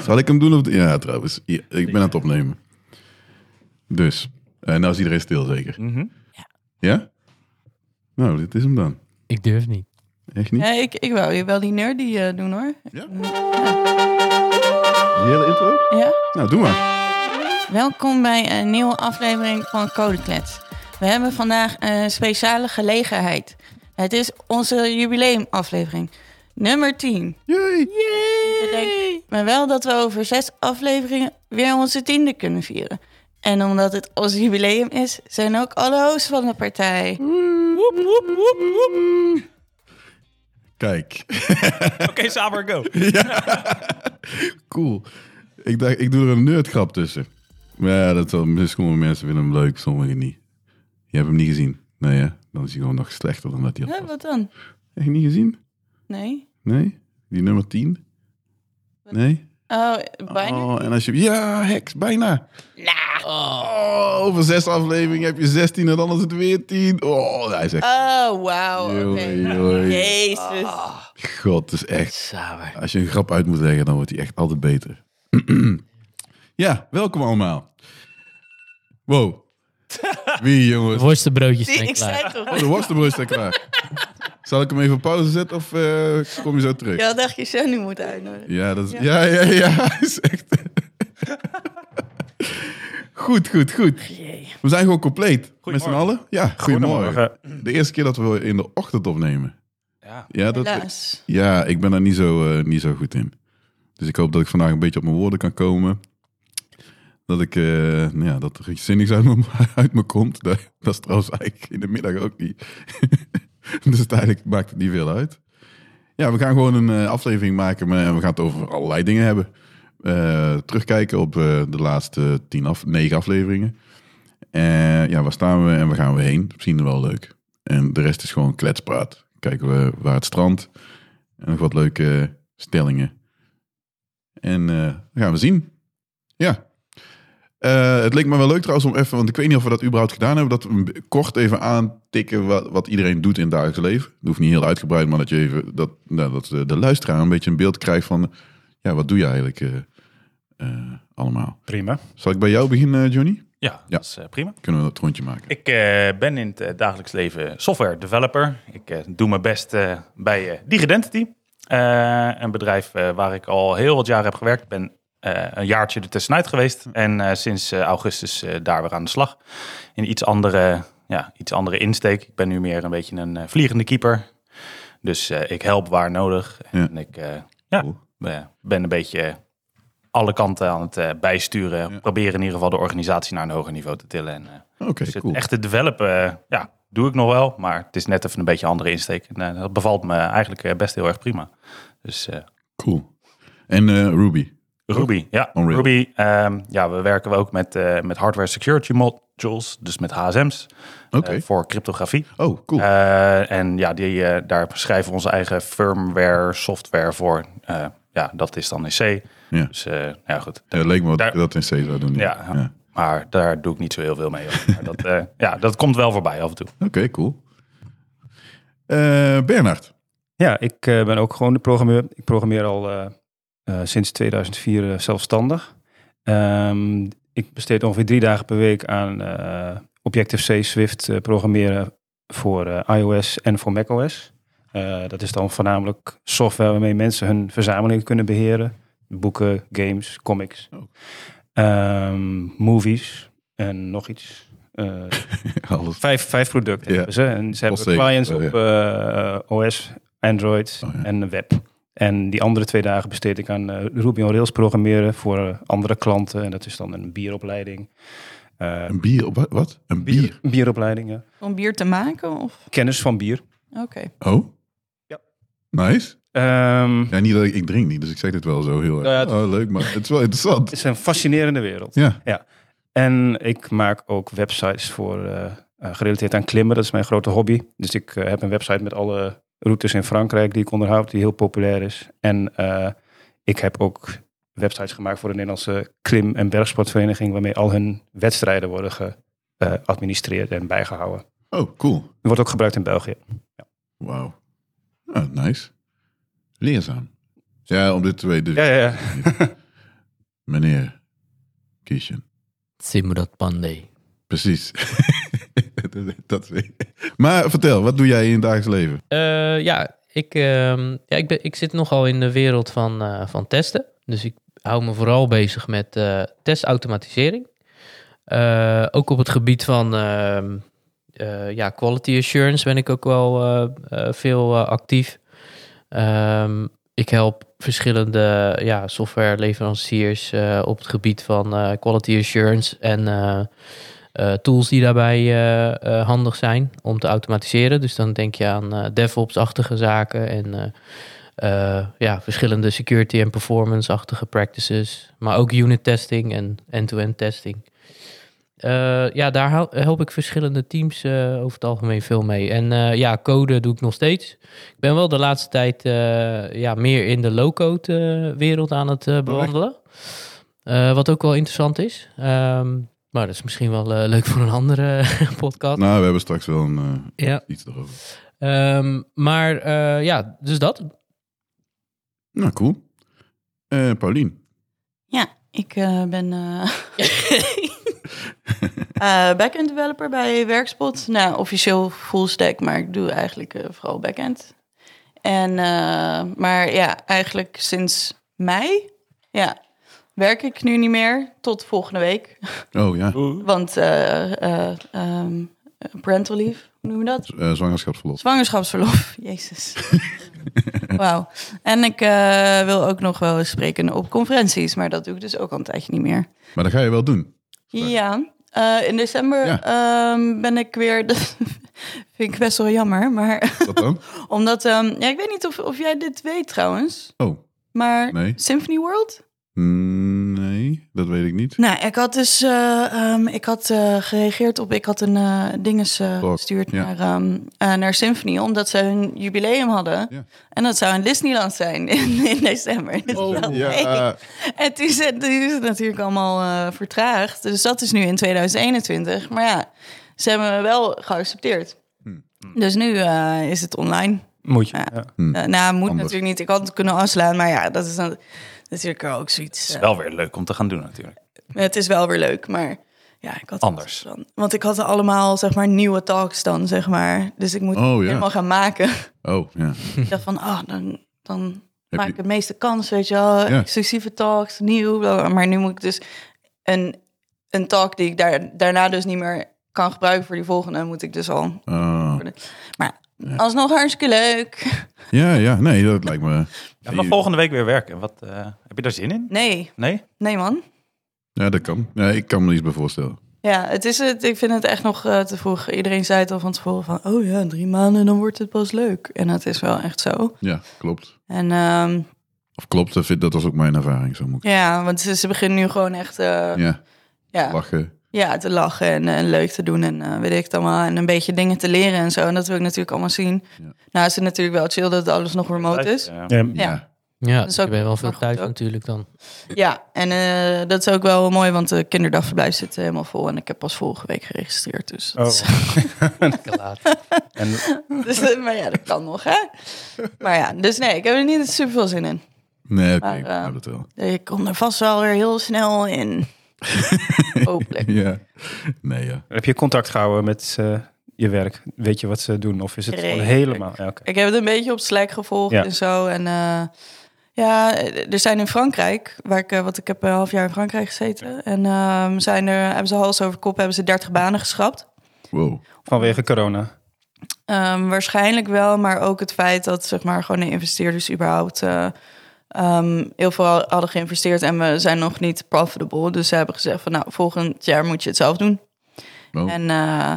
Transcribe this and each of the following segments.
Zal ik hem doen? Of... Ja, trouwens. Ja, ik ben aan het opnemen. Dus. eh, nou is iedereen stil, zeker? Ja? Nou, dit is hem dan. Ik durf niet. Echt niet? Nee, Eh, ik, ik wou je wel die nerdy eh, doen hoor. Ja? Die hele intro? Ja? Nou, doe maar. Welkom bij een nieuwe aflevering van Codeklets. We hebben vandaag een speciale gelegenheid. Het is onze jubileumaflevering. Nummer 10. Jee! Bedenk maar wel dat we over zes afleveringen weer onze tiende kunnen vieren. En omdat het ons jubileum is, zijn ook alle hosts van de partij. Kijk. Oké, Saber, go. Cool. Ik dacht, ik doe er een nerdgrap tussen. Maar ja, dat zal, misschien sommige mensen vinden hem leuk, sommigen niet. Je hebt hem niet gezien. Nee, hè? Dan is hij gewoon nog slechter dan dat hij Huh, al was. wat dan? Echt niet gezien? Nee? Nee? Die nummer 10? Nee? Oh, bijna. Nou. Oh, en als je... Ja, heks, bijna. Oh, over zes afleveringen heb je 16 en dan is het weer 10. Oh, hij zegt... Oh, wauw. Oké. Joei, joei. Jezus. God, het is echt... Saber. Als je een grap uit moet leggen, dan wordt hij echt altijd beter. ja, welkom allemaal. Wow. Wie, jongens? Worstenbroodjes Zie, zijn ik zei klaar. toch. Oh, de worstenbrood staat klaar. Zal ik hem even op pauze zetten of eh, kom je zo terug? Je had echt je zoon nu moeten uitnodigen. Ja, dat is, ja, ja, ja. is echt... goed, goed, goed. Jee. We zijn gewoon compleet. Met z'n Goedemorgen. allen? Ja, goedemorgen. De eerste keer dat we in de ochtend opnemen. Ja. Ja, dat, Helaas. ja ik ben daar niet zo, eh, niet zo goed in. Dus ik hoop dat ik vandaag een beetje op mijn woorden kan komen. Dat, ik, eh, nou ja, dat er iets zinnigs uit me, uit me komt. Dat, dat is trouwens eigenlijk in de middag ook niet. dus uiteindelijk maakt het niet veel uit. Ja, we gaan gewoon een eh, aflevering maken met- en we gaan het over allerlei dingen hebben. Eh, terugkijken op eh, de laatste tien af, negen afleveringen. En ja, waar staan we en waar gaan we heen? Misschien wel leuk. En de rest is gewoon kletspraat. Kijken we waar het strand. En nog wat leuke stellingen. En eh dat gaan we zien. Ja. Eh, het leek me wel leuk trouwens om even, want ik weet niet of we dat überhaupt gedaan hebben, dat we een- kort even aantikken wat, wat iedereen doet in het dagelijks leven. Dat hoeft niet heel uitgebreid, maar dat je even, dat, nou, dat de, de luisteraar een beetje een beeld krijgt van, ja, wat doe je eigenlijk eh, eh, allemaal? Prima. Zal ik bij jou beginnen, Johnny? Ja, Ja. dat is eh, prima. Kunnen we dat rondje maken? Ik eh, ben in het eh, dagelijks leven software developer. Ik eh, doe mijn best eh, bij eh, Digidentity. Eh, een bedrijf eh, waar ik al heel wat jaren heb gewerkt. Ik ben eh, een jaartje er tussenuit geweest. En eh, sinds eh, augustus eh, daar weer aan de slag. In iets andere, ja, iets andere insteek. Ik ben nu meer een beetje een eh, vliegende keeper. Dus eh, ik help waar nodig. En ik eh, ja, Cool. eh, ben een beetje alle kanten aan het eh, bijsturen. Proberen in ieder geval de organisatie naar een hoger niveau te tillen. En, eh, Oké, dus het cool. echte developen, eh, ja, doe ik nog wel. Maar het is net even een beetje een andere insteek. En eh, dat bevalt me eigenlijk eh, best heel erg prima. Dus eh, Cool. En eh, Ruby. Ruby, ja. Unreal. Ruby, ehm, ja, we werken ook met, eh, met hardware security modules. Dus met HSM's Oh, Oké. eh, voor cryptografie. oh, cool. Eh, en ja, die, eh, daar schrijven we onze eigen firmware, software voor. Eh, ja, dat is dan in C. Ja. Dus eh, nou ja, goed. Ja, het leek me wat daar- ik dat in C zou doen. Ja, maar daar doe ik niet zo heel veel mee. hoor. Maar dat, eh, ja, dat komt wel voorbij af en toe. Oké, cool. Eh Bernard. Ja, ik eh, ben ook gewoon de programmeur. Ik programmeer al eh, eh, sinds 2004 zelfstandig. Ehm, ik besteed ongeveer drie dagen per week aan eh, Objective-C Swift eh, programmeren voor eh, iOS en voor macOS. Eh, dat is dan voornamelijk software waarmee mensen hun verzamelingen kunnen beheren. Boeken, games, comics, Oh. ehm, movies en nog iets. Eh, Alles. vijf, vijf producten Ja. hebben ze. En ze hebben Postzegel, clients eh, op eh, OS, Android Oh, ja. en web. En die andere twee dagen besteed ik aan eh, Ruby on Rails programmeren voor eh, andere klanten. En dat is dan een bieropleiding. Eh, Een bier op wat? wat? Een bier. Bieropleiding, ja. Om bier te maken of? Kennis van bier. Oké. Oh? Ja. Nice. Ehm, Ja, niet dat ik, ik drink niet, dus ik zeg dit wel zo heel erg. Nou ja, het- oh, leuk, maar het is wel interessant. Het is een fascinerende wereld. Ja. En ik maak ook websites voor eh, eh, gerelateerd aan klimmen. Dat is mijn grote hobby. Dus ik eh, heb een website met alle routes in Frankrijk die ik onderhoud, die heel populair is. En eh, ik heb ook websites gemaakt voor de Nederlandse klim- en bergsportvereniging, waarmee al hun wedstrijden worden geadministreerd en bijgehouden. Oh, cool. Wordt ook gebruikt in België. Wauw. Ah, nice. Leerzaam. Ja, om dit twee. Dus. Ja, ja, ja. meneer Kishen. Simrat Pandey. Precies. Dat- dat is- maar vertel, wat doe jij in het dagelijks leven? Eh, ja, ik, ehm, ja ik, ben, ik zit nogal in de wereld van, eh, van testen. Dus ik hou me vooral bezig met eh, testautomatisering. Eh, ook op het gebied van ehm, eh, ja, quality assurance ben ik ook wel eh, eh, veel eh, actief. Ehm, ik help verschillende ja, softwareleveranciers eh, op het gebied van eh, quality assurance en eh, eh, tools die daarbij eh, eh, handig zijn om te automatiseren. Dus dan denk je aan eh, DevOps-achtige zaken en eh, eh, ja, verschillende security- en performance-achtige practices. Maar ook unit testing en end-to-end testing. Eh, ja, daar hel- help ik verschillende teams eh, over het algemeen veel mee. En eh, ja, code doe ik nog steeds. Ik ben wel de laatste tijd eh, ja, meer in de low-code eh, wereld aan het eh, bewandelen. Eh, wat ook wel interessant is. Ehm, maar dat is misschien wel eh, leuk voor een andere podcast. Nou, we hebben straks wel een, eh, Ja. iets erover. Ehm, maar eh, ja, dus dat. Nou, cool. Eh Paulien. Ja, ik eh, ben eh eh, backend developer bij Werkspot. Nou, officieel full stack, maar ik doe eigenlijk eh, vooral backend. En, eh, maar ja, eigenlijk sinds mei ja, werk ik nu niet meer tot volgende week. Oh ja, Want eh eh, ehm, parental leave, hoe noem je dat? eh, zwangerschapsverlof. Zwangerschapsverlof, jezus. Wauw. En ik eh, wil ook nog wel eens spreken op conferenties, maar dat doe ik dus ook al een tijdje niet meer. Maar dat ga je wel doen. Ja, eh, in december Ja. ehm, ben ik weer. Dat vind ik best wel jammer, maar Wat dan? omdat. ehm, ja, ik weet niet of, of jij dit weet trouwens, Oh, maar Nee. Symphony World? mm, nee, dat weet ik niet. Nou, ik had dus. eh, ehm, ik had eh, gereageerd op. Ik had een eh dinges eh, Talk, gestuurd ja. naar, ehm, eh, naar Symphony, omdat ze hun jubileum hadden. Ja. En dat zou in Disneyland zijn in, in december. Dus dat- Oh, ja. En toen is, het, toen is het natuurlijk allemaal eh, vertraagd. Dus dat is nu in 2021. Maar ja, ze hebben me wel geaccepteerd. Hm. Dus nu eh, is het online. Moet je. Ja. Ja. Eh, nou, moet Anders. natuurlijk niet. Ik had het kunnen afslaan, maar ja, dat is dan- natuurlijk ook zoiets. eh, Wel weer leuk om te gaan doen natuurlijk. het is wel weer leuk, maar ja, ik had Anders. Dan, want ik had allemaal zeg maar nieuwe talks dan zeg maar. Dus ik moet Oh, ja. helemaal gaan maken. Oh, ja. ik dacht van, ah, dan, dan Heb maak je- ik de meeste kans, weet je wel. Ja. Exclusieve talks, nieuw. bla, bla. Maar nu moet ik dus een, een talk die ik daar, daarna dus niet meer kan gebruiken voor die volgende, moet ik dus al. Oh. Maar alsnog hartstikke leuk. Ja, ja, nee, dat lijkt me... Ja, maar volgende week weer werken. Wat, eh, heb je daar zin in? Nee, Nee? nee man. Ja, dat kan. Ja, ik kan me er iets bij voorstellen. Ja, het is het. Ik vind het echt nog eh, te vroeg. Iedereen zei het al van tevoren van, oh ja, drie maanden, dan wordt het pas leuk. En dat is wel echt zo. Ja, klopt. En ehm, Of klopt, dat vind- dat was ook mijn ervaring. Zo moet ik... ja, want ze, ze beginnen nu gewoon echt eh, Ja, ja, lachen. Ja, te lachen en, en leuk te doen en eh, weet ik het allemaal. En een beetje dingen te leren en zo. En dat wil ik natuurlijk allemaal zien. Ja. Nou is het natuurlijk wel chill dat alles nog remote is. Ja. Ja. Ja. Ja, is dus ook- ik ben wel veel maar goed thuis ook. natuurlijk dan. Ja, en eh, dat is ook wel mooi, want de kinderdagverblijf zit helemaal vol. En ik heb pas vorige week geregistreerd, dus... dat Oh. is- Lekker laat. En dus eh, maar ja, dat kan nog, hè? Maar ja, dus nee, ik heb er niet super veel zin in. Nee, oké, Maar, ik eh, heb dat wel. Ik kom er vast wel weer heel snel in. Hopelijk. Ja. Nee, ja. heb je contact gehouden met eh, je werk? Weet je wat ze doen? Of is het gewoon Redelijk. helemaal... Ja, oké. Ik heb het een beetje op Slack gevolgd Ja. en zo. En eh, ja, er zijn in Frankrijk, waar ik, eh, want ik heb een half jaar in Frankrijk gezeten. En ehm, zijn er, hebben ze hals over kop, hebben ze 30 banen geschrapt. Wow. Vanwege corona. Ehm, waarschijnlijk wel, maar ook het feit dat zeg maar gewoon de investeerders überhaupt eh, ehm, heel veel hadden geïnvesteerd en we zijn nog niet profitable. Dus ze hebben gezegd van nou, volgend jaar moet je het zelf doen. Oh. En eh,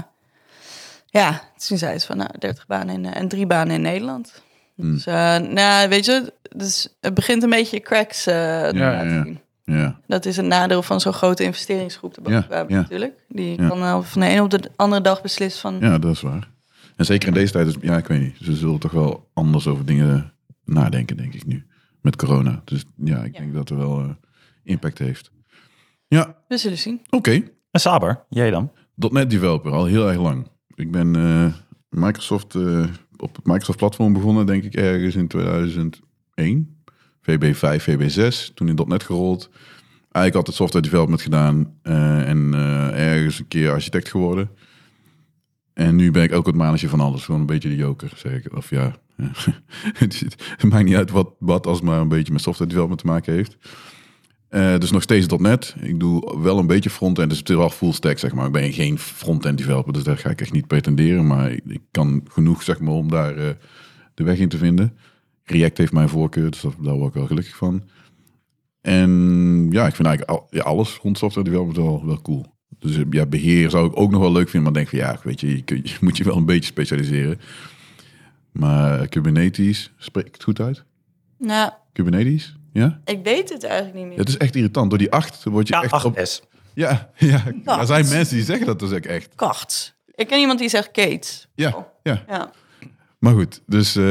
ja, toen zei ze van nou, 30 banen in, eh, en drie banen in Nederland. Mm, Dus eh, nou, weet je, dus het begint een beetje cracks eh, te Ja, laten ja. zien. Ja, Dat is een nadeel van zo'n grote investeringsgroep de Ja, we hebben ja. natuurlijk. Die Ja. kan eh, van de ene op de andere dag beslissen van ja, dat is waar. En zeker in deze tijd is... Ja, ik weet niet. Ze zullen toch wel anders over dingen nadenken, denk ik nu. Met corona. Dus ja, ik Ja. denk dat er wel eh, impact heeft. Ja, we zullen zien. oké. En Saber, jij dan? .NET developer, al heel erg lang. Ik ben eh, Microsoft, eh, op het Microsoft platform begonnen, denk ik ergens in 2001. VB5, VB6, toen in .NET gerold. Eigenlijk altijd software development gedaan eh, en eh, ergens een keer architect geworden. En nu ben ik ook het manager van alles. Gewoon een beetje de joker, zeg ik. Of ja, het, is- het maakt niet uit wat, wat als het maar een beetje met software development te maken heeft. Eh, dus nog steeds .NET. Ik doe wel een beetje front-end, dus het is wel full stack, zeg maar. Ik ben geen front-end developer, dus daar ga ik echt niet pretenderen. Maar ik, ik kan genoeg, zeg maar, om daar eh, de weg in te vinden. React heeft mijn voorkeur, dus dat- daar word ik wel gelukkig van. En ja, ik vind eigenlijk al, ja, alles rond software development wel, wel cool. Dus eh, ja, beheer zou ik ook nog wel leuk vinden, maar ik denk van ja, weet je, je, kunt- je moet je wel een beetje specialiseren. Maar eh, Kubernetes, spreek ik het goed uit? Nou, Kubernetes, ja? ik weet het eigenlijk niet meer. Het is echt irritant. Door die acht word je Ja, echt 8S. op... Ja, ja. er zijn mensen die zeggen dat dus ook echt. Kacht. Ik ken iemand die zegt Kate. Oh. Ja, ja. Ja. Maar goed, dus, eh,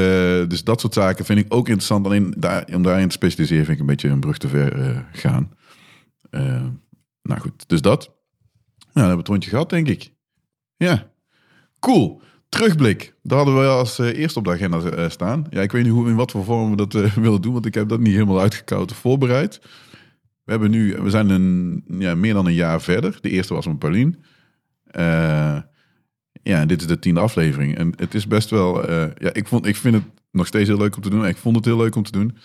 dus dat soort zaken vind ik ook interessant. Alleen daar, om daarin te specialiseren vind ik een beetje een brug te ver eh, gaan. Eh, nou goed, dus dat. Nou, dan hebben we het rondje gehad, denk ik. Ja, cool. Terugblik. Daar hadden we als eh, eerste op de agenda eh, staan. Ja, ik weet niet hoe, in wat voor vorm we dat eh, willen doen, want ik heb dat niet helemaal uitgekoud of voorbereid. We, hebben nu, we zijn een, ja, meer dan een jaar verder. De eerste was met Paulien. Eh, ja, en dit is de tiende aflevering. En het is best wel... eh, ja, ik, vond, ik vind het nog steeds heel leuk om te doen. Ik vond het heel leuk om te doen.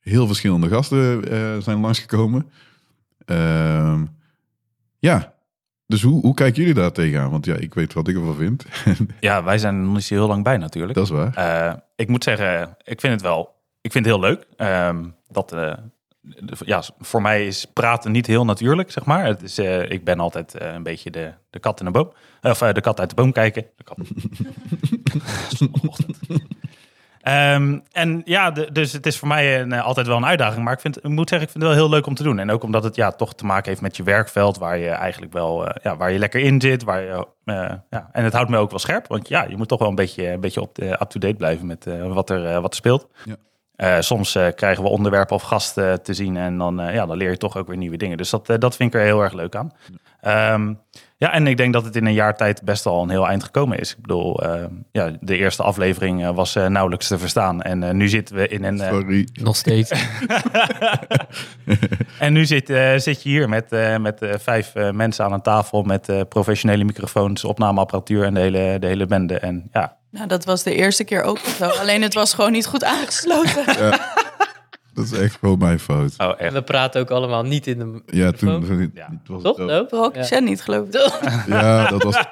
Heel verschillende gasten eh, zijn langsgekomen. Ehm, ja, dus hoe, hoe kijken jullie daar tegenaan? Want ja, ik weet wat ik ervan vind. Ja, wij zijn er nog niet zo heel lang bij natuurlijk. dat is waar. Eh, ik moet zeggen, ik vind het wel. Ik vind het heel leuk. Ehm, dat, eh, de- ja, voor mij is praten niet heel natuurlijk, zeg maar. Het is, eh, ik ben altijd eh, een beetje de, de kat in de boom. Of eh, de kat uit de boom kijken. De kat. Zondagochtend. Ehm, en ja, de- dus het is voor mij een, eh, altijd wel een uitdaging. Maar ik, vind, ik moet zeggen, ik vind het wel heel leuk om te doen. En ook omdat het ja, toch te maken heeft met je werkveld, waar je eigenlijk wel eh, ja, waar je lekker in zit. Waar je, eh, ja. En het houdt me ook wel scherp. Want ja, je moet toch wel een beetje, een beetje op de up-to-date blijven met eh, wat, er, eh, wat er speelt. Ja. Eh, soms eh, krijgen we onderwerpen of gasten te zien. En dan, eh, ja, dan leer je toch ook weer nieuwe dingen. Dus dat, eh, dat vind ik er heel erg leuk aan. Ehm, ja, en ik denk dat het in een jaar tijd best al een heel eind gekomen is. Ik bedoel, eh, ja, de eerste aflevering eh, was eh, nauwelijks te verstaan. En eh, nu zitten we in een. eh, Sorry. Nog steeds. en nu zit, eh, zit je hier met, eh, met eh, vijf eh, mensen aan een tafel. met eh, professionele microfoons, opnameapparatuur en de hele, de hele bende. En ja, Nou, dat was de eerste keer ook zo. Alleen het was gewoon niet goed aangesloten. Dat is echt gewoon mijn fout. oh, En echt. we praten ook allemaal niet in de... Ja, toen... Ja. het was- Toch? oh. Ook? Toen had ik Ja. Shen niet geloof ik. Ja, dat was.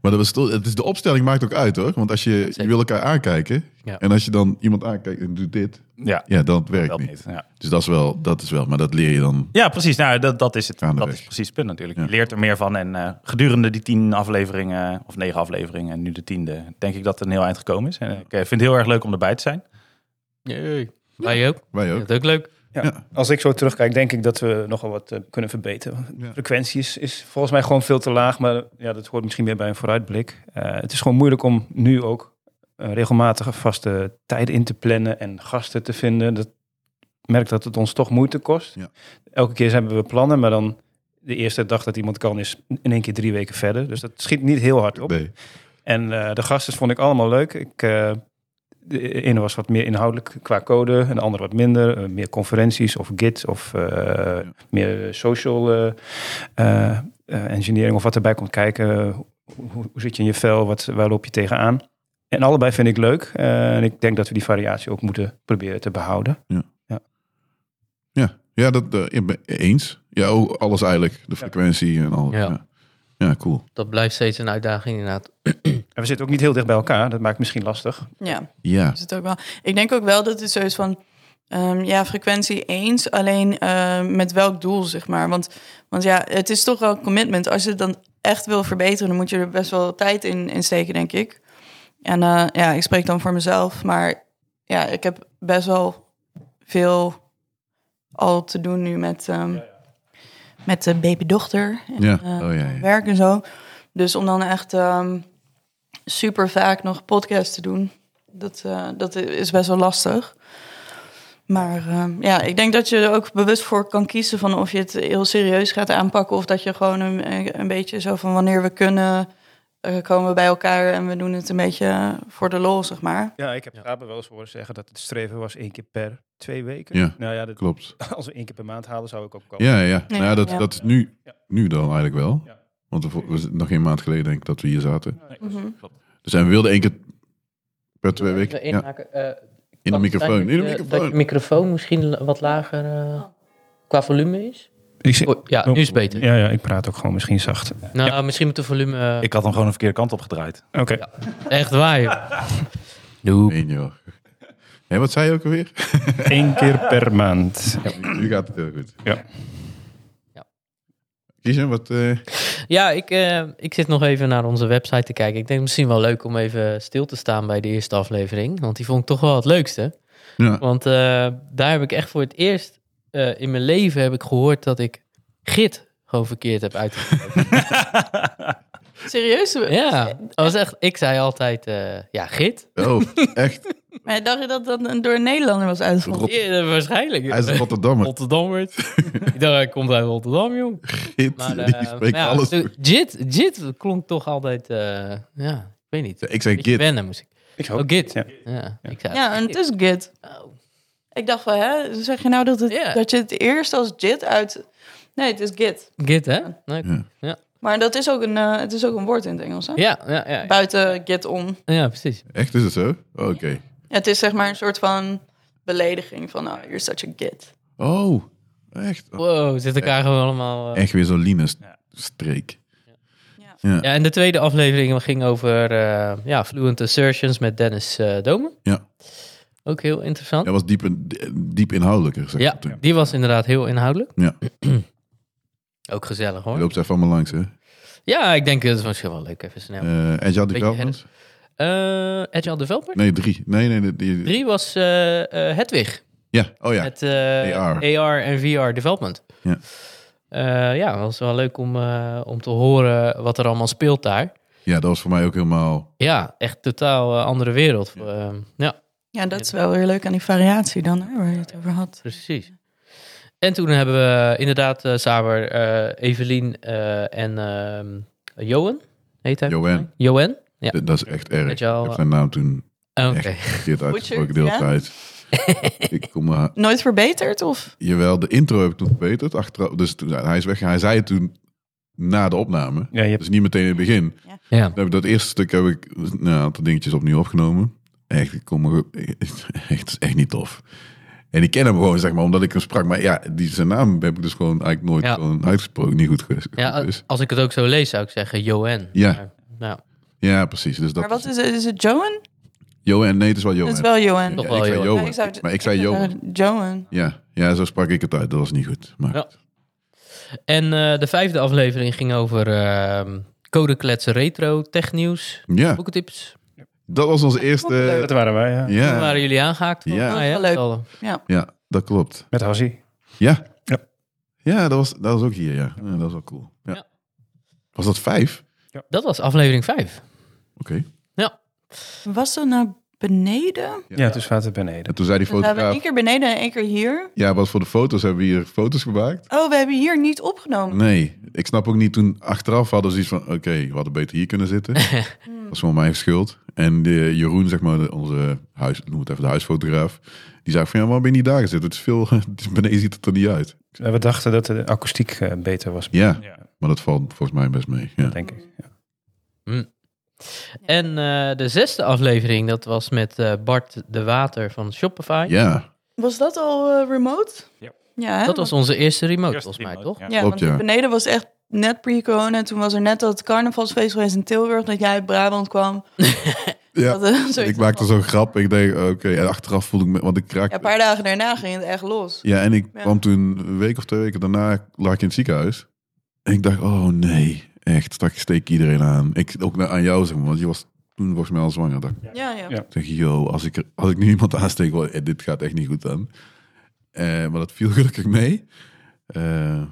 Maar dat was, toch- het is de opstelling maakt ook uit hoor. Want als je, je wil elkaar aankijken. Ja. En als je dan iemand aankijkt en doet dit. Ja, Ja, dan werkt dat niet. niet. Ja. Dus dat is, wel, dat is wel. Maar dat leer je dan. Ja, precies. Nou, dat, dat is het. Gaandeweg. Dat is precies het punt natuurlijk. Ja. Je leert er meer van. En eh, gedurende die tien afleveringen, of negen afleveringen, en nu de tiende, denk ik dat het een heel eind gekomen is. En ik eh, vind het heel erg leuk om erbij te zijn. Jee. Wij ook. Wij ook. Dat ook leuk. Als ik zo terugkijk, denk ik dat we nogal wat eh, kunnen verbeteren. Ja. De frequentie is, is volgens mij gewoon veel te laag, maar ja, dat hoort misschien meer bij een vooruitblik. Eh, het is gewoon moeilijk om nu ook eh, regelmatig vaste tijden in te plannen en gasten te vinden. Dat ik merk dat het ons toch moeite kost. Ja. Elke keer hebben we plannen, maar dan de eerste dag dat iemand kan is in één keer drie weken verder. Dus dat schiet niet heel hard op. Nee. En eh, de gasten vond ik allemaal leuk. Ik, eh, de ene was wat meer inhoudelijk qua code, en de andere wat minder. Eh, meer conferenties of Git of eh, meer social eh, eh, eh, engineering of wat erbij komt kijken. Hoe, hoe- hoe zit je in je vel? Wat, waar loop je tegenaan? En allebei vind ik leuk. Eh, en ik denk dat we die variatie ook moeten proberen te behouden. Ja, ja dat eh, ik ben eens. Ja, ook alles eigenlijk. De frequentie en al. Ja. Ja, ja cool. Dat blijft steeds een uitdaging inderdaad. En we zitten ook niet heel dicht bij elkaar. Dat maakt misschien lastig. Ja, Ja. is het ook wel. Ik denk ook wel dat het zo is van... ehm, ja, frequentie eens, alleen ehm, met welk doel, zeg maar. Want, want ja, het is toch wel een commitment. Als je het dan echt wil verbeteren, dan moet je er best wel tijd in, in steken, denk ik. En eh, ja, ik spreek dan voor mezelf, maar ja, ik heb best wel veel al te doen nu met, ehm, met de babydochter. En, Ja. eh, Oh, ja, ja. Werk en zo. Dus om dan echt ehm, super vaak nog podcast te doen, dat, eh, dat is best wel lastig. Maar ehm, ja, ik denk dat je er ook bewust voor kan kiezen van of je het heel serieus gaat aanpakken. Of dat je gewoon een, een beetje zo van wanneer we kunnen, eh, komen we bij elkaar en we doen het een beetje voor de lol, zeg maar. Ja, ik heb Faber wel eens horen zeggen dat het streven was één keer per twee weken. Ja, nou ja, dat, Klopt. als we één keer per maand halen, zou ik ook komen. Ja, ja. Nee, nou, ja, dat, ja. dat is nu, Ja. nu dan eigenlijk wel. Ja. Want we vo- we zitten nog geen maand geleden denk ik dat we hier zaten. Nee, Mhm. klopt. Dus en we wilden één keer per twee Even weken. Ja, eh, inhaken, eh, in de kan het microfoon. zijn In de dat je- Dat je microfoon. microfoon misschien la- wat lager eh, qua volume is. Ik zie- Oh, ja, nu is het beter. Ja, ja, ik praat ook gewoon misschien zacht. Nou, misschien moet de volume... eh, Ik had hem gewoon een verkeerde kant op gedraaid. Oké. Echt waar, joh. Doe. Nee, joh. Hé, wat zei je ook alweer? Eén keer per maand. Ja. Nu gaat het heel goed. Ja. Ja. Kiezen, wat... eh, Ja, ik, eh, ik zit nog even naar onze website te kijken. Ik denk misschien wel leuk om even stil te staan bij de eerste aflevering. Want die vond ik toch wel het leukste. ja. Want eh, daar heb ik echt voor het eerst eh, in mijn leven heb ik gehoord dat ik git gewoon verkeerd heb uitgesproken. Serieus? ja, dat was echt, ik zei altijd, eh, ja, git. Oh, echt. Maar dacht je dat dat een- door een Nederlander was uitgevonden? Rot- Ja, waarschijnlijk. Hij is een Rotterdammer. Rotterdammer. ik dacht, hij komt uit Rotterdam, jong. Git, Maar, eh, die spreekt maar ja, alles zo- goed. Jit, Jit klonk toch altijd, eh, ja, ik weet niet. Ik zei Beetje git. wennen moest ik. Ik Oh, Git. Ja. Ja. Ik zei, Ja, en het is Git. Oh. Ik dacht van, hè, zeg je nou dat, het, Ja. dat je het eerst als JIT uit... Nee, het is Git. Git, hè? Nee. Ja. Maar dat is ook een, eh, het is ook een woord in het Engels, hè? Ja, ja, ja, ja. Buiten Git om. Ja, precies. Echt, is het zo? Oh, Oké. Het is zeg maar een soort van belediging van, oh, you're such a Git. Oh, echt. Wow, zit elkaar gewoon allemaal... eh. Echt weer zo'n Ja. Linus-streek. Ja. Ja. Ja, en de tweede aflevering ging over eh, ja, Fluent Assertions met Dennis eh Domen. Ja. Ook heel interessant. Dat was diep, diep inhoudelijker, zeg Ja, maar toen. die was inderdaad heel inhoudelijk. Ja. Ook gezellig, Je hoor. loopt even allemaal langs, hè? Ja, ik denk dat het misschien wel leuk even snel. Eh en Jaddy Beetje Kalmans? Eh Agile Developer? Nee, drie. Nee, nee, nee. Die, Drie was eh eh, Hedwig. Ja, oh ja. Het eh, AR. AR. en VR development. Ja. Eh, ja, was wel leuk om, eh, om te horen wat er allemaal speelt daar. Ja, dat was voor mij ook helemaal... Ja, echt totaal eh, andere wereld. Ja. ja, Ja, dat is wel weer leuk aan die variatie dan, hè, waar je het over had. precies. En toen hebben we inderdaad eh, Saber, eh, Evelien eh, en ehm, Johan, heet hij? Joanne. Johan. Ja. Dat dat is echt erg. Met jou- eh. Ik heb zijn naam toen Oké. verkeerd uitgesproken de Butcher, hele tijd. ik kom maar... Nooit verbeterd, of? Jawel, de intro heb ik toen verbeterd. Achteraf, dus toen, hij is weg. Hij zei het toen na de opname. Ja, je hebt Dus niet meteen in het begin. Ja. Dan heb ik dat eerste stuk heb ik nou, een aantal dingetjes opnieuw opgenomen. Echt, ik kom er, echt, het is echt niet tof. En ik ken hem gewoon, zeg maar, omdat ik hem sprak. Maar ja, die, zijn naam heb ik dus gewoon eigenlijk nooit Ja. gewoon uitgesproken. Niet goed geweest. ja, eh, Ja, dus. a- als ik het ook zo lees, zou ik zeggen Johan. Ja. Maar, nou, ja, precies. Dus dat Maar wat is het? Is het Johan? Johan, nee, het is wel Johan. Het is wel Johan. Toch Ja, wel ik zei Johan. Johan. Nee, ik zou- maar ik zei Johan. Johan. Ja. ja, zo sprak ik het uit. Dat was niet goed. Maar Ja. En eh, de vijfde aflevering ging over ehm codekletsen retro, technieuws, ja, boekentips. dat was onze Dat eerste... waren wij, ja. Toen Ja, waren jullie aangehaakt. Ja. volgens mij, hè? Dat is wel Alle. ja dat klopt. Met Hassie. Ja. Ja. Ja, dat was, dat was ook hier, ja. Ja, Dat was wel cool. Ja. Ja. Was dat vijf? Dat was aflevering 5. Oké. Was dat naar beneden? Ja, dus vaten beneden. En toen zei die Dus we hebben fotograaf... één keer beneden en één keer hier. Ja, wat voor de foto's hebben we hier foto's gemaakt? Oh, we hebben hier niet opgenomen. Nee, ik snap ook niet. Toen achteraf hadden ze iets van... Oké, we hadden beter hier kunnen zitten. dat is wel mijn schuld. En de Jeroen, zeg maar, de- onze huis... Noem het even de huisfotograaf. Die zei van... Ja, waarom ben je niet daar gezeten? Het is veel... het is- beneden ziet het er niet uit. Eh, We dachten dat de akoestiek eh, beter was, Ja, Oh, Ja. maar dat valt volgens mij best mee. Ja. denk ik. Ja. En eh, de zesde aflevering, dat was met eh, Bart de Water van Shopify. Ja, Was dat al eh, remote? Ja. ja hè? Dat was onze eerste remote, Eerst volgens mij, remote, toch? ja. Ja, Klopt, want ja. beneden was echt net pre-corona. Toen was er net dat carnavalsfeest geweest in Tilburg. Dat jij uit Brabant kwam. ja. Dat, eh, zoiets ik maakte van- zo'n grap. Ik denk, oké. En achteraf voelde ik me... Want ik Ja, raakte... een paar dagen daarna ging het echt los. Ja, en ik Ja. kwam toen een week of twee weken daarna lag ik in het ziekenhuis. En ik dacht, oh nee, echt, straks steek ik iedereen aan. Ik, ook na- aan jou zeg maar, want je was toen volgens mij al zwanger. Dacht. Ik Ja, ja. Ja. dacht, yo, als ik, er- als ik nu iemand aansteek, wel, eh, dit gaat echt niet goed dan. Eh, maar dat viel gelukkig mee. Eh,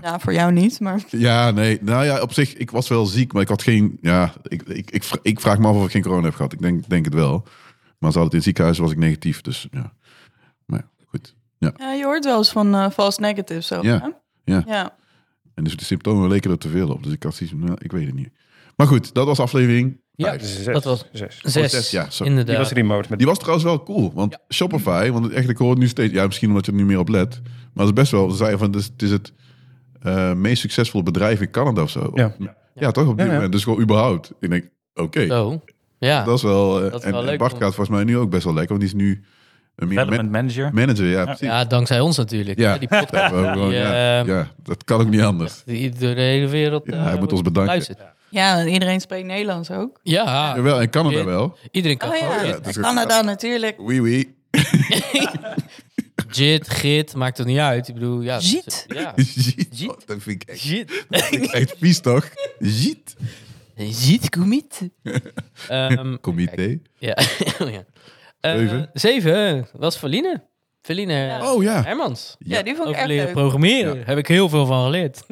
Nou, voor jou niet, maar... ja, nee, nou ja, op zich, ik was wel ziek, maar ik had geen, ja, ik, ik, ik, vra- ik vraag me af of ik geen corona heb gehad. Ik denk, denk het wel. Maar ze hadden het in het ziekenhuis, was ik negatief, dus ja. Maar ja, goed. Ja, je hoort wel eens van eh false negatives. Zo, Ja, hè? ja. ja. En dus de symptomen leken er te veel op. Dus ik had zoiets van, nou, ik weet het niet. Maar goed, dat was aflevering Ja, Vijf. Zes. dat was Zes. zes. Oh, zes, ja, zo. Die inderdaad. was remote. Met, Die was trouwens wel cool, want Shopify, want het- echt, ik hoor het nu steeds, ja, misschien omdat je er niet meer op let, maar het is best wel, ze zeiden van, het is het, is het eh, meest succesvolle bedrijf in Canada of zo. Ja. ja, toch? Op dit Ja, ja. moment, dus gewoon überhaupt. Ik denk, oké, Zo. Ja, dat is wel, eh, Dat is en, wel en leuk, Bart man. gaat volgens mij nu ook best wel lekker, want die is nu een meer Development manager. man- manager, ja, precies. Ja, ja dankzij ons natuurlijk. Ja, die podcast dat hebben we gewoon, die, ja. ehm, Ja, dat kan ook niet anders. die door de hele wereld Ja, eh, hij moet wordt ons bedanken. geluisterd. Ja, en iedereen spreekt Nederlands ook. Ja, Jawel, in Canada je- wel. iedereen kan Oh ja, gewoon ja, jit, dat is- Canada natuurlijk. Oui, oui. jit, git, maakt het niet uit. Ik bedoel, ja. dat is- Jit. Ja. Ziet. Ziet. Oh, dat vind ik echt, Jit. vind ik echt vies, toch? Ziet. Jit, commit. Ehm, Comité. ja. Oh, ja. Eh, Zeven. zeven was Verline. Verline Oh ja. Hermans. Ja. Ja, die vond ik Over echt leren leuk. Nou. programmeren. Ja. Heb ik heel veel van geleerd.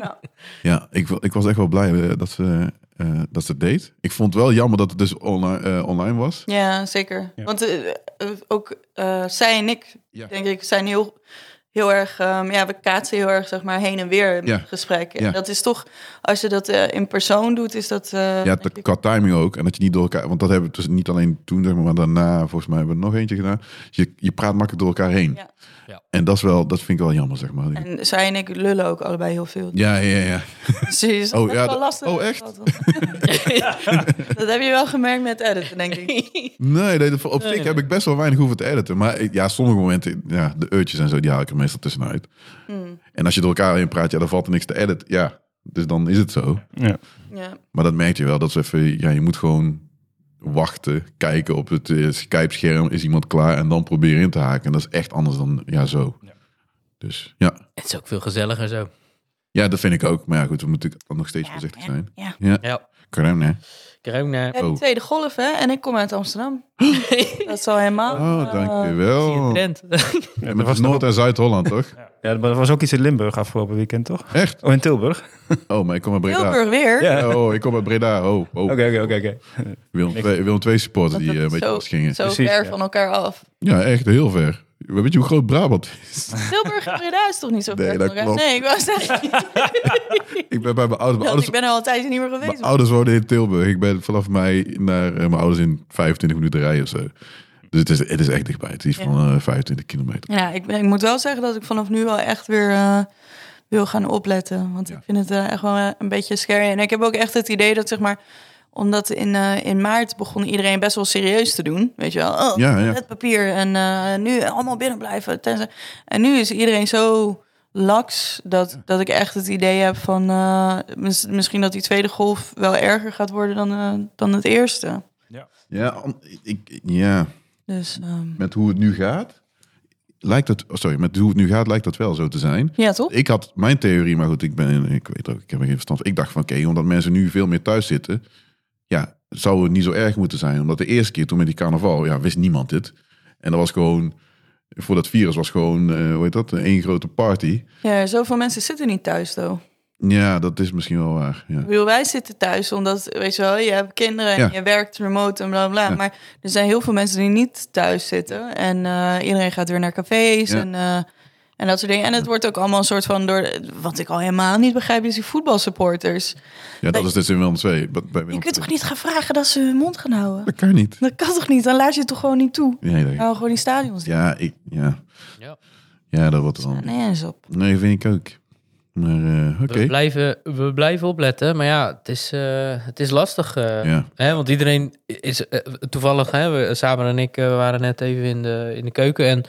Ja, ik, wa- ik was echt wel blij eh, dat ze, eh, dat ze het deed. Ik vond het wel jammer dat het dus online, eh, online was. Ja, zeker. Ja. Want eh, eh, ook eh, zij en ik, Ja. denk ik, zijn heel, heel erg... ehm, ja, we kaatsen heel erg, zeg maar, heen en weer in Ja. gesprekken. Ja. En dat is toch, als je dat eh, in persoon doet, is dat... eh, Ja, denk de- ik- qua timing ook. En dat je niet door elkaar... Want dat hebben we dus niet alleen toen, zeg maar, maar daarna volgens mij hebben we er nog eentje gedaan. Je, je praat makkelijk door elkaar heen. Ja. Ja. En dat, is wel, dat vind ik wel jammer, zeg maar. en zij en ik lullen ook allebei heel veel. Ja, ja, ja. Dus het is Oh, best ja, wel dat- lastig. oh, echt? dat heb je wel gemerkt met editen, denk ik. Nee, nee, dat- op Nee, zich nee. heb ik best wel weinig hoeven te editen. Maar ik- ja, sommige momenten, ja, de eurtjes en zo, die haal ik er meestal tussenuit. Hmm, En als je door elkaar heen praat, ja, dan valt er niks te editen. Ja, dus dan is het zo. ja. ja. Maar dat merk je wel, dat ze even, ja, je moet gewoon wachten, kijken op het eh, Skype-scherm, is iemand klaar en dan proberen in te haken. En dat is echt anders dan, ja, zo. Ja. Dus ja. Het is ook veel gezelliger zo. ja, dat vind ik ook. Maar ja, goed, we moeten natuurlijk nog steeds voorzichtig zijn. Ja. Ja. Corona. Corona. Ja, die Oh. tweede golf, hè? En ik kom uit Amsterdam. dat zal helemaal... Oh, Zie je dankjewel. trend. Ja, Ja, dat Met was was nog- Noord- en Zuid-Holland, toch? ja, maar er was ook iets in Limburg afgelopen weekend, toch? Echt? Oh, in Tilburg? Oh, maar ik kom uit Breda. Tilburg weer. Ja. Oh, ik kom uit Breda. Oh, oh. Oké, oké, oké, oké. Willem, II, Willem II supporter Dat die het eh, een beetje zo- losgingen. Zo Precies, ver ja. van elkaar af. Ja, echt heel ver. Weet je hoe groot Brabant is? Tilburg en Breda is toch niet zo Nee, ver dat van elkaar? klopt. Nee, ik was zeggen, ik ben bij mijn ouders. Mijn ouders, ik ben er al een tijdje niet meer geweest. mijn ouders wonen in Tilburg. Ik ben vanaf mij naar eh, mijn ouders in 25 minuten rijden of zo. Dus het is, het is echt dichtbij. Het is van eh, 25 kilometer. Ja, ik, ben- ik moet wel zeggen dat ik vanaf nu wel echt weer eh, wil gaan opletten. Want Ja. ik vind het eh, echt wel eh, een beetje scary. En ik heb ook echt het idee dat, zeg maar, omdat in, eh, in maart begon iedereen best wel serieus te doen. Weet je wel, oh, Ja, ja. het papier en eh, nu allemaal binnen blijven. Tenzij... En nu is iedereen zo laks dat, dat ik echt het idee heb van eh, mis- misschien dat die tweede golf wel erger gaat worden dan, eh, dan het eerste. Ja, om- ik, ja, Dus ehm, met hoe het nu gaat, lijkt het... oh, sorry, met hoe het nu gaat lijkt dat wel zo te zijn. ja, toch? Ik had mijn theorie, maar goed, ik ben, ik weet ook, ik heb er geen verstand. van. Ik dacht van, oké, omdat mensen nu veel meer thuis zitten, ja, zou het niet zo erg moeten zijn. Omdat de eerste keer toen met die carnaval, ja, wist niemand dit. En dat was gewoon, voor dat virus was gewoon, eh, hoe heet dat, één grote party. Ja, zoveel mensen zitten niet thuis, though. Ja, dat is misschien wel waar. Ja, Ik bedoel, wij zitten thuis omdat, weet je wel, je hebt kinderen en Ja. je werkt remote en bla bla. Ja. Maar er zijn heel veel mensen die niet thuis zitten. En eh, iedereen gaat weer naar cafés Ja. en, eh, en dat soort dingen. En het wordt ook allemaal een soort van door, wat ik al helemaal niet begrijp, is die voetbalsupporters. ja dat is dus in Willem 2. Bij, bij Je Willem kunt II. toch niet gaan vragen dat ze hun mond gaan houden? Dat kan niet. Dat kan toch niet? Dan laat je het toch gewoon niet toe? Nee, dat- Nou, gewoon die stadions. Ja. ja, ik, ja. Ja. Ja, dat wordt dan. Nee, eens op. Nee, vind ik ook. Maar eh, oké. We, blijven, we blijven opletten. Maar ja, het is, eh, het is lastig. eh, Ja, Hè, want iedereen is eh, toevallig, hè, we, Samen en ik eh, waren net even in de, in de keuken. En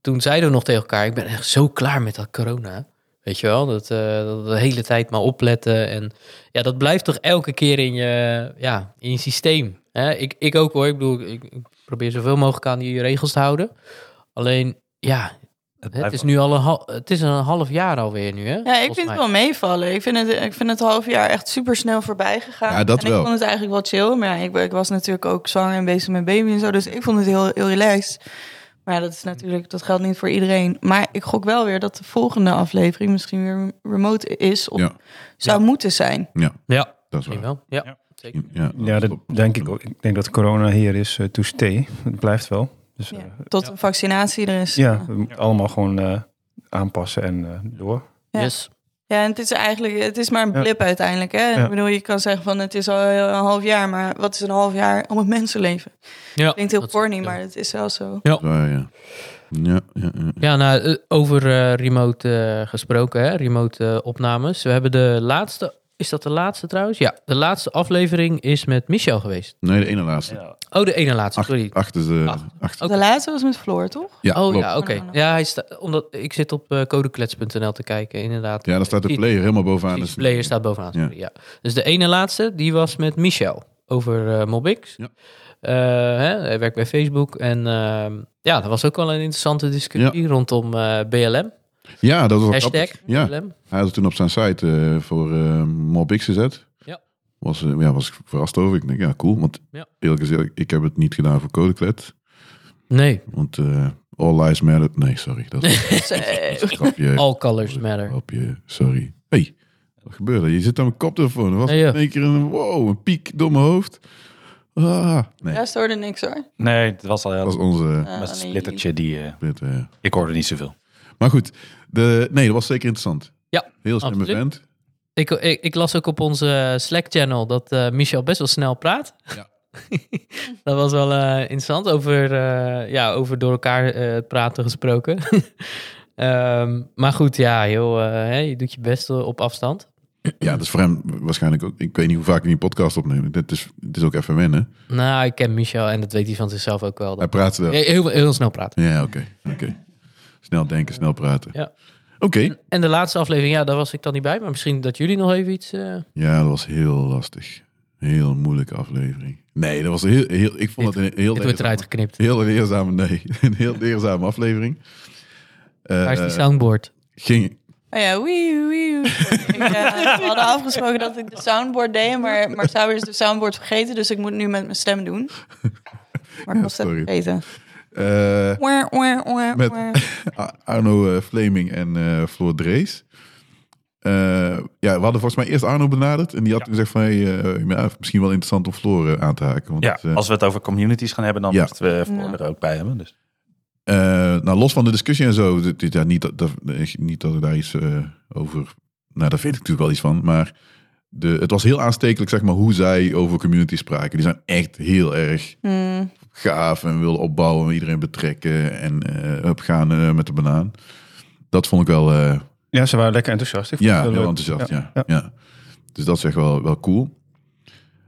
toen zeiden we nog tegen elkaar: Ik ben echt zo klaar met dat corona. Weet je wel, dat, eh, dat de hele tijd maar opletten. En ja, dat blijft toch elke keer in je, ja, in je systeem. Hè? Ik, ik ook hoor. Ik bedoel, ik, ik probeer zoveel mogelijk aan die regels te houden. Alleen, ja, het blijft is nu al een, hal- het is een half jaar alweer nu. Hè, Ja, ik volgens mij. vind het wel meevallen. Ik vind het, ik vind het half jaar echt super snel voorbij gegaan. Ja, dat en wel. ik vond het eigenlijk wel chill. Maar ja, ik, ik was natuurlijk ook zwanger en bezig met baby en zo. Dus ik vond het heel, heel relaxed. Maar ja, dat is natuurlijk, dat geldt niet voor iedereen. Maar ik gok wel weer dat de volgende aflevering misschien weer remote is of Ja. zou moeten zijn. Ja, dat is misschien waar. wel. Ja, Ja. zeker. Ja, Ja, dat denk ik ook. Ik denk dat corona hier is eh, to stay. Het blijft wel. Dus Ja, eh, tot Ja. een vaccinatie er is. ja, we moeten allemaal gewoon eh, aanpassen en eh, door. Ja. Yes. Ja, en het is eigenlijk, het is maar een Ja. blip uiteindelijk. Hè? Ja. Ik bedoel, je kan zeggen van het is al heel- een half jaar, maar wat is een half jaar om het mensenleven? Ja, Klinkt heel dat- corny, ja. maar het is wel zo. Waar, ja. Ja, ja, ja. Ja, nou, eh, over eh, remote eh, gesproken, hè? remote eh, opnames. We hebben de laatste, is dat de laatste trouwens? Ja, de laatste aflevering is met Michel geweest. Nee, de ene laatste. Ja. Oh, de ene laatste, Acht, sorry. acht is de... Acht. Acht. Oké. De laatste was met Floor, toch? Ja, oh klopt. ja, oké. Ja, hij sta, omdat ik zit op eh, codeklets.nl te kijken, inderdaad. Ja, daar staat de Precies. player helemaal bovenaan. Precies, Dus- player staat bovenaan. Ja. sorry, Ja. Dus de ene laatste, die was met Michel over eh, Mobix. Ja. Eh, hè, hij werkt bij Facebook. En ehm, ja, dat was ook wel een interessante discussie rondom eh, BLM. Ja, dat was wel Hashtag grappig. Ja, BLM. hij had het toen op zijn site eh, voor eh MobX gezet. Ja. Was, eh, ja, was ik verrast over. Ik denk, ja, cool. Want Ja. eerlijk gezegd, ik heb het niet gedaan voor Codeclet. Nee, Want eh, all lives matter. Nee, sorry. Dat is Zo. een grapje. all colors matter. Grapje, sorry. hey, wat gebeurde? Je zit aan mijn koptelefoon. Er was Ja, ja. in één keer een, wow, een piek door mijn hoofd. Ah, nee, Ja, ze hoorden niks hoor. Nee, het was al dat was heel... onze... Eh, Dat was een alleen splittertje die... eh, dit, eh, ik hoorde niet zoveel. Maar goed, de, nee, dat was zeker interessant. Ja, Heel slimme absoluut. vent. Ik, ik, ik las ook op onze Slack-channel dat eh, Michel best wel snel praat. Ja. dat was wel eh, interessant. Over, eh, ja, over door elkaar eh, praten gesproken. Ehm, maar goed, ja, joh, eh, hè, je doet je best op afstand. Ja, dat is voor hem waarschijnlijk ook... Ik weet niet hoe vaak ik die podcast opneem. Dit is, dit is ook even wennen. Nou, ik ken Michel en dat weet hij van zichzelf ook wel. Hij Dat... praat wel. Heel, heel, heel snel praten. Ja, oké. oké. Snel denken, snel praten. Ja. Oké. En de laatste aflevering, ja, daar was ik dan niet bij. Maar misschien dat jullie nog even iets... eh, Ja, dat was heel lastig. Heel moeilijke aflevering. Nee, dat was heel... heel ik vond het een heel... dit wordt leerzame- eruit geknipt. Heel leerzame, nee. Een heel leerzame aflevering. Eh, Waar is die soundboard? ging, Oh ja, wee, wee. wee. ik, eh, we hadden afgesproken dat ik de soundboard deed, maar, maar Sauer is de soundboard vergeten, dus ik moet nu met mijn stem doen. Maar ik was het sorry. vergeten. eh, Oer, oer, oer, Met- oer. Ar- Arno eh, Fleming en eh Floor Drees. Eh, ja, we hadden volgens mij eerst Arno benaderd. En die had toen gezegd van, hey, eh, ja, misschien wel interessant om Floor eh, aan te haken. Want, Ja, eh, als we het over communities gaan hebben, dan Ja. moeten we voor Ja. er ook bij hebben. Dus. eh, nou, los van de discussie en zo. dit- dit- ja, niet, dat, dat- niet dat ik daar iets eh, over... Nou, daar vind ik natuurlijk wel iets van. Maar de, het was heel aanstekelijk, zeg maar, hoe zij over communities spraken. Die zijn echt heel erg Hmm. gaaf en willen opbouwen en iedereen betrekken. En eh opgaan eh, met de banaan. Dat vond ik wel... eh, Ja, ze waren lekker enthousiast. Ik vond Ja, het heel leuk. enthousiast. Ja. Ja. ja. Dus dat is echt wel, wel cool.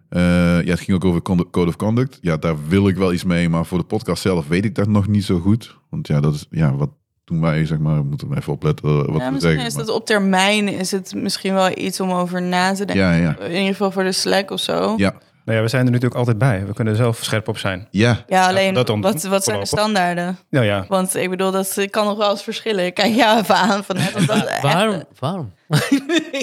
Eh, ja, het ging ook over condu- Code of Conduct. Ja, daar wil ik wel iets mee, maar voor de podcast zelf weet ik dat nog niet zo goed. Want ja, dat is ja, wat doen wij, zeg maar, we moeten even opletten eh, wat Ja, we misschien zeggen. is maar- dat op termijn is het misschien wel iets om over na te denken. Ja, ja, In ieder geval voor de Slack of zo. ja. Nou ja, we zijn er natuurlijk altijd bij. We kunnen er zelf scherp op zijn. Ja, Ja, Ja, alleen dat dan- wat, wat zijn de voorlopig. standaarden? Nou ja, Want ik bedoel, dat kan nog wel eens verschillen. Ik Kijk jou even aan van hè, dat was echt- Waarom? Waarom?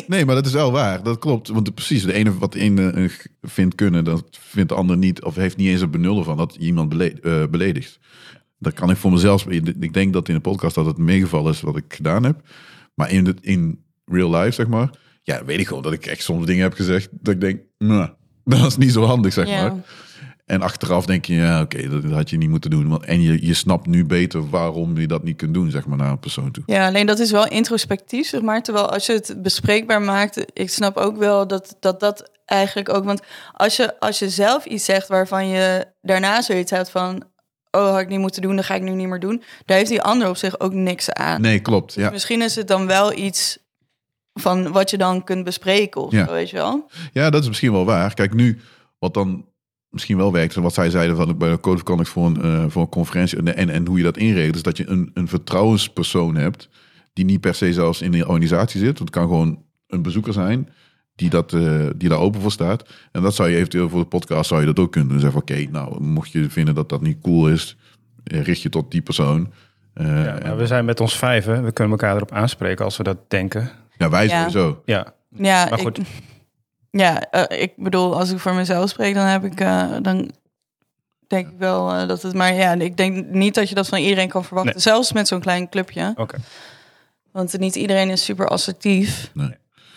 nee, maar dat is wel waar. Dat klopt. Want precies, de ene wat de ene eh, g- vindt kunnen, dat vindt de ander niet. Of heeft niet eens een benul van dat je iemand bele- eh, beledigt. Dat kan ik voor mezelf. Ik denk dat in de podcast dat het meegevallen is wat ik gedaan heb. Maar in, het, in real life, zeg maar. Ja, weet ik gewoon dat ik echt soms dingen heb gezegd. Dat ik denk, nou, dat is niet zo handig, zeg Ja. maar. En achteraf denk je, ja, oké, dat had je niet moeten doen. Want, en je, je snapt nu beter waarom je dat niet kunt doen, zeg maar, naar een persoon toe. Ja, alleen dat is wel introspectief, zeg maar. Terwijl als je het bespreekbaar maakt, ik snap ook wel dat dat, dat eigenlijk ook. Want als je, als je zelf iets zegt waarvan je daarna zoiets hebt van. Oh, had ik niet moeten doen, dat ga ik nu niet meer doen. Daar heeft die ander op zich ook niks aan. Nee, klopt. Ja. Misschien is het dan wel iets van wat je dan kunt bespreken of Ja. zo, weet je wel. Ja, dat is misschien wel waar. Kijk, nu, wat dan misschien wel werkt, en wat zij zeiden van bij de Code of Conduct voor een, eh, voor een conferentie en, en, en hoe je dat inregelt, is dat je een, een vertrouwenspersoon hebt, die niet per se zelfs in de organisatie zit. Want het kan gewoon een bezoeker zijn die, dat, eh, die daar open voor staat. En dat zou je eventueel voor de podcast zou je dat ook kunnen doen. Zeggen van, oké, nou, mocht je vinden dat dat niet cool is, eh, richt je tot die persoon. Eh, ja, maar en- we zijn met ons vijven. We kunnen elkaar erop aanspreken als we dat denken. ja, wij Ja. sowieso. Ja, Ja, maar goed. Ik, ja eh, ik bedoel, als ik voor mezelf spreek, dan heb ik eh, dan denk ik wel eh, dat het maar ja, ik denk niet dat je dat van iedereen kan verwachten, Nee. zelfs met zo'n klein clubje, oké. want niet iedereen is super assertief.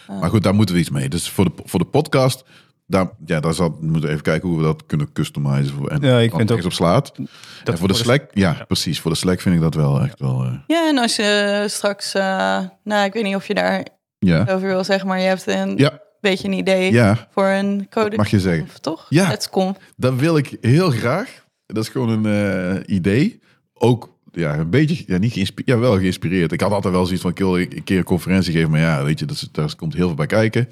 Maar goed, daar moeten we iets mee. Dus voor de, voor de podcast, daar, ja, daar zal, moeten we even kijken hoe we dat kunnen customizen. Voor, en Ja, ik wat vind er eens op slaat. Dat en voor de Slack, ja, precies. Voor de Slack vind ik dat wel echt wel... eh, Ja, en als je straks, eh, nou, ik weet niet of je daar Ja. Over wil zeggen, maar je hebt een Ja. beetje een idee Ja, voor een code. mag je zeggen. Toch? Ja. Het komt. Dat wil ik heel graag. Dat is gewoon een eh, idee. Ook ja, een beetje, ja, niet geïnspireerd, ja, wel geïnspireerd. Ik had altijd wel zoiets van, ik wil een keer een conferentie geven. Maar ja, weet je, dat is, daar komt heel veel bij kijken.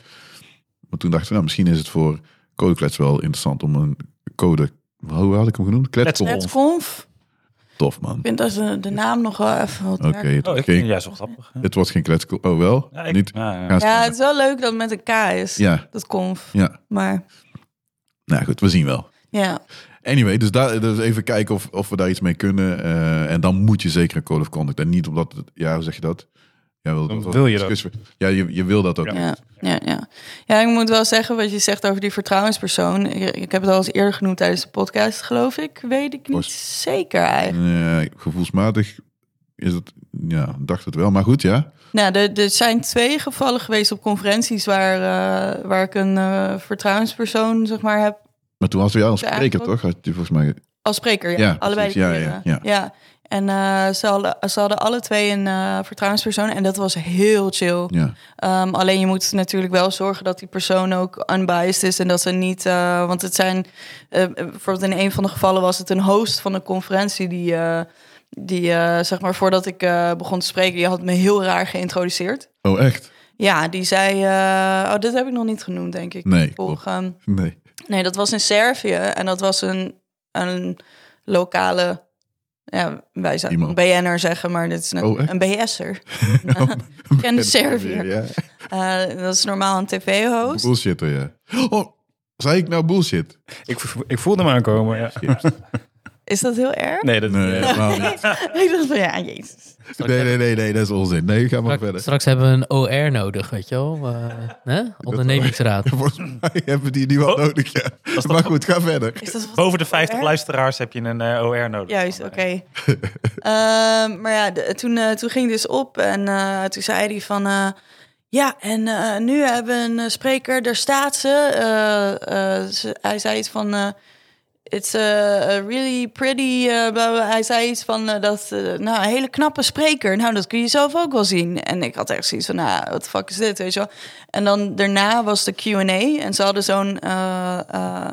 Maar toen dacht ik, nou, misschien is het voor codeklets wel interessant om een code... Hoe had ik hem genoemd? Kletsel. Kletsel. Het conf. Tof, man. Ik vind dat de, de naam nog wel even wat Oké, werkt. het, Oh, geen- ik vind het juist wel grappig. het wordt geen kletsel. Oh, wel? Ja, ik- niet ja, ja. gaan Ja, stemmen. het is wel leuk dat het met een K is. Ja, Dat conf. ja. Maar Nou goed, we zien wel. ja, Anyway, dus, daar, dus even kijken of, of we daar iets mee kunnen. eh, en dan moet je zeker een code of conduct. En niet omdat, het- ja, hoe zeg je dat? Ja, wil, Dan wil je dat. discussie- Ja, je, je wil dat ook. Ja. ja, ja, ja. Ja, ik moet wel zeggen wat je zegt over die vertrouwenspersoon. Ik, ik heb het al eens eerder genoemd tijdens de podcast, geloof ik. Weet ik niet Was- zeker eigenlijk. Eh, gevoelsmatig is het, ja, dacht het wel. Maar goed, ja. Nou, er, er zijn twee gevallen geweest op conferenties waar, eh, waar ik een eh, vertrouwenspersoon zeg maar, heb Maar toen was jij als spreker, eigenlijk toch? Had je volgens mij... Als spreker, ja. Ja, Allebei de precies. Ja, kinderen. ja, En eh, ze, hadden, ze hadden alle twee een eh, vertrouwenspersoon. En dat was heel chill. Ja, Ehm, alleen je moet natuurlijk wel zorgen dat die persoon ook unbiased is. En dat ze niet... eh, want het zijn... eh, bijvoorbeeld in een van de gevallen was het een host van een conferentie... die, eh, die eh, zeg maar voordat ik eh, begon te spreken... die had me heel raar geïntroduceerd. oh echt? Ja, die zei... eh, oh, dit heb ik nog niet genoemd, denk ik. Nee, Volg, ehm, Nee. Nee, dat was in Servië. En dat was een, een lokale. Ja, wij zouden Iemand. een BN'er zeggen, maar dit is een, Oh, echt? Oh, een BS'er. En Kende Servië. Ja. Eh, dat is normaal een tv-host. Bullshitter, ja. Oh, zei ik nou bullshit? Ik, vo- ik voelde hem aankomen, ja. Is dat heel erg? Nee, dat Nee, helemaal niet. Ik dacht van, ja, jezus. Nee, nee, nee, nee, dat is onzin. Nee, ga maar Straks, verder. straks hebben we een OR nodig, weet je wel. eh, hè? Ondernemingsraad. Volgens mij hebben die nu wel Oh. nodig, ja. Maar goed, ga verder. Is dat wat- Boven de 50 erg? Oh, luisteraars heb je een eh, OR nodig. Juist, oké. Ehm, maar ja, de- toen, eh, toen ging dus op en eh, toen zei hij van... eh, ja, en eh, nu hebben we een eh, spreker, daar staat ze. Eh, eh, ze- hij zei iets van... eh, It's a, a really pretty... eh, bla, bla. Hij zei iets van, eh, dat, eh, nou, een hele knappe spreker. Nou, dat kun je zelf ook wel zien. En ik had echt zoiets van, nou, wat de fuck is dit, weet je wel. En dan daarna was de Q&A. En ze hadden zo'n eh, eh,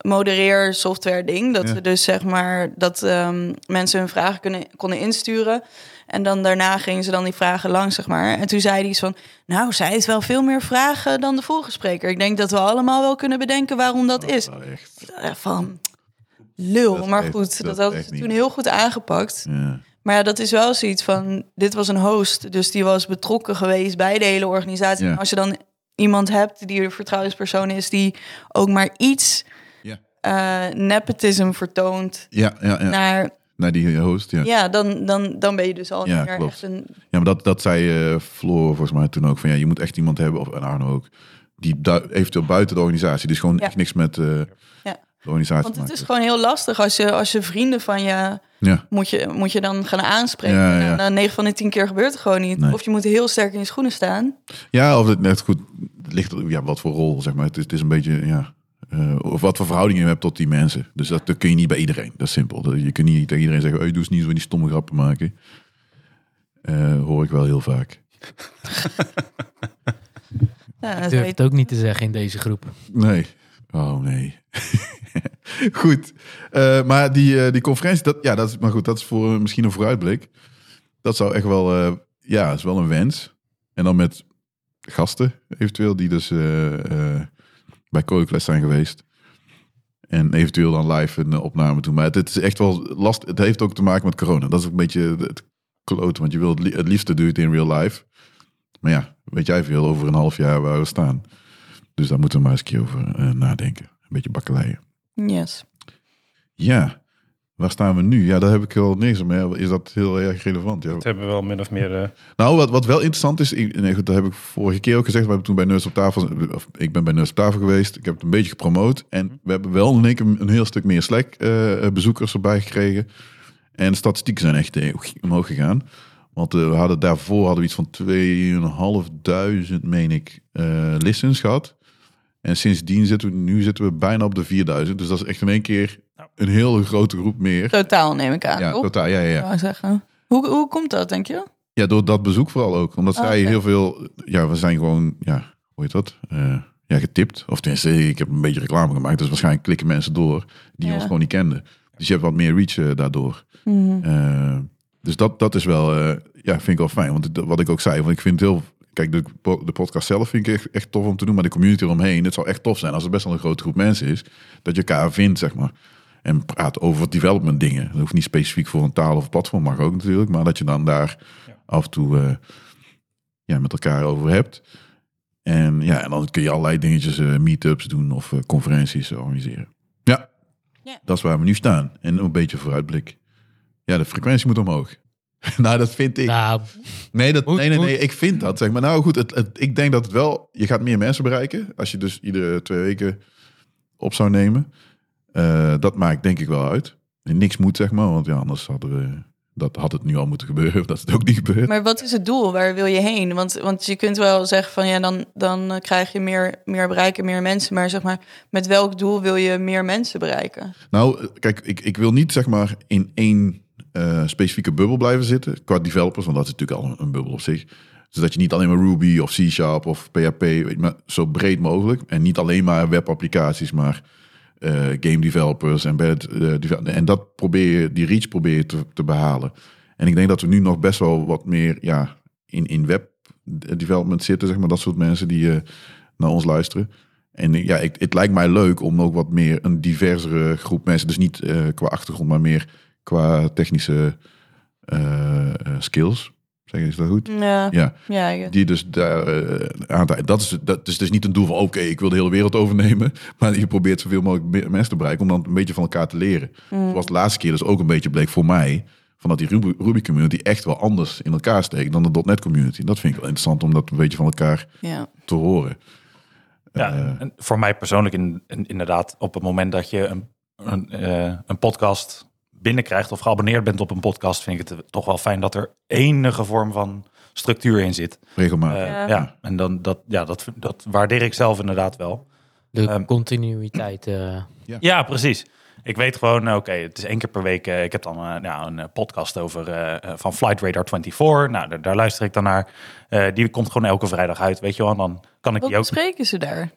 modereer software ding. Dat Ja. we dus, zeg maar, dat ehm, mensen hun vragen kunnen, konden insturen. En dan daarna gingen ze dan die vragen langs, zeg maar. En toen zei hij iets van, nou, zij heeft wel veel meer vragen dan de vorige spreker. Ik denk dat we allemaal wel kunnen bedenken waarom dat is Oh, echt. eh, van lul. Dat maar echt- goed, dat, dat hadden echt ze niet. toen heel goed aangepakt. Ja. Maar ja, dat is wel zoiets van, dit was een host, dus die was betrokken geweest bij de hele organisatie. Ja. En Als je dan iemand hebt die een vertrouwenspersoon is, die ook maar iets Ja. eh, nepotism vertoont Ja, ja, ja. naar, Naar die host, ja. Nou- ja, dan, dan, dan ben je dus al Ja, niet meer klopt. echt een... Ja, maar dat, dat zei eh, Floor volgens mij toen ook. Van ja, je moet echt iemand hebben, of en Arno ook, die bui- eventueel buiten de organisatie. Dus gewoon Ja. echt niks met eh, de organisatie Want het maken. is gewoon heel lastig als je, als je vrienden van je Ja, moet je, moet je dan gaan aanspreken. Ja, ja. En dan 9 van de 10 keer gebeurt het gewoon niet. Nee. Of je moet heel sterk in je schoenen staan. ja of het net goed het ligt, er- ja, wat voor rol, zeg maar. Het is, het is een beetje, ja, eh, of wat voor verhouding je hebt tot die mensen. Dus dat, dat kun je niet bij iedereen. Dat is simpel. Dat- Je kunt niet tegen iedereen zeggen, hey, doe eens niet zo die stomme grappen maken. Eh, hoor ik wel heel vaak. Ja, Ik durf dat weet- het ook niet te zeggen in deze groep. Nee. Oh nee. goed. Eh, maar die, eh, die conferentie, dat, ja, dat is, maar goed, dat is voor eh, misschien een vooruitblik. Dat zou echt wel, eh, ja, is wel een wens. En dan met gasten eventueel, die dus eh, eh, bij Codeclass zijn geweest. En eventueel dan live een eh, opname doen. Maar het, het is echt wel last. Het heeft ook te maken met corona. Dat is ook een beetje het kloten. Want je wil het, li- het liefste doe je het in real life. Maar ja, weet jij veel over een half jaar waar we staan. Dus daar moeten we maar eens een keer over eh, nadenken. Een beetje bakkeleien. Yes. Ja, waar staan we nu? Ja, daar heb ik wel niks mee. Is dat heel erg relevant? Ja. Dat hebben we wel min of meer... eh, Nou, wat, wat wel interessant is, ik- nee, goed, dat heb ik vorige keer ook gezegd. We hebben toen bij Nurse op tafel, of ik ben bij Nurse op tafel geweest. Ik heb het een beetje gepromoot. En we hebben wel in één keer een heel stuk meer Slack eh, bezoekers erbij gekregen. En de statistieken zijn echt eh, omhoog gegaan. Want eh, we hadden daarvoor hadden we iets van 2500, meen ik, eh listens gehad. En sindsdien zitten we, nu zitten we bijna op de 4000. Dus dat is echt in één keer een heel grote groep meer. Totaal neem ik aan. Ja, toch? totaal. Ja, ja, ja. Zou ik zeggen. Hoe, hoe komt dat, denk je? Ja, door dat bezoek vooral ook. Omdat Oh, zij oké. heel veel... Ja, we zijn gewoon... Ja, hoe heet dat? Eh, ja, getipt. Of tenminste, ik heb een beetje reclame gemaakt. Dus waarschijnlijk klikken mensen door die Ja. ons gewoon niet kenden. Dus je hebt wat meer reach eh, daardoor. Mhm. Eh, dus dat, dat is wel... eh, ja, vind ik wel fijn. Want het- wat ik ook zei, want ik vind het heel... Kijk, de, po- de podcast zelf vind ik echt, echt tof om te doen. Maar de community eromheen, het zou echt tof zijn als er best wel een grote groep mensen is. Dat je elkaar vindt, zeg maar. En praat over development dingen. Dat hoeft niet specifiek voor een taal of platform, mag ook natuurlijk. Maar dat je dan daar af en toe eh, ja, met elkaar over hebt. En, ja, en dan kun je allerlei dingetjes, eh, meetups doen of eh, conferenties eh, organiseren. Ja. Ja. dat is waar we nu staan. En een beetje vooruitblik. Ja, de frequentie moet omhoog. nou, dat vind ik. Nou, Nee, dat, Moet- nee, nee, moet- nee, ik vind dat. Zeg maar. Nou goed, het, het- ik denk dat het wel... Je gaat meer mensen bereiken als je dus iedere twee weken op zou nemen. Eh, dat maakt denk ik wel uit. En niks moet, zeg maar, want ja, anders hadden we... Dat had het nu al moeten gebeuren, dat is het ook niet gebeurd. Maar wat is het doel? Waar wil je heen? Want, want je kunt wel zeggen van ja, dan, dan eh, krijg je meer, meer bereiken, meer mensen. Maar zeg maar, met welk doel wil je meer mensen bereiken? Nou, kijk, ik, ik wil niet zeg maar in één eh, specifieke bubbel blijven zitten. Qua developers, want dat is natuurlijk al een, een bubbel op zich. Zodat je niet alleen maar Ruby of C-Sharp of PHP, weet je, maar zo breed mogelijk. En niet alleen maar webapplicaties, maar eh, game developers, embedded eh, devel- En dat probeer je, die reach probeer je te, te behalen. En ik denk dat we nu nog best wel wat meer ja, in, in web development zitten, zeg maar. Dat soort mensen die eh, naar ons luisteren. En eh, ja, ik, het lijkt mij leuk om ook wat meer een diversere groep mensen, dus niet eh, qua achtergrond, maar meer qua technische eh, eh, skills. Zeg is dat goed? Ja, Ja, ja, ja. die dus daar eh, aan te- Dat is, dat is dus niet een doel van oké, ik wil de hele wereld overnemen. Maar je probeert zoveel mogelijk me- mensen te bereiken om dan een beetje van elkaar te leren. Zoals de laatste keer dus ook een beetje bleek voor mij. Van dat die Ruby, Ruby community echt wel anders in elkaar steekt dan de .NET community. Dat vind ik wel interessant om dat een beetje van elkaar ja. te horen. Ja, Eh, en voor mij persoonlijk in, in- inderdaad, op het moment dat je een, een, eh, een podcast binnenkrijgt of geabonneerd bent op een podcast, vind ik het toch wel fijn dat er enige vorm van structuur in zit. regelmatig. Eh, Ja. ja. en dan dat, ja, dat, dat waardeer ik zelf inderdaad wel. de Ehm. continuïteit. eh, Ja, precies. Ik weet gewoon, eh, oké, het is één keer per week. eh, ik heb dan eh, nou, een eh, podcast over eh, eh, van Flight Radar 24. Nou, daar, daar luister ik dan naar. Eh, die komt gewoon elke vrijdag uit, weet je wel. En dan kan ik Wat die ook bespreken ze daar?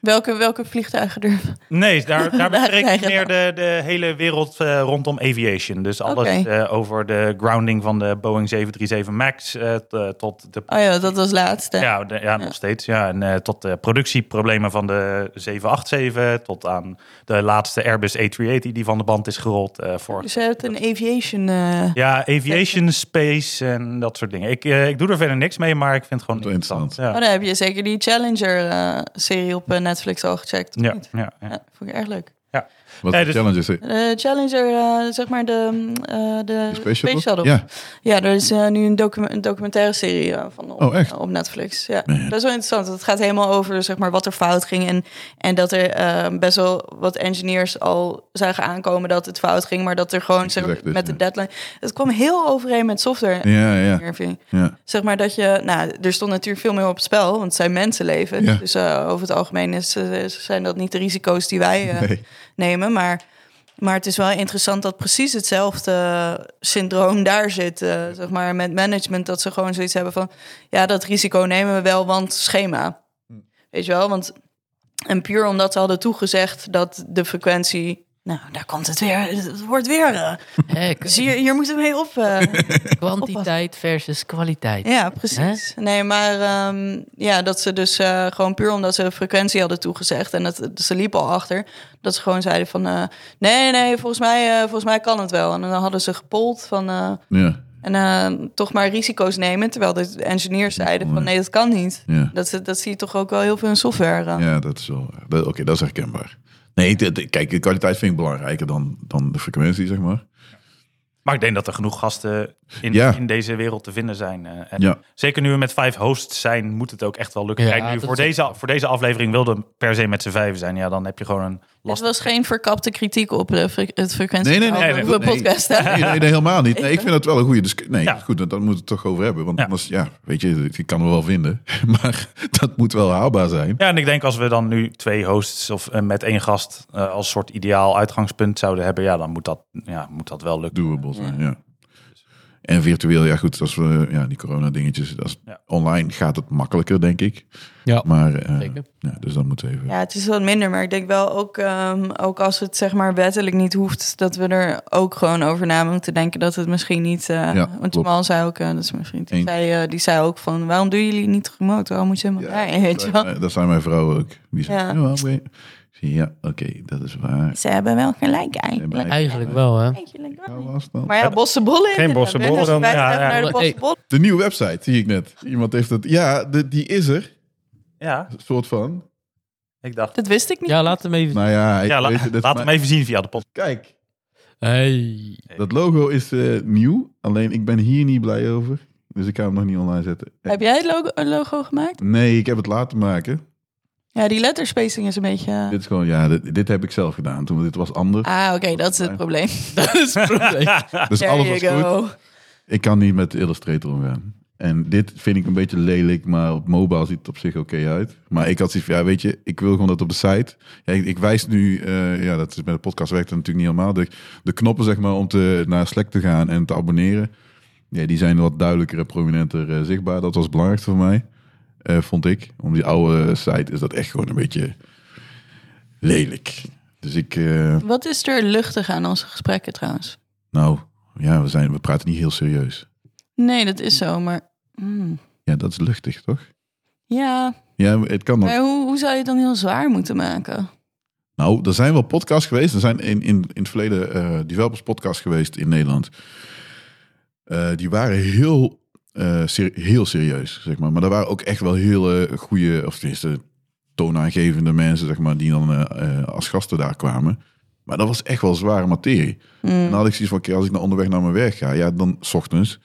Welke, welke vliegtuigen er? Nee, daar, daar bespreek krijg ik je meer de, de hele wereld eh, rondom aviation. Dus alles Oké. eh, over de grounding van de Boeing 737 MAX eh, t- eh, tot de... Oh ja, dat was laatste. Ja, de- ja, nog steeds. Ja, en eh, tot de productieproblemen van de 787. Tot aan de laatste Airbus A380 die van de band is gerold. eh vorig Dus je hebt een aviation. eh, Ja, aviation, space en dat soort dingen. Ik, eh, ik doe er verder niks mee, maar ik vind het gewoon Wel interessant. interessant. Oh, dan heb je zeker die Challenger-serie op eh, Netflix al gecheckt. of Ja. niet? Ja, ja, ja. Ja, vond ik erg leuk. Wat Nee, de dus- challenge is, eh, De Challenger, eh, zeg maar de, mm, eh, de de Space Shuttle? Ja. Ja, er is eh, nu een, docu- een documentaire serie eh, van op, Oh, echt? op Netflix. Ja. Man. Dat is wel interessant. Het gaat helemaal over zeg maar, wat er fout ging. En, en dat er eh, best wel wat engineers al zagen aankomen dat het fout ging. Maar dat er gewoon Niet zeg, maar, gezegd is, met ja. de deadline... Het kwam heel overeen met software. ja, ja. engineering. ja. Zeg maar dat je, nou, er stond natuurlijk veel meer op het spel, want het zijn mensenleven. Ja. Dus eh, over het algemeen is, eh, zijn dat niet de risico's die wij eh, Nee. nemen. Maar, maar het is wel interessant dat precies hetzelfde syndroom daar zit, eh, zeg maar, met management. Dat ze gewoon zoiets hebben van, ja, dat risico nemen we wel, want schema. Weet je wel, want en puur omdat ze hadden toegezegd dat de frequentie... Nou, daar komt het weer. Het wordt weer. eh, hè, Zie je, hier moeten we mee op. eh. kwantiteit versus kwaliteit. Ja, precies. Nee, maar ehm, ja, dat ze dus eh, gewoon puur omdat ze frequentie hadden toegezegd en dat ze liepen al achter, dat ze gewoon zeiden van eh, nee, nee, volgens mij, eh, volgens mij kan het wel. En dan hadden ze gepold van eh, ja, en eh, toch maar risico's nemen, terwijl de engineers zeiden van nee, dat kan niet. ja. Dat, ze- dat zie je toch ook wel heel veel in software. eh. Ja, dat is wel. dat- Oké, dat is herkenbaar. Nee, ik- ik- kijk, de kwaliteit vind ik belangrijker dan, dan de frequentie, zeg maar. Maar ik denk dat er genoeg gasten in, Ja. in deze wereld te vinden zijn. eh, en Ja. Zeker nu we met vijf hosts zijn, moet het ook echt wel lukken. Ja, Kijk, nu dat voor, is- deze, voor deze aflevering wilde per se met z'n vijven zijn. Ja, dan heb je gewoon een Het lastig... was geen verkapte kritiek op de fre- het frequentie Nee, nee, nee, op nee, de nee. podcast. hè? Nee, nee, nee, helemaal niet. Nee, ik vind dat wel een goede discussie. Nee, Ja. dat is goed, want daar moeten we het toch over hebben. Want Ja. anders, ja, weet je, ik kan het wel vinden. Maar dat moet wel haalbaar zijn. Ja, en ik denk als we dan nu twee hosts of eh, met één gast eh, als soort ideaal uitgangspunt zouden hebben, ja, dan moet dat, ja, moet dat wel lukken. Doable zijn, ja. En virtueel, ja goed, als we ja, die corona dingetjes, dat is- Ja. online gaat het makkelijker, denk ik. Ja. Maar, eh, Zeker. ja, dus dan moet even... Ja, het is wat minder, maar ik denk wel ook, ehm, ook als het zeg maar wettelijk niet hoeft, dat we er ook gewoon over na moeten denken dat het misschien niet. eh, want klopt. Jamal zei ook, eh, dat is misschien, die, Eens. zei, eh, die zei ook van, waarom doen jullie niet remote? Waarom moet je helemaal Ja, bij? Weet je wel? Dat zijn mijn vrouwen ook. Die Ja. zeggen, ja, oké, Ik zeg, ja, oké, dat is waar. Ze hebben wel gelijk eigenlijk. Eigenlijk wel, hè? Eigenlijk wel. Nou, was dan. Maar ja, bossenbollen. Geen bossenbollen dan, Wij ja, gaan ja. naar de Maar, hey. bossenbollen. De nieuwe website zie ik net. Iemand heeft het. Ja, de, die is er. Ja, Soort van. ik dacht. Dat wist ik niet. Ja, laat hem even. Nou ja, ik Ja, la- weet het, dat- laat maar- hem even zien via de podcast. Kijk, Hey. dat logo is eh, nieuw. Alleen ik ben hier niet blij over. Dus ik ga hem nog niet online zetten. Heb jij het logo, een logo gemaakt? Nee, ik heb het laten maken. Ja, die letterspacing is een beetje... eh, Dit is gewoon, ja, dit, dit heb ik zelf gedaan. Toen dit was anders. Ah, oké, dat is het probleem. Dat is het probleem. Dus Ah, There alles was you goed. go. Ik kan niet met Illustrator omgaan. En dit vind ik een beetje lelijk, maar op mobile ziet het op zich oké uit. Maar ik had zoiets van, ja weet je, ik wil gewoon dat op de site. Ja, ik, ik wijs nu, eh, ja dat is met de podcast werkt het natuurlijk niet helemaal. De, de knoppen zeg maar om te, naar Slack te gaan en te abonneren. Ja, die zijn wat duidelijker en prominenter eh, zichtbaar. Dat was het belangrijkste voor mij, eh, vond ik. Om die oude site is dat echt gewoon een beetje lelijk. Dus ik, eh, Wat is er luchtig aan onze gesprekken trouwens? nou ja, we, zijn, we praten niet heel serieus. Nee, dat is zo, maar... hmm, Ja, dat is luchtig toch? Ja, Ja, het kan nog. maar hoe, hoe zou je het dan heel zwaar moeten maken? Nou, er zijn wel podcasts geweest. Er zijn in, in, in het verleden eh developers podcasts geweest in Nederland. Eh, die waren heel, eh, ser- heel serieus, zeg maar. Maar daar waren ook echt wel hele goede, of tenminste toonaangevende mensen, zeg maar, die dan eh, eh, als gasten daar kwamen. Maar dat was echt wel zware materie. En Hmm. dan had ik zoiets van, oké, als ik nou onderweg naar mijn werk ga, ja, dan 's ochtends.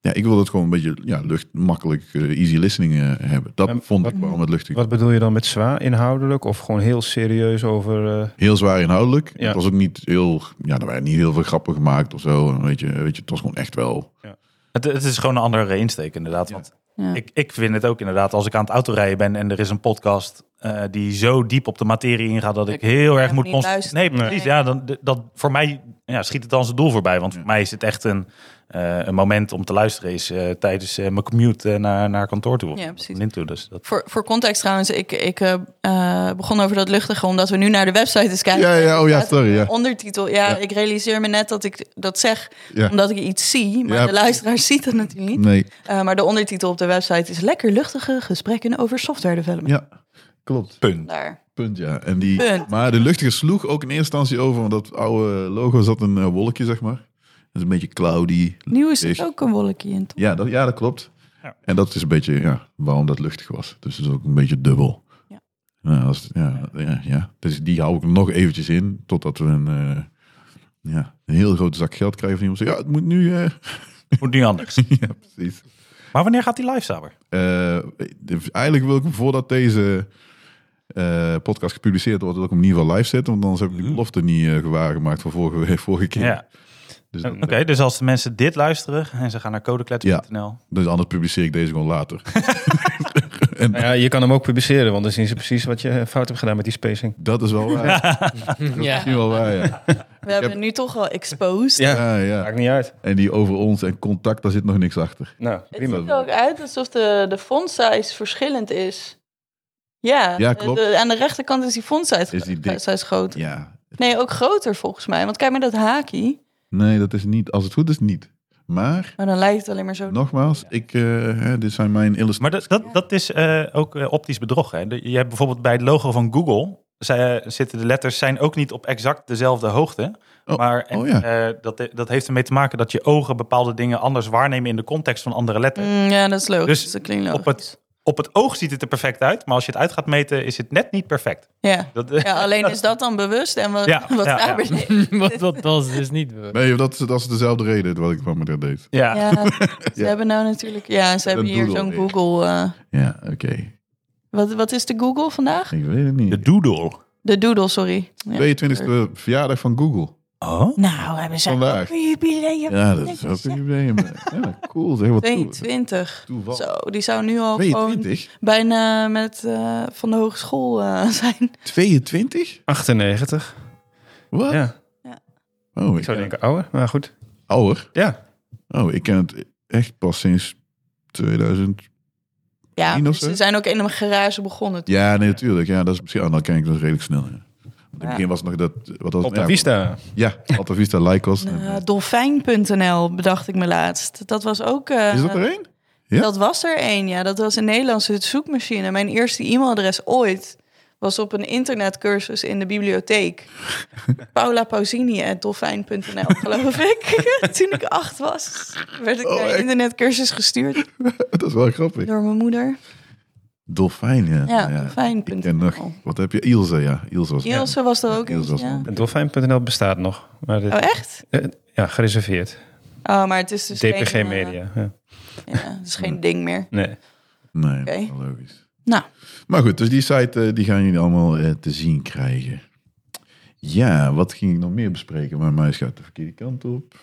Ja, ik wilde het gewoon een beetje ja, lucht, makkelijk, eh, easy listening eh, hebben. Dat En vond wat- ik waarom het luchtig Wat bedoel je dan met zwaar inhoudelijk of gewoon heel serieus over... eh, heel zwaar inhoudelijk. Ja. Het was ook niet heel, ja, er waren niet heel veel grappen gemaakt of zo. En Weet je, weet je, het was gewoon echt wel. Het, het is gewoon een andere insteek, inderdaad. Want Ja. ik, ik vind het ook inderdaad, als ik aan het autorijden ben en er is een podcast eh, die zo diep op de materie ingaat dat ik Dan heel erg je moet niet const- luisteren. Nee, precies. Ja, dan, d- dat, voor mij ja, schiet het dan zijn doel voorbij. Want voor mij is het echt een, eh, een moment om te luisteren is eh, tijdens eh, mijn commute eh, naar, naar kantoor toe. of Ja, precies. Into, dus dat, Voor, voor context trouwens, ik, ik eh, eh, begon over dat luchtige omdat we nu naar de website eens kijken. Ja, ja, oh ja, Staat sorry, ja. een Ondertitel, ja, Ja. ik realiseer me net dat ik dat zeg Ja. omdat ik iets zie, maar Ja. de luisteraar ziet dat natuurlijk niet. Nee, Eh, maar de ondertitel op de website is lekker luchtige gesprekken over software development. ja, klopt. punt. Daar. Punt, ja. En die, Punt. Maar de luchtige sloeg ook in eerste instantie over, want dat oude logo zat een eh, wolkje, zeg maar. Dat is een beetje cloudy. Nieuw is Is- het ook een wolkje in, toch? Ja, dat, ja, dat klopt. Ja. En dat is een beetje ja, waarom dat luchtig was. Dus het is ook een beetje dubbel. Ja. Nou, als, ja, ja, ja. Dus die hou ik nog eventjes in, totdat we een, eh, ja, een heel grote zak geld krijgen van iemand. Zegt, ja, het moet nu... eh." Moet nu anders. ja, precies. Maar wanneer gaat die live, Saber? Eh, de- eigenlijk wil ik hem voordat deze eh, podcast gepubliceerd wordt, wil ik hem in ieder geval live zetten. Want anders heb ik de belofte niet eh, gewaargemaakt van vorige, week- vorige keer. Mm. Ja. Dus, Oké. dat- Oké, dus als de mensen dit luisteren en ze gaan naar codeklets.nl. dus anders publiceer ik deze gewoon later. en nou ja, je kan hem ook publiceren, want dan zien ze precies wat je eh, fout hebt gedaan met die spacing. dat is wel waar. Dat is Ja. misschien wel waar, ja. We hebben nu toch al exposed. Ja, ja. Eh, Maakt niet uit. En die over ons en contact, daar zit nog niks achter. Nou, Het prima. Dat- ziet er ook uit alsof de, de font size verschillend is. Ja, Ja, de- klopt. de- aan de rechterkant is die font size, Is die dik. size groter. Ja. Nee, ook groter volgens mij. Want kijk maar dat haakje. Nee, dat is niet. Als het goed is, niet. Maar, Maar dan lijkt het alleen maar zo. nogmaals, ik, eh, hè, dit zijn mijn illustraties. Maar dat, dat, dat is eh, ook eh, optisch bedrog. Hè? De- Je hebt bijvoorbeeld bij het logo van Google. zij- eh, zitten de letters zijn ook niet op exact dezelfde hoogte. Oh, maar en, oh ja. eh, dat, dat heeft ermee te maken dat je ogen bepaalde dingen anders waarnemen in de context van andere letters. Mm, ja, dat is logisch. Dus dat klinkt Op, logisch. het, op het oog ziet het er perfect uit, maar als je het uit gaat meten, is het net niet perfect. Ja. Dat, eh, ja, alleen is dat dan bewust en wat, Ja, wat ja, ja. Faber deed. Want dat was dus niet. bewust. Nee, dat, is- dat is dezelfde reden wat ik van me daar deed. ja. Ja, ze Ja. hebben nou natuurlijk... Ja, ze hebben hier doodle zo'n weer. Google... eh, Ja, oké. wat, wat is de Google vandaag? Ik weet het niet. De doodle. De Doodle, sorry. Ja. 22e verjaardag van Google. Oh? Nou, hebben ze Vandaag. ook een jubileum. Ja, dat is ook een jubileum. Ja, cool. Zeg wat toe- 22. toeval. Zo, die zou nu al gewoon 22? bijna met eh, van de hogeschool eh, zijn. 22? 98. Wat? Ja, Oh, ik ik zou ben denken ouder, maar goed. ouder. Ja, Oh, ik ken het echt pas sinds 2000. Ja, Tien of zo? ze zijn ook in een garage begonnen. toen. Ja, nee, natuurlijk. Ja, dat is misschien. ah, dan ken ik dat redelijk snel. Ja. Want in het Ja. begin was het nog dat. Wat was, Op het? de ja, Vista. Ja, Alta Vista Lycos. En, Eh, eh, Dolfijn.nl bedacht ik me laatst. Dat was ook. eh, is dat er één? Ja? Dat was er één, ja. Dat was een Nederlandse zoekmachine. Mijn eerste e-mailadres ooit was op een internetcursus in de bibliotheek. Paula Pausini at dolfijn.nl, geloof ik. Toen ik acht was, werd ik Oh, naar echt? een internetcursus gestuurd Dat is wel grappig. door mijn moeder. Dolfijn, ja. Ja, Ik ken nog. dolfijn.nl. Wat heb je? Ilse, ja. Ilse was Ilse was er Ja, ook Ilse in. Oh. was Ja. er. Dolfijn.nl bestaat nog. Maar dit- Oh, echt? eh, ja, gereserveerd. Oh, maar het is dus DPG geen, eh, Media. Ja. ja, het is geen ding meer. Nee. Nee, Oké. wel logisch. Nou. Maar goed, dus die site eh, die gaan jullie allemaal eh, te zien krijgen. Ja, wat ging ik nog meer bespreken? Mijn muis gaat de verkeerde kant op.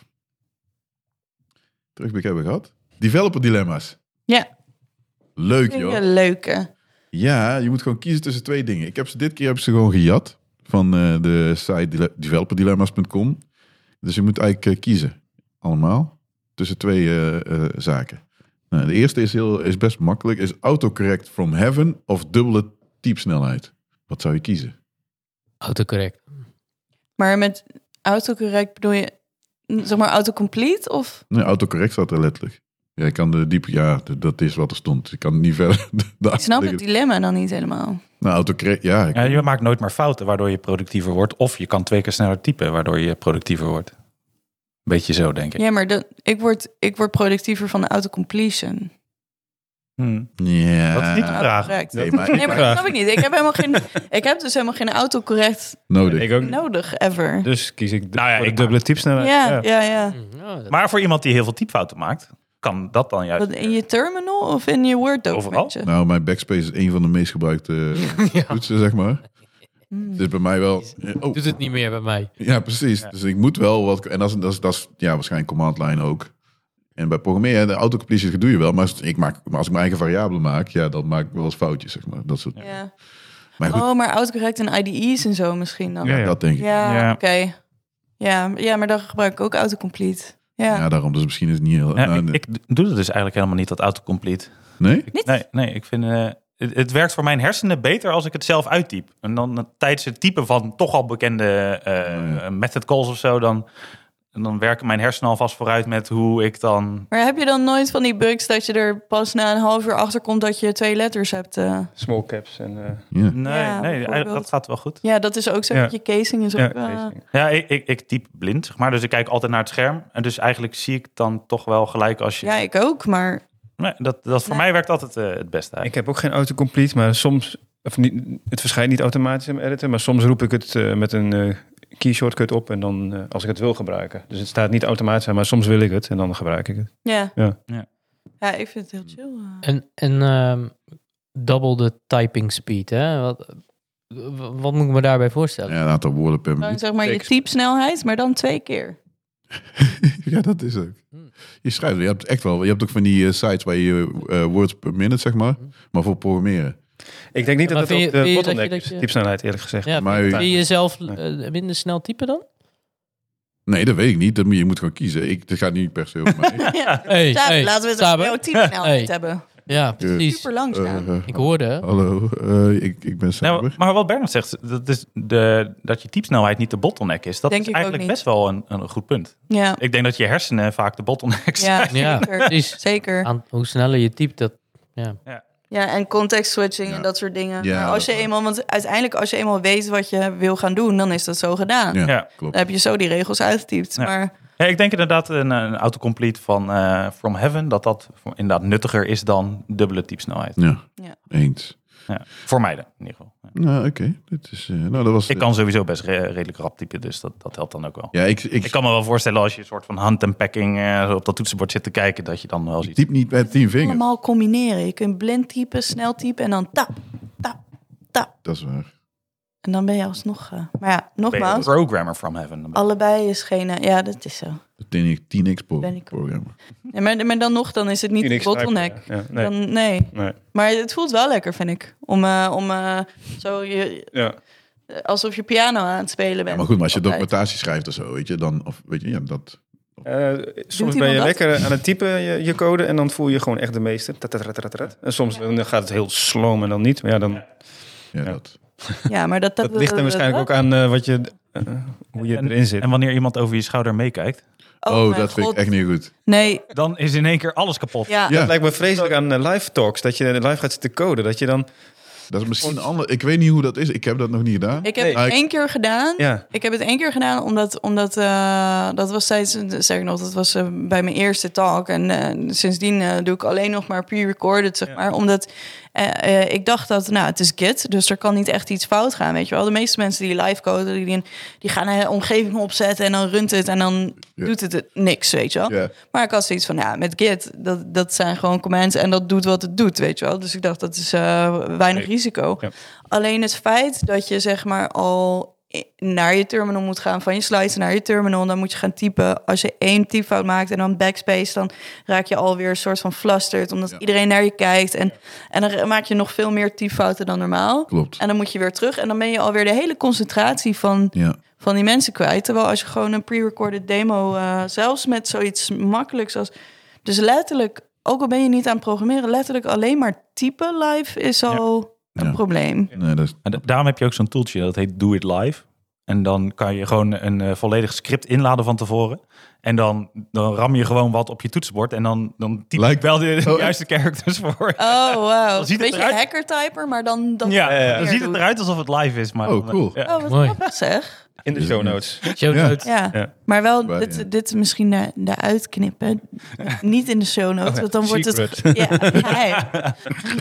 Terugblik hebben we gehad. Developer dilemma's. Ja. Leuk Vind je joh. een leuke. Ja, je moet gewoon kiezen tussen twee dingen. Ik heb ze, dit keer heb ik ze gewoon gejat van eh, de site dile- developerdilemma's.com. Dus je moet eigenlijk eh, kiezen, allemaal, tussen twee eh, eh, zaken. Nou, de eerste is, heel, is best makkelijk, is autocorrect from heaven of dubbele typsnelheid. Wat zou je kiezen? Autocorrect. Maar met autocorrect bedoel je, mm, zeg maar, autocomplete of... Nee, autocorrect staat er letterlijk. Ja, ik kan de diepe, ja, d- dat is wat er stond. Ik kan niet verder. Ik snap het dilemma dan niet helemaal. Nou, autocorrect, ja. ik- Ja, je maakt nooit meer fouten waardoor je productiever wordt. Of je kan twee keer sneller typen waardoor je productiever wordt. Beetje zo, denk ik. Ja, maar dat, ik, word, ik word productiever van de autocompletion. Hmm. Ja. Dat is niet de vraag. Autocorrect. Nee, maar, Nee, maar dat snap ik niet. Ik heb, helemaal geen, ik heb dus helemaal geen autocorrect Nodig. Ik ook niet. nodig, ever. Dus kies ik Nou ja, voor de ik- dubbele typsnelheid. Ja, ja, ja. Ja, Mm, nou, dat- Maar voor iemand die heel veel typfouten maakt, kan dat dan juist. Wat, in je terminal of in je Word documentje? Nou, mijn backspace is een van de meest gebruikte eh, toetsen, zeg maar. Hmm. Dus bij mij wel. Oh, Doet het niet meer bij mij. ja, precies. Dus ik moet wel wat. En dat is, dat is, dat is ja, waarschijnlijk command line ook. En bij programmeren, de autocompletion doe je wel. Maar als, ik maak, maar als ik mijn eigen variabelen maak, ja, dan maak ik wel eens foutjes, zeg maar. Dat soort. Ja. Maar goed, Oh, maar autocorrect en IDE's en zo misschien dan. Ja, Ja, ja. dat denk ik. Ja. Ja. oké. Ja, ja, maar dan gebruik ik ook autocomplete. Ja. daarom. Dus misschien is het niet heel. Ja, nou, ik, ik doe dat dus eigenlijk helemaal niet, dat autocomplete. nee? Ik- Niet? Nee, nee ik vind. eh, het, het werkt voor mijn hersenen beter als ik het zelf uittyp. En dan eh, tijdens het typen van toch al bekende eh, Oh, ja. method calls of zo, dan, dan werken mijn hersenen alvast vooruit met hoe ik dan. Maar heb je dan nooit van die bugs dat je er pas na een half uur achter komt dat je twee letters hebt? eh? Small caps en... eh, Ja. Ja, Nee, nee eigenlijk, dat bijvoorbeeld. gaat wel goed. Ja, dat is ook zo. Ja. dat Je casing is ook. ja, eh, casing. Ja, ik, ik, ik typ blind, zeg maar. Dus ik kijk altijd naar het scherm. En dus eigenlijk zie ik dan toch wel gelijk als je. ja, ik ook, maar Nee, dat, dat voor Nee. mij werkt altijd eh, het beste Ik eigenlijk. heb ook geen autocomplete, maar soms... Of niet, het verschijnt niet automatisch in mijn editor, maar soms roep ik het eh, met een eh, key shortcut op en dan eh, als ik het wil gebruiken. Dus het staat niet automatisch aan, maar soms wil ik het en dan gebruik ik het. ja. Ja. Ja. Ja, ik vind het heel chill. eh. En, en ehm double de typing speed, hè? Wat, w- wat moet ik me daarbij voorstellen? Ja, een aantal woorden per Gewoon minuut. zeg maar je tekst. typsnelheid, maar dan twee keer. ja, dat is ook. Hmm. Je schrijft, je hebt echt wel. Je hebt ook van die eh, sites waar je eh, words per minute, zeg maar. Maar voor programmeren. Ik denk niet Maar dat het vind ook je- vind je de dat je- bottleneck dat is, je- typsnelheid eerlijk gezegd. Ja, maar- maar, wil je jezelf eh, minder snel typen dan? Nee, dat weet ik niet. Dat moet, je moet gewoon kiezen. Ik, het gaat niet per se over mij. Ja. Hey, Samen, hey, laten we het Samen. over jouw Hey. typsnelheid hebben. Ja, precies. Super lang staan. Eh, eh, Ik hoorde. Hallo, eh, ik, ik ben Nou, Saber. maar wat Bernard zegt, dat, is de, dat je typsnelheid niet de bottleneck is, dat Denk is ik ook eigenlijk niet. best wel een, een goed punt. ja. Ik denk dat je hersenen vaak de bottleneck zijn. Ja, Ja, zeker. precies. zeker. Aan, hoe sneller je typt, dat. Ja, en context switching Ja. en dat soort dingen. Ja, Maar als dat je wel. eenmaal, want uiteindelijk als je eenmaal weet wat je wil gaan doen, dan is dat zo gedaan. Ja, Ja. klopt. Dan heb je zo die regels uitgetypt. Ja. Maar Ja, ik denk inderdaad een, een autocomplete van eh, From Heaven, dat dat voor- inderdaad nuttiger is dan dubbele typsnelheid. Ja, Ja. eens. Ja. Voor mij dan, in ieder geval. Ja. Nou, oké. Dit is, eh, nou, dat was... Ik kan sowieso best re- redelijk rap typen, dus dat, dat helpt dan ook wel. Ja, ik, ik, Ik kan me wel voorstellen als je een soort van hand en packing eh, op dat toetsenbord zit te kijken, dat je dan wel ziet. typ niet met tien vingers. allemaal combineren. Je kunt blind typen, snel typen en dan tap, tap, tap. Dat is waar. En dan ben je alsnog. eh, maar ja, Ben je een nogmaals, programmer From Heaven. Dan ben allebei is geen. eh, ja, dat is zo. De 10 10x pro- Ben ik- programma. Ja, maar, maar dan nog, dan is het niet de Phoenix bottleneck. typen, ja. Ja, nee, Dan, nee. nee, Maar het voelt wel lekker, vind ik. Om, eh, om eh, zo je, ja. alsof je piano aan het spelen Ja, bent. maar goed, maar als je Altijd. documentatie schrijft of zo, weet je, dan... Of, weet je, ja, dat... Eh, soms ben iemand je dat? lekker aan het typen je, je code en dan voel je je gewoon echt de meester. Tatatatatatatat. En soms eh, dan gaat het heel slom en dan niet. Maar ja, dan, Ja, Ja. dat. Ja, maar dat, dat ligt er waarschijnlijk ook aan eh, wat je, eh, hoe je En- erin zit. En wanneer iemand over je schouder meekijkt, Oh, mijn dat vind ik god. echt niet goed. Nee, dan is in één keer alles kapot. ja. Ja, Het lijkt me vreselijk aan eh, live talks, dat je live gaat zitten coden. Dat je dan, dat is misschien een ander. Ik weet niet hoe dat is. Ik heb dat nog niet gedaan. Ik heb Nee. Maar het ik- één keer gedaan. ja, Ik heb het één keer gedaan omdat, omdat eh, dat was tijdens, zeg ik nog, dat was eh, bij mijn eerste talk. En eh, sindsdien eh, doe ik alleen nog maar pre-recorded, zeg maar. Omdat eh, eh, ik dacht dat, nou, het is Git, dus er kan niet echt iets fout gaan, weet je wel. De meeste mensen die live coden, die, die- die gaan een omgeving opzetten en dan runt het en dan Ja. doet het het niks, weet je wel. Ja. Maar ik had zoiets van, ja, met Git, dat, dat zijn gewoon commands en dat doet wat het doet, weet je wel. Dus ik dacht, dat is eh, weinig Nee. risico. Ja. Alleen het feit dat je zeg maar al i- naar je terminal moet gaan, van je slides naar je terminal, dan moet je gaan typen. Als je één typfout maakt en dan backspace, dan raak je alweer een soort van flusterd, omdat Ja. iedereen naar je kijkt. En, en dan maak je nog veel meer typfouten dan normaal. Klopt. En dan moet je weer terug en dan ben je alweer de hele concentratie van Ja. van die mensen kwijt. Terwijl als je gewoon een pre-recorded demo, eh, zelfs met zoiets makkelijks als. Dus letterlijk, ook al ben je niet aan het programmeren, letterlijk alleen maar typen live is al een Ja. probleem. Nee, dat is, En da- daarom heb je ook zo'n toeltje, dat heet Do It Live. En dan kan je gewoon een eh, volledig script inladen van tevoren. En dan, dan ram je gewoon wat op je toetsenbord. En dan, dan typ je Lijkt- wel de, de Oh. juiste characters voor. Oh, wow. Dan ziet het Beetje eruit. hackertyper, maar dan. dan ja, ja, ja. dan meer ziet het doet. eruit alsof het live is. Maar Oh, dan- cool. ja. Oh, wat Mooi. grappig zeg. in de Is het show niet? notes. Show Ja. notes. Ja. Ja. Maar wel, Waar, ja. dit, dit misschien de, de uitknippen. Niet in de show notes, want dan wordt het. Secret. Ja, geheim.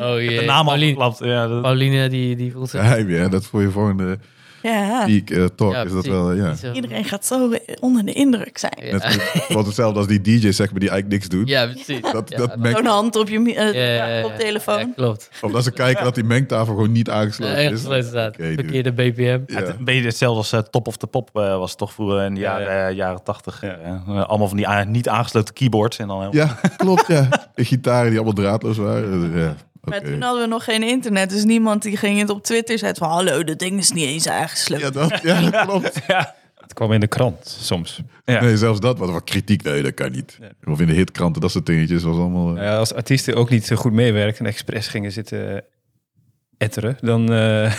Oh jee. De naam al Pauline, geklapt. Ja, dat- Pauline die, die voelt zich... geheim, ja, dat voor je volgende ja. peak eh, talk Ja, is dat precies. wel, eh, ja. Niet zo- Iedereen gaat zo onder de indruk zijn. Ja. Net goed. wat hetzelfde als die DJ, zeg maar, die eigenlijk niks doet. Ja, precies. Dat, Ja, dat mengt, Zo'n hand op je mi- eh, Ja, ja, ja, ja. koptelefoon. Ja, klopt. of dat ze kijken dat die mengtafel gewoon niet Ja, aangesloten echt is. zo staat. Oké, dude. Verkeerde BPM. Ja. Ja, het- een beetje hetzelfde als eh, Top of the Pop eh, was toch vroeger in de Ja, jaren, eh, jaren 80. Ja. eh, allemaal van die a- niet aangesloten keyboards. En dan helemaal- Ja, klopt, ja. De Gitaren die allemaal draadloos waren. eh, Ja, Maar oké. toen hadden we nog geen internet, dus niemand die ging het op Twitter zetten van hallo, dat ding is niet eens aangesloten. ja, dat, ja, dat klopt. Het kwam in de krant soms. Ja. Nee, zelfs dat was wat kritiek. Nee, dat kan niet. Of in de hitkranten, dat soort dingetjes was allemaal... eh, Nou ja, als artiesten ook niet eh, goed meewerken en expres gingen zitten eh, etteren, dan, eh,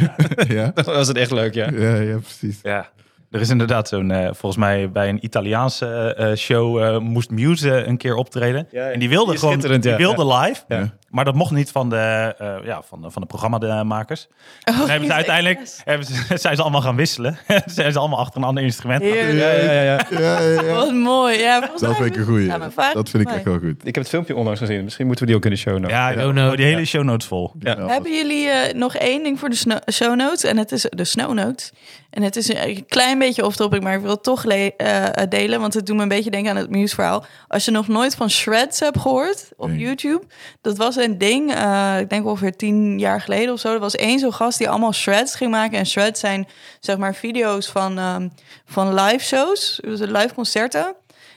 ja. dan was het echt leuk, ja. Ja, ja, precies. Ja. Er is inderdaad zo'n, eh, volgens mij bij een Italiaanse eh, eh, show eh, moest Muse eh, een keer optreden. Ja, ja. En die wilde Die is gewoon, schitterend, die ja. wilde live. Ja. Maar dat mocht niet van de, eh ja, van de, van de programmamakers. Oh, En hebben ze jezus, uiteindelijk yes. hebben ze, zijn ze allemaal gaan wisselen. zijn ze allemaal achter een ander instrument. gaan- Heerlijk. Ja, ja, ja, ja. Ja, ja, ja. Wat mooi. Ja, volgens Dat mij vind ik een was- goeie. Ja, mijn vader- dat vind ik mooi. echt wel goed. Ik heb het filmpje onlangs gezien. Misschien moeten we die ook in de show notes. Ja, Ja. oh, Dono. die hele show notes vol. Ja, Hebben jullie eh, nog één ding voor de sno- show notes? En het is de snow notes. En het is een klein beetje off-topic, maar ik wil het toch le- eh, eh, delen. Want het doet me een beetje denken aan het nieuwsverhaal. Als je nog nooit van shreds hebt gehoord op Nee. YouTube. Dat was een ding, eh, ik denk ongeveer tien jaar geleden of zo. Er was één zo'n gast die allemaal shreds ging maken. En shreds zijn zeg maar video's van, ehm, van live shows, dus live concerten.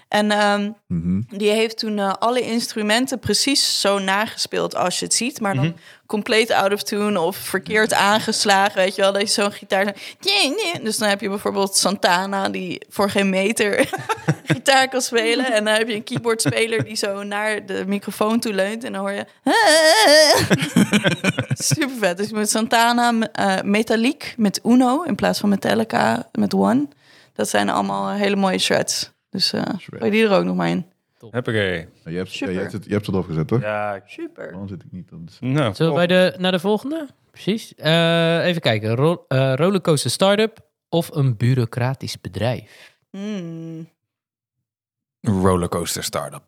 En ehm, Mhm. die heeft toen eh, alle instrumenten precies zo nagespeeld als je het ziet. Maar dan compleet out of tune of verkeerd aangeslagen. Weet je wel, dat je zo'n gitaar... zo- Nee, nee. Dus dan heb je bijvoorbeeld Santana die voor geen meter gitaar kan spelen. En dan heb je een keyboardspeler die zo naar de microfoon toe leunt. En dan hoor je... Super vet. Dus met Santana, m- eh Metallic met Uno in plaats van Metallica met One. Dat zijn allemaal hele mooie shreds. Dus eh Shred. gooi die er ook nog maar in. Huppakee. Je hebt, ja, Super. je, hebt het, je hebt het opgezet, toch? Ja, Super. Waarom zit ik niet op de... Nou, Zullen we bij top. de, naar de volgende? Precies. Eh, even kijken. Ro- eh, rollercoaster start-up of een bureaucratisch bedrijf? Hmm, rollercoaster startup.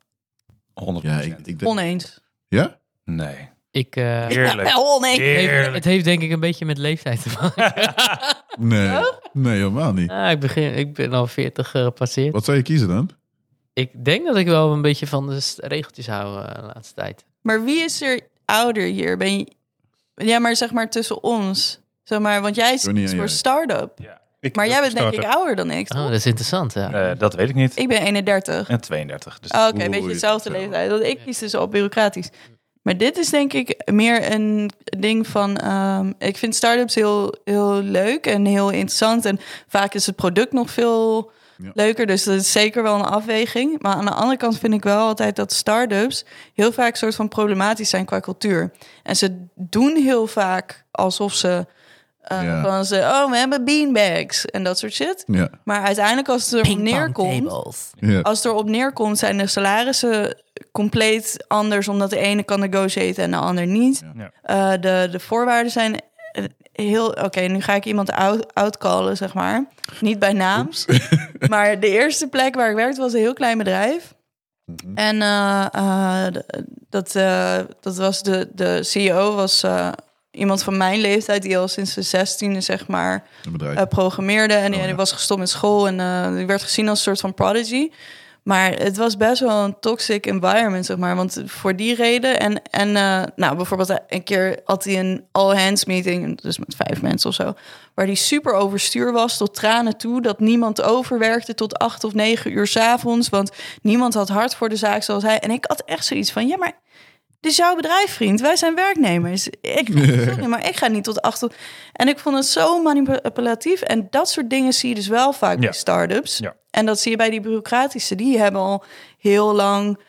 100%. Ja, ik, ik denk... oneens. Ja? Nee. Ik, eh, Heerlijk. Wel oneens. het heeft- Heerlijk. het heeft denk ik een beetje met leeftijd te maken. Nee. Nee, helemaal niet. Ah, ik, begin, ik ben al 40 gepasseerd. Wat zou je kiezen dan? Ik denk dat ik wel een beetje van de st- regeltjes hou eh, de laatste tijd. Maar wie is er ouder hier? Ben je... Ja, maar zeg maar tussen ons. Zeg maar, want jij is Johnny en voor jij. start-up. Ik- Maar jij bent denk ik Starter. ouder dan ik. Ah. Oh, dat is interessant, ja. Eh, dat weet ik niet. Ik ben 31. En 32. Dus Oh, Oké, een beetje Oei, dezelfde zo. leeftijd. Want ik kies dus al bureaucratisch. Maar dit is denk ik meer een ding van... ehm, ik vind start-ups heel, heel leuk en heel interessant. En vaak is het product nog veel Ja. leuker. Dus dat is zeker wel een afweging. Maar aan de andere kant vind ik wel altijd dat start-ups heel vaak soort van problematisch zijn qua cultuur. En ze doen heel vaak alsof ze eh, Ja. van ze, oh, we hebben beanbags en dat soort shit. Ja, Maar uiteindelijk als het erop neerkomt, ja. als het erop neerkomt, zijn de salarissen compleet anders, omdat de ene kan negotiaten en de ander niet. Ja. Eh, de, de voorwaarden zijn eh, heel. Oké, nu ga ik iemand out, outcallen, zeg maar. Niet bij naam. maar de eerste plek waar ik werkte was een heel klein bedrijf. Mhm. En eh, eh, d- dat, eh, dat was de, de CEO, was eh, iemand van mijn leeftijd, die al sinds de zestiende, zeg maar, een bedrijf. eh, programmeerde. En die, Oh, ja. die was gestopt met school en eh, die werd gezien als een soort van prodigy. Maar het was best wel een toxic environment, zeg maar. Want voor die reden. En, en eh, nou, bijvoorbeeld een keer had hij een all-hands meeting, dus met vijf mensen of zo. Waar die super overstuur was, tot tranen toe. Dat niemand overwerkte tot acht of negen uur s'avonds. Want niemand had hart voor de zaak zoals hij. En ik had echt zoiets van: ja, maar dit is jouw bedrijf, vriend. Wij zijn werknemers. Ik, sorry, maar ik ga niet tot achter. En ik vond het zo manipulatief. En dat soort dingen zie je dus wel vaak Ja. bij start-ups. Ja. En dat zie je bij die bureaucratische. Die hebben al heel lang...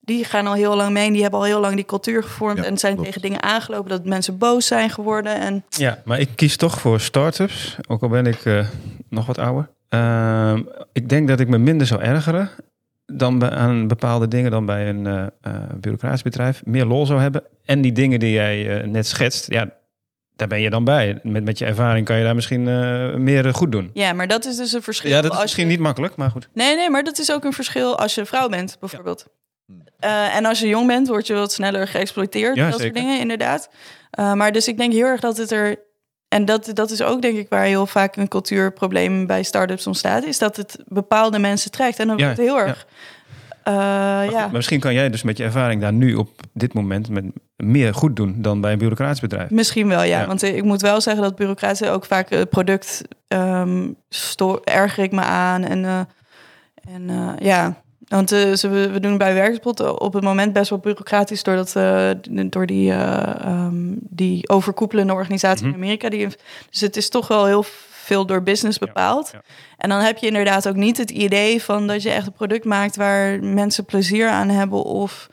Die gaan al heel lang mee en die hebben al heel lang die cultuur gevormd... Ja, en zijn klopt. tegen dingen aangelopen dat mensen boos zijn geworden. En Ja, maar ik kies toch voor start-ups, ook al ben ik eh, nog wat ouder. Ehm, ik denk dat ik me minder zou ergeren dan bij, aan bepaalde dingen dan bij een eh eh, bureaucratisch bedrijf. Meer lol zou hebben. En die dingen die jij eh, net schetst, ja, daar ben je dan bij. Met, met je ervaring kan je daar misschien eh, meer eh, goed doen. ja, maar dat is dus een verschil. Ja, dat is als misschien je- niet makkelijk, maar goed. Nee, nee, maar dat is ook een verschil als je vrouw bent, bijvoorbeeld. Eh, en als je jong bent, word je wat sneller geëxploiteerd. Hmm. Ja, dat zeker. soort dingen, inderdaad. Eh, maar dus ik denk heel erg dat het er... En dat, dat is ook denk ik waar heel vaak een cultuurprobleem bij start-ups ontstaat. Is dat het bepaalde mensen trekt. En dan Ja, wordt het heel ja. erg... eh, Maar ja. goed, maar misschien kan jij dus met je ervaring daar nu op dit moment met meer goed doen dan bij een bureaucratisch bedrijf. Misschien wel, ja. Ja. Want eh, ik moet wel zeggen dat bureaucraten ook vaak het product ehm sto- erger ik me aan. En, eh, en eh, ja, want eh, ze, we we doen bij Werkspot op het moment best wel bureaucratisch doordat, eh, door die, eh, ehm, die overkoepelende organisatie Mhm. in Amerika. Die, heeft- dus het is toch wel heel veel door business bepaald. ja. En dan heb je inderdaad ook niet het idee van dat je echt een product maakt waar mensen plezier aan hebben of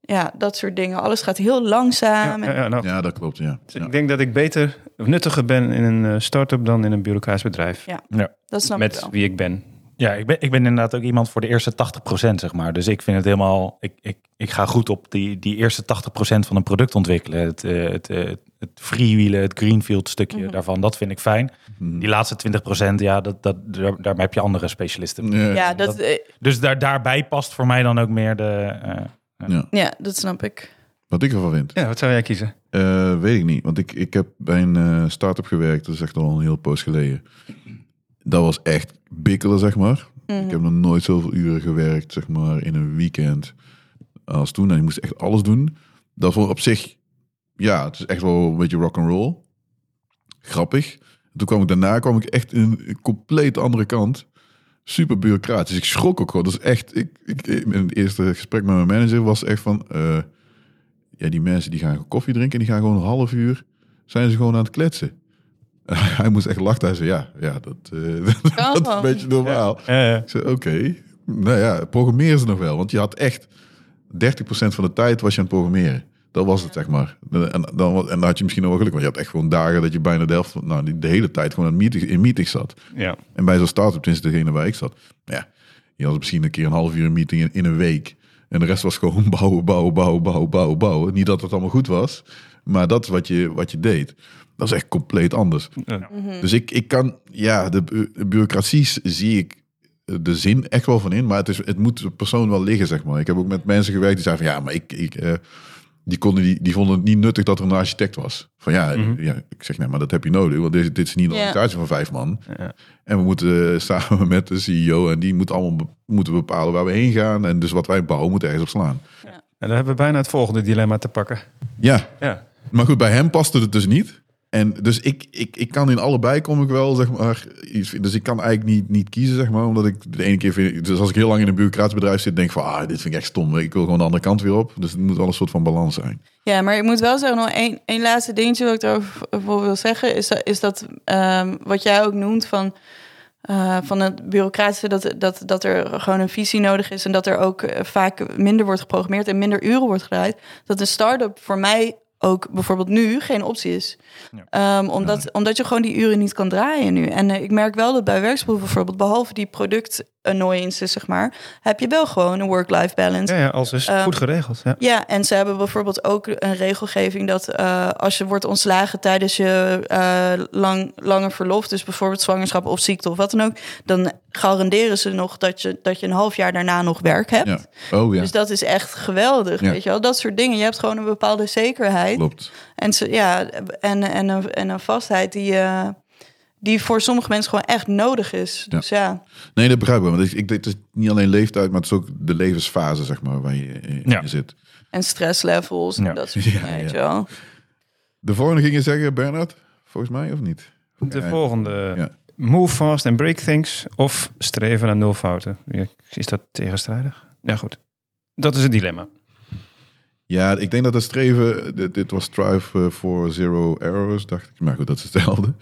ja, dat soort dingen. Alles gaat heel langzaam. en- Ja, ja, nou, Ja, dat klopt, ja. Dus ja. Ik denk dat ik beter of nuttiger ben in een eh, start-up dan in een bureaucratisch bedrijf. Ja, Dat snap ik met wel. wie ik ben. Ja, ik ben, ik ben inderdaad ook iemand voor de eerste 80%, zeg maar. Dus ik vind het helemaal... Ik, ik, ik ga goed op die, die eerste 80% van een product ontwikkelen. Het, eh, het, eh, het freewheelen, het greenfield stukje Mhm. daarvan, dat vind ik fijn. Mhm. Die laatste 20%, ja, dat, dat, daar, daarmee heb je andere specialisten. Ja, Ja, dat, dat- eh, Dus daar, daarbij past voor mij dan ook meer de... eh, ja, dat snap ik. Wat ik ervan vind? Ja, wat zou jij kiezen? Eh, weet ik niet, want ik, ik heb bij een eh, start-up gewerkt, dat is echt al een heel poos geleden. Dat was echt bikkelen, zeg maar. Ik heb nog nooit zoveel uren gewerkt, zeg maar, in een weekend als toen. En ik moest echt alles doen. Dat vond ik op zich, ja, het is echt wel een beetje rock'n'roll. Grappig. Toen kwam ik daarna, kwam ik echt in een compleet andere kant. Super bureaucratisch. Ik schrok ook gewoon. Dat is echt, ik, ik, in het eerste gesprek met mijn manager was echt van... eh, ja, die mensen die gaan koffie drinken, die gaan gewoon een half uur, zijn ze gewoon aan het kletsen. Hij moest echt lachen. Hij zei, ja, ja dat, eh, Kan dat is een gewoon. beetje normaal. Eh, Ik zei, oké. Nou ja, programmeer ze nog wel. Want je had echt 30% van de tijd was je aan het programmeren. Dat was het, zeg maar. En, en dan, wa- en dan had je misschien nog wel geluk. Want je had echt gewoon dagen dat je bijna de helft... van- Nou, die- de hele tijd gewoon aan meeting, in meetings zat. Ja. Mhm. En bij zo'n start-up, tenminste degene waar ik zat... Ja, je had misschien een keer een half uur een meeting in, in een week. En de rest was gewoon bouwen, bouwen, bouwen, bouwen, bouwen, bouwen. Niet dat het allemaal goed was. Maar dat is wat je, wat je deed. Dat is echt compleet anders. Ja. Dus ik, ik kan, ja, de bu- bureaucratie zie ik de zin echt wel van in, maar het, is, het moet de persoon wel liggen, zeg maar. Ik heb ook met mensen gewerkt die zeiden van, ja, maar ik, ik eh, die, konden, die, die vonden het niet nuttig dat er een architect was. Van ja, Mhm. ja ik zeg, nee, maar dat heb je nodig, want dit, dit is niet een Ja. organisatie van vijf man. Ja. En we moeten eh, samen met de CEO, en die moet allemaal be- moeten bepalen waar we heen gaan, en dus wat wij bouwen moet ergens op slaan. En dan hebben we bijna het volgende dilemma te pakken. Ja, Ja. maar goed, bij hem paste het dus niet. En dus ik, ik, ik kan in allebei kom ik wel, zeg maar. iets- Dus ik kan eigenlijk niet, niet kiezen, zeg maar. Omdat ik de ene keer vind... Dus als ik heel lang in een bureaucratisch bedrijf zit, denk ik van... Ah, dit vind ik echt stom. Ik wil gewoon de andere kant weer op. Dus het moet wel een soort van balans zijn. Ja, maar ik moet wel zeggen, nog één, één laatste dingetje wat ik erover voor wil zeggen, is dat, is dat ehm, wat jij ook noemt van eh, eh, van het bureaucratische, dat, dat, dat er gewoon een visie nodig is en dat er ook eh, vaak minder wordt geprogrammeerd en minder uren wordt gedraaid, dat een start-up voor mij ook bijvoorbeeld nu geen optie is. Ehm, omdat, omdat je gewoon die uren niet kan draaien nu. En eh, ik merk wel dat bij werkspoel bijvoorbeeld, behalve die product annoyances, zeg maar, heb je wel gewoon een work-life balance. Ja, ja, alles is Ehm, goed geregeld. Ja. Ja, en ze hebben bijvoorbeeld ook een regelgeving dat eh, als je wordt ontslagen tijdens je eh, lang, lange verlof, dus bijvoorbeeld zwangerschap of ziekte of wat dan ook, dan garanderen ze nog dat je, dat je een half jaar daarna nog werk hebt. Ja. Oh ja, Dus dat is echt geweldig, Ja. weet je wel. Dat soort dingen. Je hebt gewoon een bepaalde zekerheid. klopt. En, ze, ja, en, en, een, en een vastheid die, eh, die voor sommige mensen gewoon echt nodig is. Ja. Dus ja, Nee, dat begrijp ik wel. Want ik, ik, het is niet alleen leeftijd, maar het is ook de levensfase, zeg maar, waar je eh, in Ja. zit. en stresslevels en Ja. dat soort Ja, dingen, ja. weet je wel. De volgende ging je zeggen, Bernard? Volgens mij, of niet? De Ja. volgende. Ja. Move fast and break things of streven naar nul fouten. Ja, Is dat tegenstrijdig? Ja, goed. Dat is het dilemma. Ja, ik denk dat het streven, dit, dit was Strive eh, for Zero Errors, dacht ik. Maar goed, dat is hetzelfde.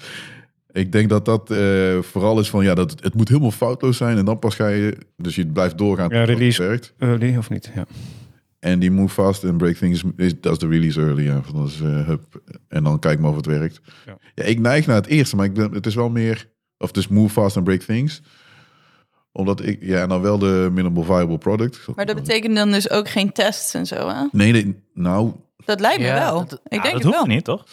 Ik denk dat dat eh, vooral is van, ja, dat, het moet helemaal foutloos zijn en dan pas ga je, dus je blijft doorgaan. Ja, tot het release. werkt. Early of niet? Ja. En die move fast en break things, is, dat is de release early. Ja. Van dat is, eh, hup, en dan kijk maar of het werkt. Ja. Ja. ik neig naar het eerste, maar ik ben, het is wel meer... Of dus move fast and break things. Omdat ik... Ja, en dan wel de minimal viable product. Maar dat betekent dan dus ook geen tests en zo, hè? Nee, nee, nou... Dat lijkt me Ja, wel. dat- ik denk dat het hoeft wel. niet, toch?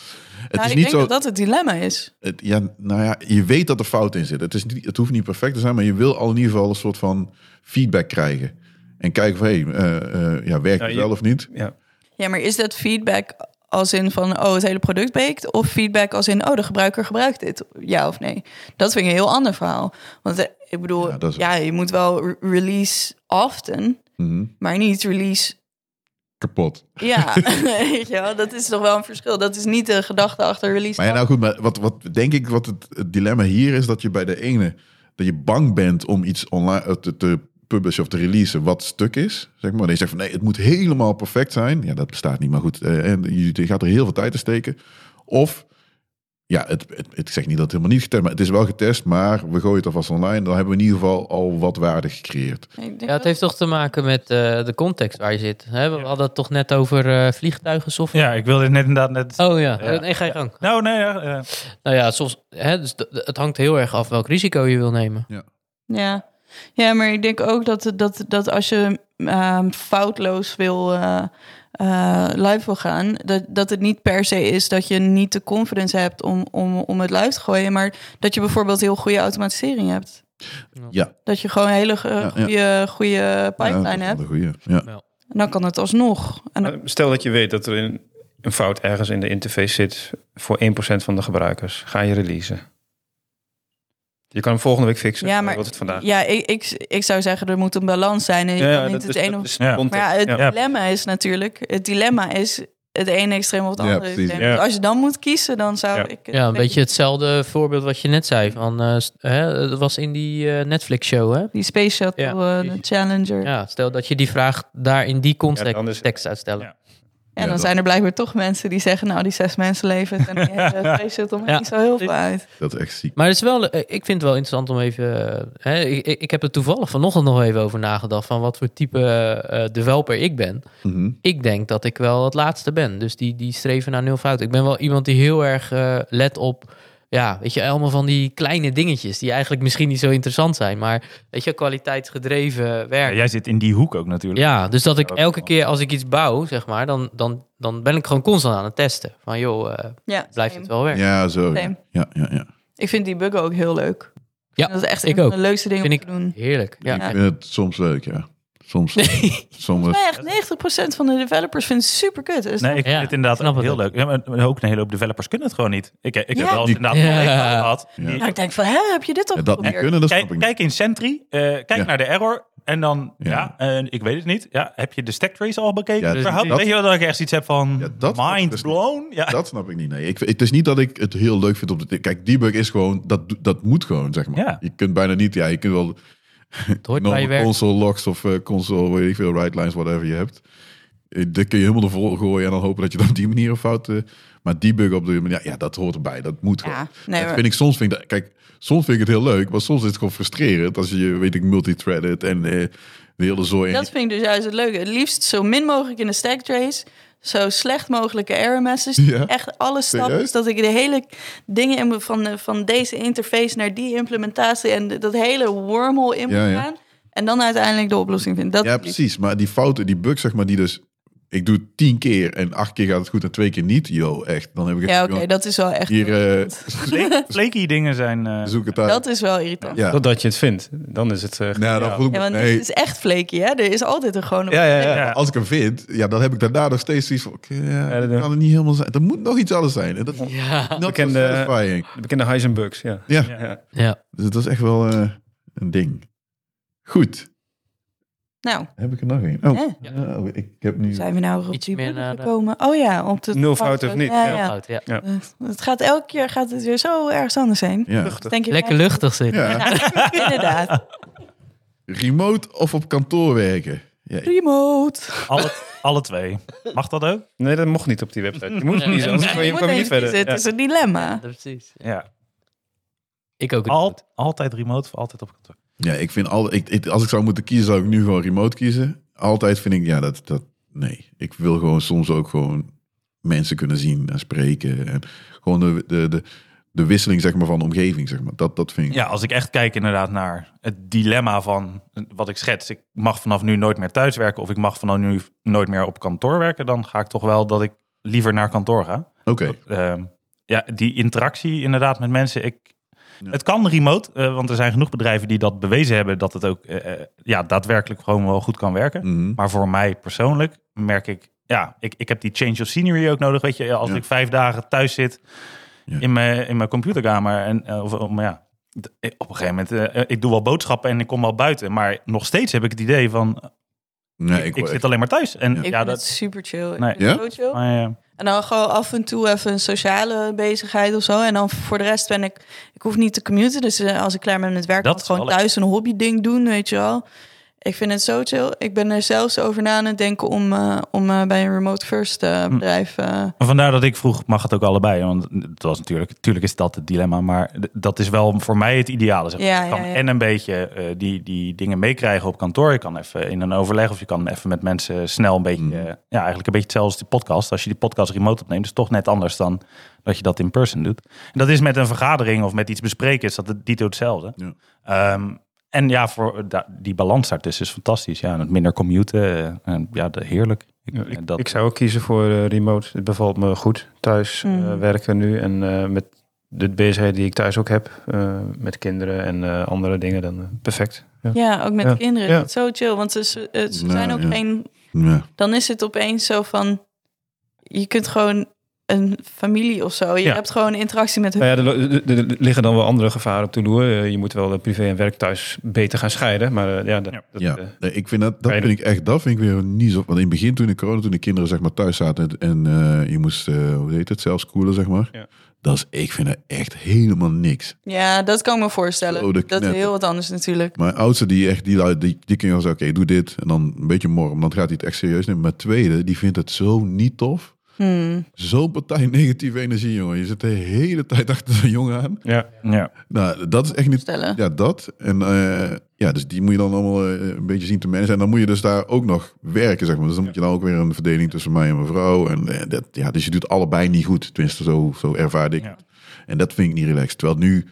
Het Nou, is ik niet denk zo... dat dat het dilemma is. Het, ja, nou ja, je weet dat er fout in zit. Het, is niet, het hoeft niet perfect te zijn, maar je wil al in ieder geval een soort van feedback krijgen. En kijken van, hé, eh, eh, ja, werkt Ja, het je- wel of niet? ja. Ja, maar is dat feedback als in van, oh, het hele product beekt? Of feedback als in, oh, de gebruiker gebruikt dit, ja of nee? Dat vind ik een heel ander verhaal. Want eh, ik bedoel, Ja, ja, dat is- je moet wel re- release often, Mhm. maar niet release... Kapot. Ja, weet je wel, dat is toch wel een verschil. Dat is niet de gedachte achter release Maar ja, nou goed, maar wat, wat denk ik, wat het, het dilemma hier is, dat je bij de ene, dat je bang bent om iets online eh, te, te publishen of te releasen wat stuk is. Zeg maar, en je zegt van nee, het moet helemaal perfect zijn. Ja, dat bestaat niet, maar goed. eh, en je, je gaat er heel veel tijd in steken. Of, ja, het, het, ik zeg niet dat het helemaal niet getest, maar het is wel getest, maar we gooien het alvast online. Dan hebben we in ieder geval al wat waarde gecreëerd. Ik denk Ja, het dat- heeft toch te maken met eh, de context waar je zit. Hè? We hadden het toch net over eh, vliegtuigen software. Ja, ik wilde het net inderdaad net... Oh ja, Ja. nee, ga je gang. Nou, nee, ja, eh, Nou ja, soms, hè, dus d- d- het hangt heel erg af welk risico je wil nemen. Ja. ja, maar ik denk ook dat, dat, dat als je ehm, foutloos wil, eh, eh, live wil gaan, dat, dat het niet per se is dat je niet de confidence hebt om, om, om het live te gooien, maar dat je bijvoorbeeld heel goede automatisering hebt. Ja. Dat je gewoon een hele ge- Ja, ja. goede, goede pipeline ja, dat hebt. is wel een goeie. Ja. En dan kan het alsnog. En dan- Maar Eh, Stel dat je weet dat er een, een fout ergens in de interface zit voor 1% van de gebruikers. Ga je releasen. Je kan hem volgende week fixen. ja, maar Wat het vandaag. ja, ik, ik, ik zou zeggen, er moet een balans zijn. En je kan niet dat het is- een dat of is Ja. context. Maar ja, het Ja. dilemma is natuurlijk... Het dilemma is het ene extreem of het Ja, andere precies. extreem. Ja. Dus als je dan moet kiezen, dan zou Ja. ik... Ja, een beetje hetzelfde voorbeeld wat je net zei. Van, eh, st- hè, dat was in die eh, Netflix-show, hè? Die Space Shuttle, Ja, eh, de precies. Challenger. Ja, stel dat je die vraag daar in die Ja, dan is- context tekst uitstellen. Ja. En Ja, dan dat- zijn er blijkbaar toch mensen die zeggen... nou, die zes mensen leven en die hele Space Shuttle maakt Ja. niet zo heel veel uit. Dat is echt ziek. Maar het is wel, eh, ik vind het wel interessant om even. eh, Hè, ik, ik- ik heb er toevallig vanochtend nog even over nagedacht. van wat voor type eh, eh, developer ik ben. Mhm. Ik denk dat ik wel het laatste ben. Dus die, die streven naar nul fout. Ik ben wel iemand die heel erg eh, let op. Ja, weet je, allemaal van die kleine dingetjes. die eigenlijk misschien niet zo interessant zijn. maar weet je, kwaliteitsgedreven ja, werk. Ja, jij zit in die hoek ook natuurlijk. dus dat ik elke keer als ik iets bouw, zeg maar. dan, dan, dan ben ik gewoon constant aan het testen. Van joh, eh, Ja, blijft het wel werken? Ja, zo. Ja, Same. ja, ja. Ik vind die bug ook heel leuk. Ja, dat is echt ik een ook. van de leukste dingen om Vind te doen. Heerlijk. Ja. Ik vind het soms leuk, ja. Soms, soms Maar echt 90% van de developers vinden het super kut. Dus Nee, ik vind Ja, het inderdaad snap het heel ook. leuk. Ja, maar maar ook een hele hoop developers kunnen het gewoon niet. Ik, ik heb Ja. wel eens Die- inderdaad Ja. wel collega's gehad. die- Ja. Nou, ik denk van, hè, heb je dit al Ja, dat niet geprobeerd? kunnen, dat snap Kijk, ik kijk in Sentry, eh, kijk Ja. naar de error. En dan, ja, Ja. eh, ik weet het niet. Ja, heb je de stack trace al bekeken? Ja, Überhaupt? dat- weet je wel dat ik echt iets heb van Ja, dat snap ik mind dus niet. blown? Ja. Dat snap ik niet. Nee, ik, het is niet dat ik het heel leuk vind om te. Kijk, debug is gewoon dat, dat moet gewoon, zeg maar. Ja. Je kunt bijna niet. Ja, je kunt wel Het hoort bij je normaal werk. console logs of eh, console, weet ik veel, right lines, whatever je hebt. Eh, Dat kun je helemaal ervoor gooien en dan hopen dat je dan op die manier een fout. eh, Maar debuggen op de ja, ja, dat hoort erbij. Dat moet gewoon. Ja, nee, dat maar- vind ik soms vind ik dat, kijk, soms vind ik het heel leuk, maar soms is het gewoon frustrerend als je weet ik multithreaded en eh, de hele zooi. Dat vind ik dus juist het leuke. Het liefst zo min mogelijk in de stack trace. Zo slecht mogelijke error messages. Ja? Echt alle stappen. Serieus? Dus dat ik de hele dingen in moet- van, eh, van deze interface naar die implementatie. En de- dat hele wormhole in moet Ja, ja. gaan. En dan uiteindelijk de oplossing vind. Dat ja, precies. Maar die fouten, die bug, zeg maar, die dus ik doe het tien keer en acht keer gaat het goed en twee keer niet, yo, echt. Dan heb ik echt Ja, oké. gewoon- dat is wel echt... hier eh, Fle- Flaky dingen zijn... eh, zoek het uit. dat is wel irritant. Ja, ja. Dat, dat je het vindt. Dan is het... eh, Nou, dan ja. voel ik me- want nee, het is echt flaky, hè? Er is altijd een gewone... Ja, ja, ja. ja. als ik hem vind, ja, dan heb ik daarna nog steeds iets van, oké, ja, dat dat doen. kan het niet helemaal zijn. Er moet nog iets anders zijn. En dat is Ja. not so Bekende- satisfying. De bekende Heisenbugs, ja. Ja, Ja. ja. ja. dus dat is echt wel eh, een ding. Goed, Nou, heb ik er nog één. Oh, hè? oh, ik heb nu... zijn we nou op Iets die meer boeken naar de- gekomen? Oh ja, op de... Nul fout of niet, Ja, ja. ja. Fout, ja. Het gaat elke keer gaat het weer zo ergens anders heen. Ja. Luchtig. Denk ik Lekker luchtig zit. ja, Ja, inderdaad. remote of op kantoor werken. Ja, ik- Remote. alle, alle twee. Mag dat ook? Nee, dat mocht niet op die website. Je moest Nee, niet, anders kwam Je je moet kwam je niet even verder. kiezen, Het Ja. is een dilemma. precies. Ja. Ik ook. Al, altijd remote of altijd op kantoor? ja, ik vind al, ik, ik- als ik zou moeten kiezen, zou ik nu gewoon remote kiezen. Altijd vind ik, ja, dat, dat, nee. Ik wil gewoon soms ook gewoon mensen kunnen zien en spreken. En gewoon de, de, de, de wisseling, zeg maar, van de omgeving, zeg maar. Dat, dat vind ik. Ja, als ik echt kijk inderdaad naar het dilemma van eh, wat ik schets. Ik mag vanaf nu nooit meer thuiswerken of ik mag vanaf nu nooit meer op kantoor werken. Dan ga ik toch wel dat ik liever naar kantoor ga. Oké. Ehm, ja, die interactie inderdaad met mensen. Ik, Ja. Het kan remote, eh, want er zijn genoeg bedrijven die dat bewezen hebben dat het ook eh, eh, ja, daadwerkelijk gewoon wel goed kan werken. Mhm. Maar voor mij persoonlijk merk ik, ja, ik, ik heb die change of scenery ook nodig. Weet je, als Ja. ik vijf dagen thuis zit Ja. in, mijn, in mijn computerkamer en eh, of, maar ja. d- ik- Op een gegeven moment, eh, ik doe wel boodschappen en ik kom wel buiten. Maar nog steeds heb ik het idee van, Nee, ik, ik, ik word zit alleen maar thuis. Ja. En ja, Ik vind het dat... super chill. Ik Nee. vind het Ja? zo chill. maar, eh, En dan gewoon af en toe even een sociale bezigheid of zo. En dan voor de rest ben ik... Ik hoef niet te commuten. Dus eh, als ik klaar ben met werk, Dat kan ik is gewoon wel thuis een hobby ding doen, weet je wel. Ik vind het zo chill. Ik ben er zelfs over na aan het denken om, eh, om eh, bij een remote first eh, Hm. bedrijf... eh, Maar Vandaar dat ik vroeg, mag het ook allebei? Want het was natuurlijk, natuurlijk is dat het dilemma, maar d- dat is wel voor mij het ideale. Zeg. maar. Ja, je kan ja, ja. en een beetje eh, die, die dingen meekrijgen op kantoor. Je kan even in een overleg of je kan even met mensen snel een beetje, Mhm. eh, ja, eigenlijk een beetje hetzelfde als die podcast. Als je die podcast remote opneemt, is het toch net anders dan dat je dat in person doet. En dat is met een vergadering of met iets bespreken, is dat het dito hetzelfde. Ja. Ehm, en ja, voor eh, da- die balans daartussen is fantastisch. Ja, en het minder commuten, eh, en ja, de- heerlijk. Ik, eh, Ja, dat, Ik zou ook kiezen voor eh, remote. Het bevalt me goed thuis Mm. eh, werken nu. En eh, met de bezigheid die ik thuis ook heb, eh, met kinderen en eh, andere dingen, dan eh, perfect. Ja. ja, ook met Ja. kinderen. Ja. Het is Zo chill. Want ze, ze, eh, ze Nou, zijn ook ja. geen Ja. dan is het opeens zo van... Je kunt gewoon een familie of zo. Je Ja. hebt gewoon interactie met hun. Nou ja, er, lo- er- er- er liggen dan wel andere gevaren op de loer. Eh, je moet wel eh, privé en werk thuis beter gaan scheiden. Maar eh, ja, dat, Ja. dat, ja. eh, Nee, ik vind dat, dat Fijn. vind ik echt, dat vind ik weer niet zo. Want in het begin, toen de corona, toen de kinderen zeg maar thuis zaten en eh, je moest, eh, hoe heet het, zelfs koelen zeg maar. Ja. Dat is, ik vind dat echt helemaal niks. Ja, dat kan ik me voorstellen. Zo, Oh, de dat is knetter. heel wat anders natuurlijk. Mijn oudste, die echt, die, lui- die, die kun je wel zeggen, oké, doe dit. En dan een beetje morgen, dan gaat hij het echt serieus nemen. Maar tweede, die vindt het zo niet tof. Hmm. Zo'n partij negatieve energie, jongen. Je zit de hele tijd achter zo'n jongen aan. ja. ja. Nou, dat is echt niet... Stellen. Ja, dat. En eh, ja, dus die moet je dan allemaal eh, een beetje zien te managen. En dan moet je dus daar ook nog werken, zeg maar. Dus dan moet je dan ook weer een verdeling tussen mij en mijn vrouw. En eh, dat, ja, dus je doet allebei niet goed. Tenminste, zo, zo ervaar ik. Ja. het. En dat vind ik niet relaxed. Terwijl nu,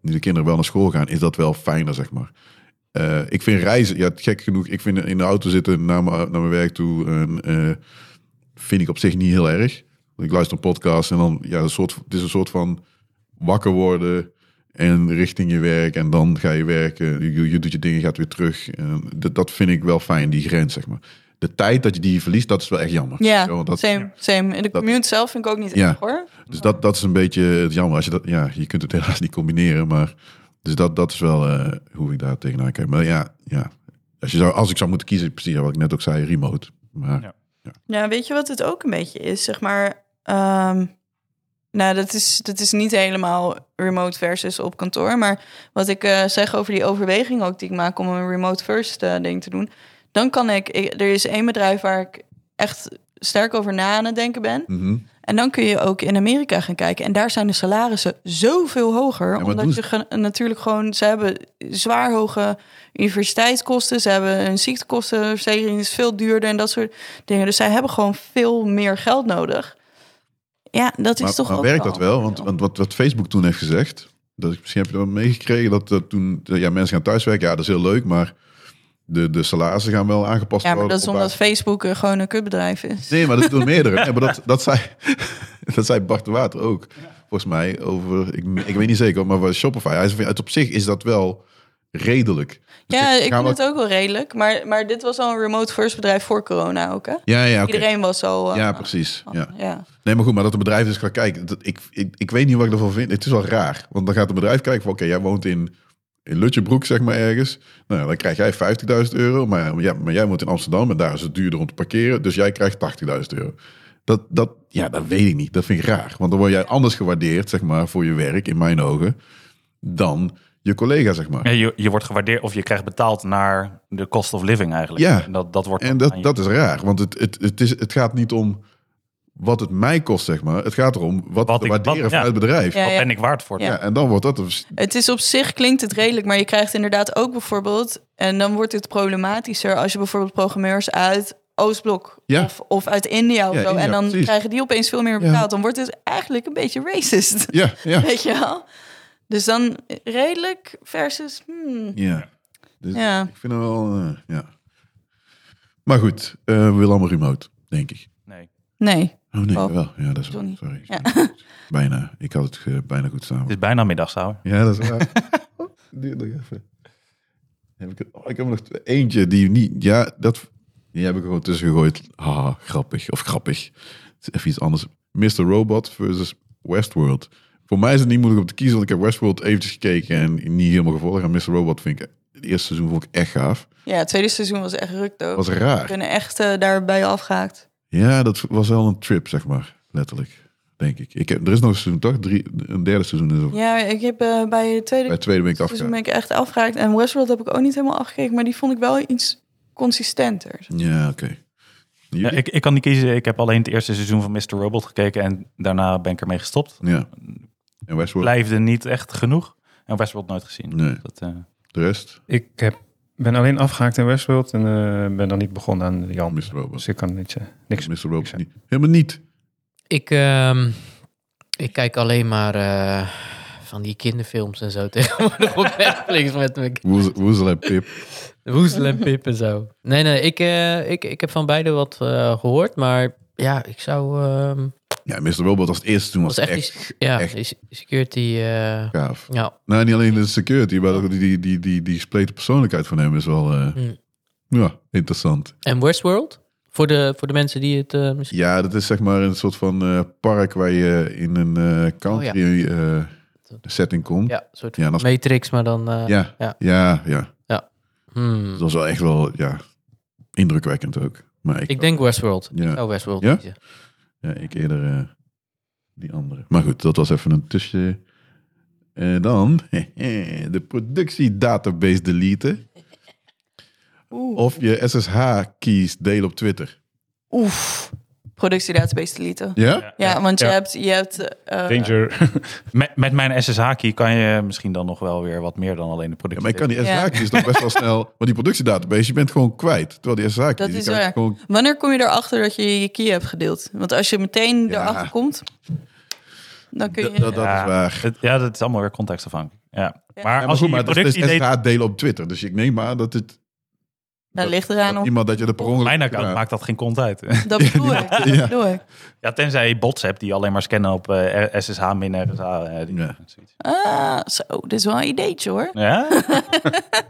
nu de kinderen wel naar school gaan, is dat wel fijner, zeg maar. Eh, ik vind reizen, ja, gek genoeg. Ik vind in de auto zitten naar mijn, naar mijn werk toe, en, eh, vind ik op zich niet heel erg. Want Ik luister een podcast en dan, ja, een soort, het is een soort van wakker worden en richting je werk en dan ga je werken. Je, je doet je dingen, je gaat weer terug. En dat, dat vind ik wel fijn, die grens, zeg maar. De tijd dat je die verliest, dat is wel echt jammer. Ja, Zo, want Oh, dat, same, same. En de Dat- commute zelf vind ik ook niet Ja. erg hoor. dus dat, dat is een beetje het jammer. Als je, dat, ja, je kunt het helaas niet combineren, maar... Dus dat, dat is wel eh, hoe ik daar tegenaan kijk. Maar ja, ja. Als, je zou, als ik zou moeten kiezen, precies wat ik net ook zei, remote. Maar Ja. Ja, weet je wat het ook een beetje is? Zeg maar, ehm, nou, dat is, dat is niet helemaal remote versus op kantoor. Maar wat ik eh, zeg over die overweging ook die ik maak om een remote first eh, ding te doen. Dan kan ik, ik- er is één bedrijf waar ik echt sterk over na aan het denken ben. En dan kun je ook in Amerika gaan kijken. En daar zijn de salarissen zoveel hoger. wat doen omdat ze? je ge- natuurlijk gewoon... Ze hebben zwaar hoge universiteitskosten. Ze hebben hun ziektekosten. Verzekering is veel duurder en dat soort dingen. Dus zij hebben gewoon veel meer geld nodig. Ja, dat is Maar, toch maar ook werkt dat wel? een Want, voordeel. want wat, wat Facebook toen heeft gezegd, dat, misschien heb je dat meegekregen, dat, eh, toen eh, ja, mensen gaan thuiswerken, ja, dat is heel leuk, maar de, de salarissen gaan wel aangepast ja, worden. maar dat is op omdat basis- Facebook eh, gewoon een kutbedrijf is. Nee, maar dat doen meerdere. Nee, maar dat, dat, zei, dat zei Bart de Water ook, volgens mij, over, ik, ik weet niet zeker, maar wat Shopify, hij zei van, ja, het op zich is dat wel redelijk. Dus Ja, dan ik gaan vind we- het ook wel redelijk. Maar, maar dit was al een remote first bedrijf voor corona ook, hè? Ja, ja, oké. Iedereen was al... eh, Ja, precies. al- Ja. ja. Nee, maar goed, maar dat een bedrijf dus gaat kijken. Dat, ik, ik, ik weet niet wat ik ervan vind. Het is wel raar. Want dan gaat een bedrijf kijken van... Oké, jij woont in, in Lutjebroek, zeg maar, ergens. Nou, ja, dan krijg jij 50.000 euro. Maar, ja, maar jij woont in Amsterdam en daar is het duurder om te parkeren. Dus jij krijgt 80.000 euro. Dat, dat, ja, dat weet ik niet. Dat vind ik raar. Want dan word jij anders gewaardeerd, zeg maar, voor je werk, in mijn ogen... dan je collega, zeg maar. Ja, je, je wordt gewaardeerd of je krijgt betaald naar de cost of living eigenlijk. Ja. En dat, dat wordt En dan dat, aan je- dat is raar, want het, het, het, is, het gaat niet om wat het mij kost, zeg maar. Het gaat erom wat, Wat te ik- wat- waarderen ja. vanuit het bedrijf. Ja, Wat ja. ben ik waard voor? Ja, en dan wordt dat een Het is op zich klinkt het redelijk, maar je krijgt inderdaad ook bijvoorbeeld... en dan wordt het problematischer als je bijvoorbeeld programmeurs uit Oostblok... Ja. Of, of uit India of Ja, zo... India, en dan precies. krijgen die opeens veel meer Ja. betaald. Dan wordt het eigenlijk een beetje racist, Ja, ja. weet je wel? Dus dan redelijk versus... hmm, ja. Dus Ja. Ik vind het wel, eh, ja. Maar goed, eh, we willen allemaal remote, denk ik. Nee. nee. Oh nee, Oh, wel. Ja, dat is wel. Johnny. Sorry. Ja. Bijna. Ik had het eh, bijna goed Het samen. is bijna middag, zou. Ja, dat is waar. Duurt nog even. Heb ik, het- oh, ik heb er nog twee- eentje die niet... Ja, dat, die heb ik er gewoon tussen gegooid. Haha, grappig. Of grappig. Het is even iets anders. Mr. Robot versus Westworld. Voor mij is het niet moeilijk om te kiezen, want ik heb Westworld eventjes gekeken en niet helemaal gevolgd. En Mr. Robot vind ik... Het eerste seizoen vond ik echt gaaf. Ja, het tweede seizoen was echt rukt ook. Dat was We raar. kunnen echt eh, daarbij afgehaakt. Ja, dat was wel een trip, zeg maar. Letterlijk, denk ik. ik heb, er is nog een seizoen, toch? Drie, een derde seizoen is er. Ja, ik heb eh, bij het tweede Bij het tweede ben ik seizoen ben afgegaan. ik echt afgehaakt. En Westworld heb ik ook niet helemaal afgekeken, maar die vond ik wel iets consistenter. Ja, oké. Ja, Jullie? ik, ik kan niet kiezen. Ik heb alleen het eerste seizoen van Mr. Robot gekeken en daarna ben ik ermee gestopt. Ja. En Westworld? Blijfde niet echt genoeg. En Westworld nooit gezien. Nee. Dat, eh, De rest? Ik heb, ben alleen afgehaakt in Westworld en eh, ben dan niet begonnen aan die andere. Mr. Robot. Dus ik kan niet, eh, niks. Mr. Robot zeg. niet. Helemaal niet. Ik, ehm, ik kijk alleen maar eh, van die kinderfilms en zo tegenwoordig op Netflix met mijn Woezel- Woezel en Pip. woestel en pip en zo. Nee, nee, ik, eh, ik, ik heb van beide wat eh, gehoord, maar ja, ik zou... ehm Ja, Mr. Robot als het eerste toen was was echt, echt die- ja, echt. die security... eh, gaaf. ja, Nou, niet alleen de security, maar ook die, die, die, die, die spleten persoonlijkheid van hem is wel... eh, Hm. Ja, interessant. en Westworld? Voor de, voor de mensen die het eh, misschien... Ja, dat is zeg maar een soort van eh, park waar je in een eh, country eh, setting komt. Ja, een soort Ja, dat is- Matrix, maar dan... eh, Ja, ja, Ja. ja. hmm. Dat was wel echt wel ja, indrukwekkend ook. Maar ik, Ik denk Westworld. Ja. Ik zou Westworld Ja? kiezen. ja, ik eerder eh, die andere. Maar goed, dat was even een tussen. Eh, dan de productiedatabase deleten. Oeh. Of je SSH-keys delen op Twitter. Oef. Productiedatabase deleten. Ja? Ja. Ja, want je Ja. hebt... Je hebt eh, Danger. met, met mijn SSH-key kan je misschien dan nog wel weer wat meer dan alleen de Ja, productie. maar ik kan die Ja. SSH-keys toch best wel snel... Want die productiedatabase, je bent gewoon kwijt. Terwijl die SSH-keys... Dat die is kan je waar. Gewoon, wanneer kom je erachter dat je je key hebt gedeeld? Want als je meteen Ja. erachter komt, dan kun je... dat, dat, dat Ja. is waar. Het- ja, dat is allemaal weer contextafhankelijk. Ja. Ja, Maar Ja, maar als goed, je maar je dat is dus productie deed, SSH delen op Twitter. Dus ik neem aan dat het... dat ligt eraan dat op. Iemand dat je de per ongeluk... mijn account Ja. maakt dat geen kont uit. Dat bedoel ik. Dat Ja. bedoel ik. ja, tenzij je bots hebt die alleen maar scannen op eh, R- SSH min RSA. eh, die- Ja. zoiets. Ah, zo, dit is wel een ideetje hoor. Ja?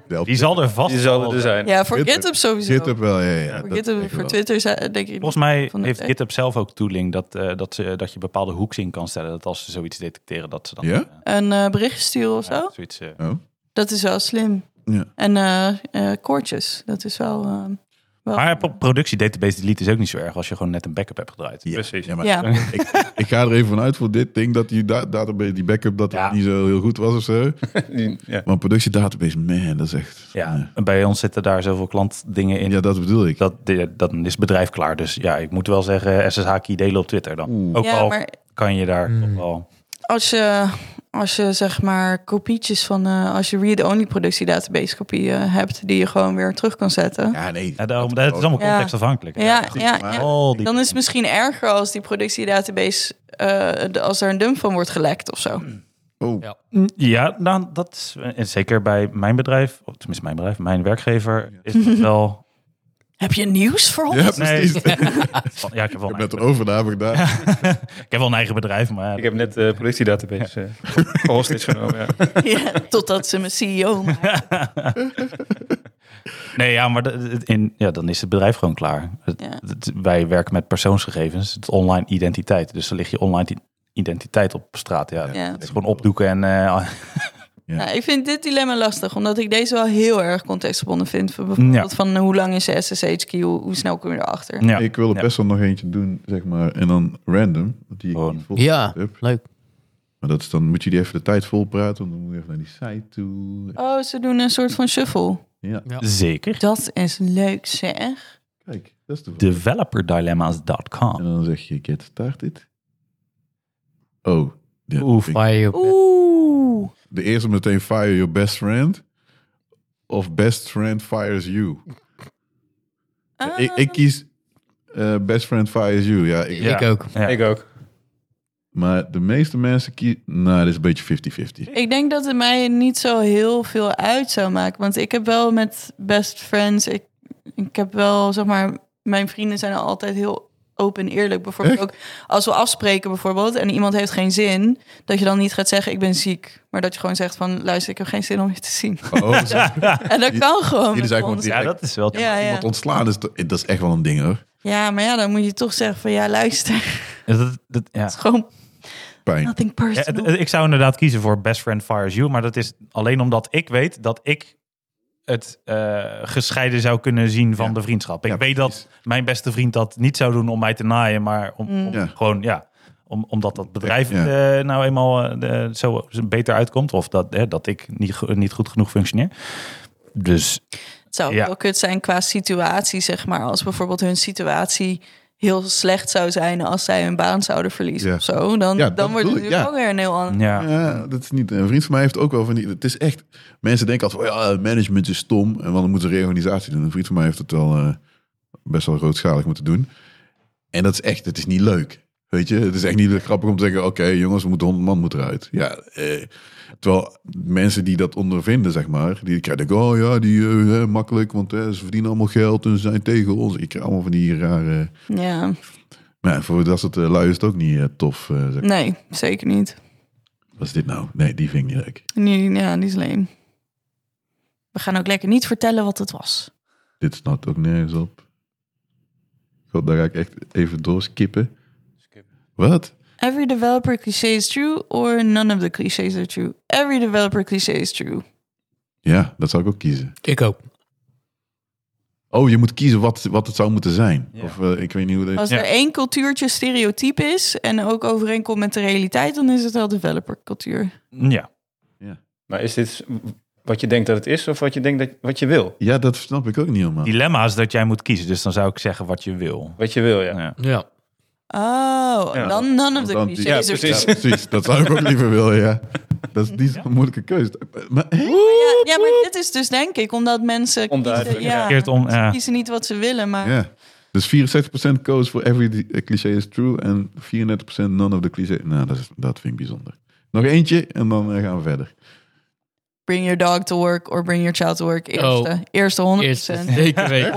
Deel op Die zal er vast Die zal wel er dus zijn. Ja, voor GitHub. GitHub sowieso. GitHub wel, ja, ja. voor, dat GitHub, denk ik voor wel. Twitter zei- denk ik... Volgens mij Van de heeft tech. GitHub zelf ook tooling dat, eh, dat, ze, dat je bepaalde hoeks in kan stellen. Dat als ze zoiets detecteren, dat ze dan Ja? eh, een eh, bericht sturen of zo. zoiets. eh, Oh. Dat is wel slim. Ja. En eh eh, koortjes, dat is wel... eh, Wel- Maar pro- productie database delete is ook niet zo erg als je gewoon net een backup hebt gedraaid. Ja. Precies. Ja, maar ja. ik ga er even vanuit voor dit ding dat die da- database, die backup, dat die Ja. niet zo heel goed was of zo. ja. Maar productiedatabase, man, dat is echt... Ja, en bij ons zitten daar zoveel klantdingen in. Ja, dat bedoel ik. Dat, de- dan is het bedrijf klaar. Dus ja, ik moet wel zeggen, SSH-key delen op Twitter dan. Ook ja, al maar kan je daar toch wel... als je, als je zeg maar kopietjes van, eh, als je read-only productiedatabase kopieën eh, hebt, die je gewoon weer terug kan zetten. Ja, nee. Ja, daarom, dat is allemaal Ja. contextafhankelijk. Ja, ja, ja, maar- Al die- Dan is het misschien erger als die productiedatabase, eh, de- als er een dump van wordt gelekt of zo. Hmm. Oh, Ja. Ja, nou, dat is en zeker bij mijn bedrijf, of tenminste mijn bedrijf, mijn werkgever, is dat wel... Heb je nieuws voor ons? ja, precies. Nee. ik Ja, ik heb wel, heb een net een eigen, overname gedaan. ik heb wel een eigen bedrijf, maar... Ik heb net de productiedatabase eh, gehostage genomen. Ja. Ja, totdat ze mijn CEO maken. Nee, ja, maar dat- het- in, ja, dan is het bedrijf gewoon klaar. Het- Ja. het- wij werken met persoonsgegevens, het is online identiteit. Dus dan ligt je online i- identiteit op straat. Ja, Ja. Het is gewoon opdoeken en... eh, Ja. Ja, Nou, ik vind dit dilemma lastig, omdat ik deze wel heel erg contextgebonden vind. Van Bijvoorbeeld Ja. Hmm. van hoe lang is de SSH-key, hoe, hoe snel kom je erachter? ja. Ik wil er Ja. best wel nog eentje doen, zeg maar. En dan random. want Die ik Gewoon. niet volgezet Ja, heb. leuk. Maar dat is, dan moet je die even de tijd vol praten. Want dan moet je even naar die site toe. Oh, ze doen een soort van shuffle. Ja, Zeker. Dat is leuk zeg. kijk. Dat is toevallig. En Developerdilemma's.com dan zeg je get started. Oh. ja, Oeh, ik- Waar je op- Oeh. De eerste meteen fire your best friend. Of best friend fires you. Ik, ik kies eh, best friend fires you. Ja, ik, Ja. Ik ook. Ja. Ik ook. Maar de meeste mensen kiezen... Nou, dit is een beetje 50-50. Ik denk dat het mij niet zo heel veel uit zou maken. Want ik heb wel met best friends. Ik, ik heb wel, zeg maar, mijn vrienden zijn altijd heel open en eerlijk. Bijvoorbeeld ook als we afspreken bijvoorbeeld en iemand heeft geen zin, dat je dan niet gaat zeggen ik ben ziek. Maar dat je gewoon zegt van luister, ik heb geen zin om je te zien. Oh, zo. En dat kan gewoon. jullie met zijn gewoon ons. die- Ja, dat is wel... ja, ja. Want ontslaan is, to- dat is echt wel een ding, hoor. ja, maar ja, dan moet je toch zeggen van ja, luister. Dat, dat, ja. Het is gewoon Pijn. nothing Ja, personal. het- het- ik zou inderdaad kiezen voor Best Friend Fires You, maar dat is alleen omdat ik weet dat ik het eh, gescheiden zou kunnen zien van Ja. de vriendschap. Ik Ja, weet dat precies. mijn beste vriend dat niet zou doen om mij te naaien, maar om, om Mm. Ja. gewoon, ja, om, omdat dat bedrijf Ja. eh, nou eenmaal eh, de- zo beter uitkomt of dat, eh, dat ik niet, go- niet goed genoeg functioneer. Dus Het zou ook Ja. wel kut zijn qua situatie, zeg maar. Als bijvoorbeeld hun situatie heel slecht zou zijn als zij hun baan zouden verliezen Ja. of zo. Dan, Ja, dat dan wordt het bedoel ik, natuurlijk ja. ook weer een heel ander... ja, Ah, Ja, dat is niet. Een vriend van mij heeft ook wel van die. Het is echt. Mensen denken altijd: van, ja, management is stom. En want dan moeten ze reorganisatie doen. Een vriend van mij heeft het wel eh, best wel grootschalig moeten doen. En dat is echt. Het is niet leuk. Weet je, het is echt niet grappig om te zeggen: oké, jongens, we moeten 100 man moet eruit. Ja. eh, terwijl mensen die dat ondervinden, zeg maar, die krijgen denk ik, oh ja, die eh, eh, makkelijk, want eh, ze verdienen allemaal geld en ze zijn tegen ons. Ik krijg allemaal van die rare. Ja, Nou, voor dat soort eh, lui is het ook niet eh, tof. eh, zeg. nee, zeker niet. Wat is dit nou? Nee, die vind ik niet leuk. Nee, ja, niet alleen. We gaan ook lekker niet vertellen wat het was. Dit snapt ook nergens op. God, daar ga ik echt even doorskippen. Wat? Every developer cliché is true or none of the clichés are true. Every developer cliché is true. Ja, dat zou ik ook kiezen. Ik ook. Oh, je moet kiezen wat, wat het zou moeten zijn. Of eh, ik weet niet hoe dat... Als er één cultuurtje stereotyp is en ook overeenkomt met de realiteit, dan is het wel developercultuur. ja. Maar is dit wat je denkt dat het is of wat je denkt dat wat je wil? Ja, dat snap ik ook niet helemaal. dilemma is dat jij moet kiezen. Dus dan zou ik zeggen wat je wil. Wat je wil, ja. Ja. Ja. Oh, Ja. dan none of Want the dan- clichés Ja, are true. precies. Ja, precies, dat zou ik ook liever willen, ja. Dat is niet zo'n moeilijke keuze. Maar, hè? Ja, ja, maar dit is dus denk ik omdat mensen Onduidelijk, kiezen, ja, Keert om, ze ja. kiezen niet wat ze willen, maar Ja. Dus 64% koos voor every di- eh, cliché is true en 34% none of the cliché. Nou, dat, is, dat vind ik bijzonder. Nog eentje en dan eh, gaan we verder. bring your dog to work or bring your child to work. Eerste, Oh. eerste 100%. Eerst zeker weten.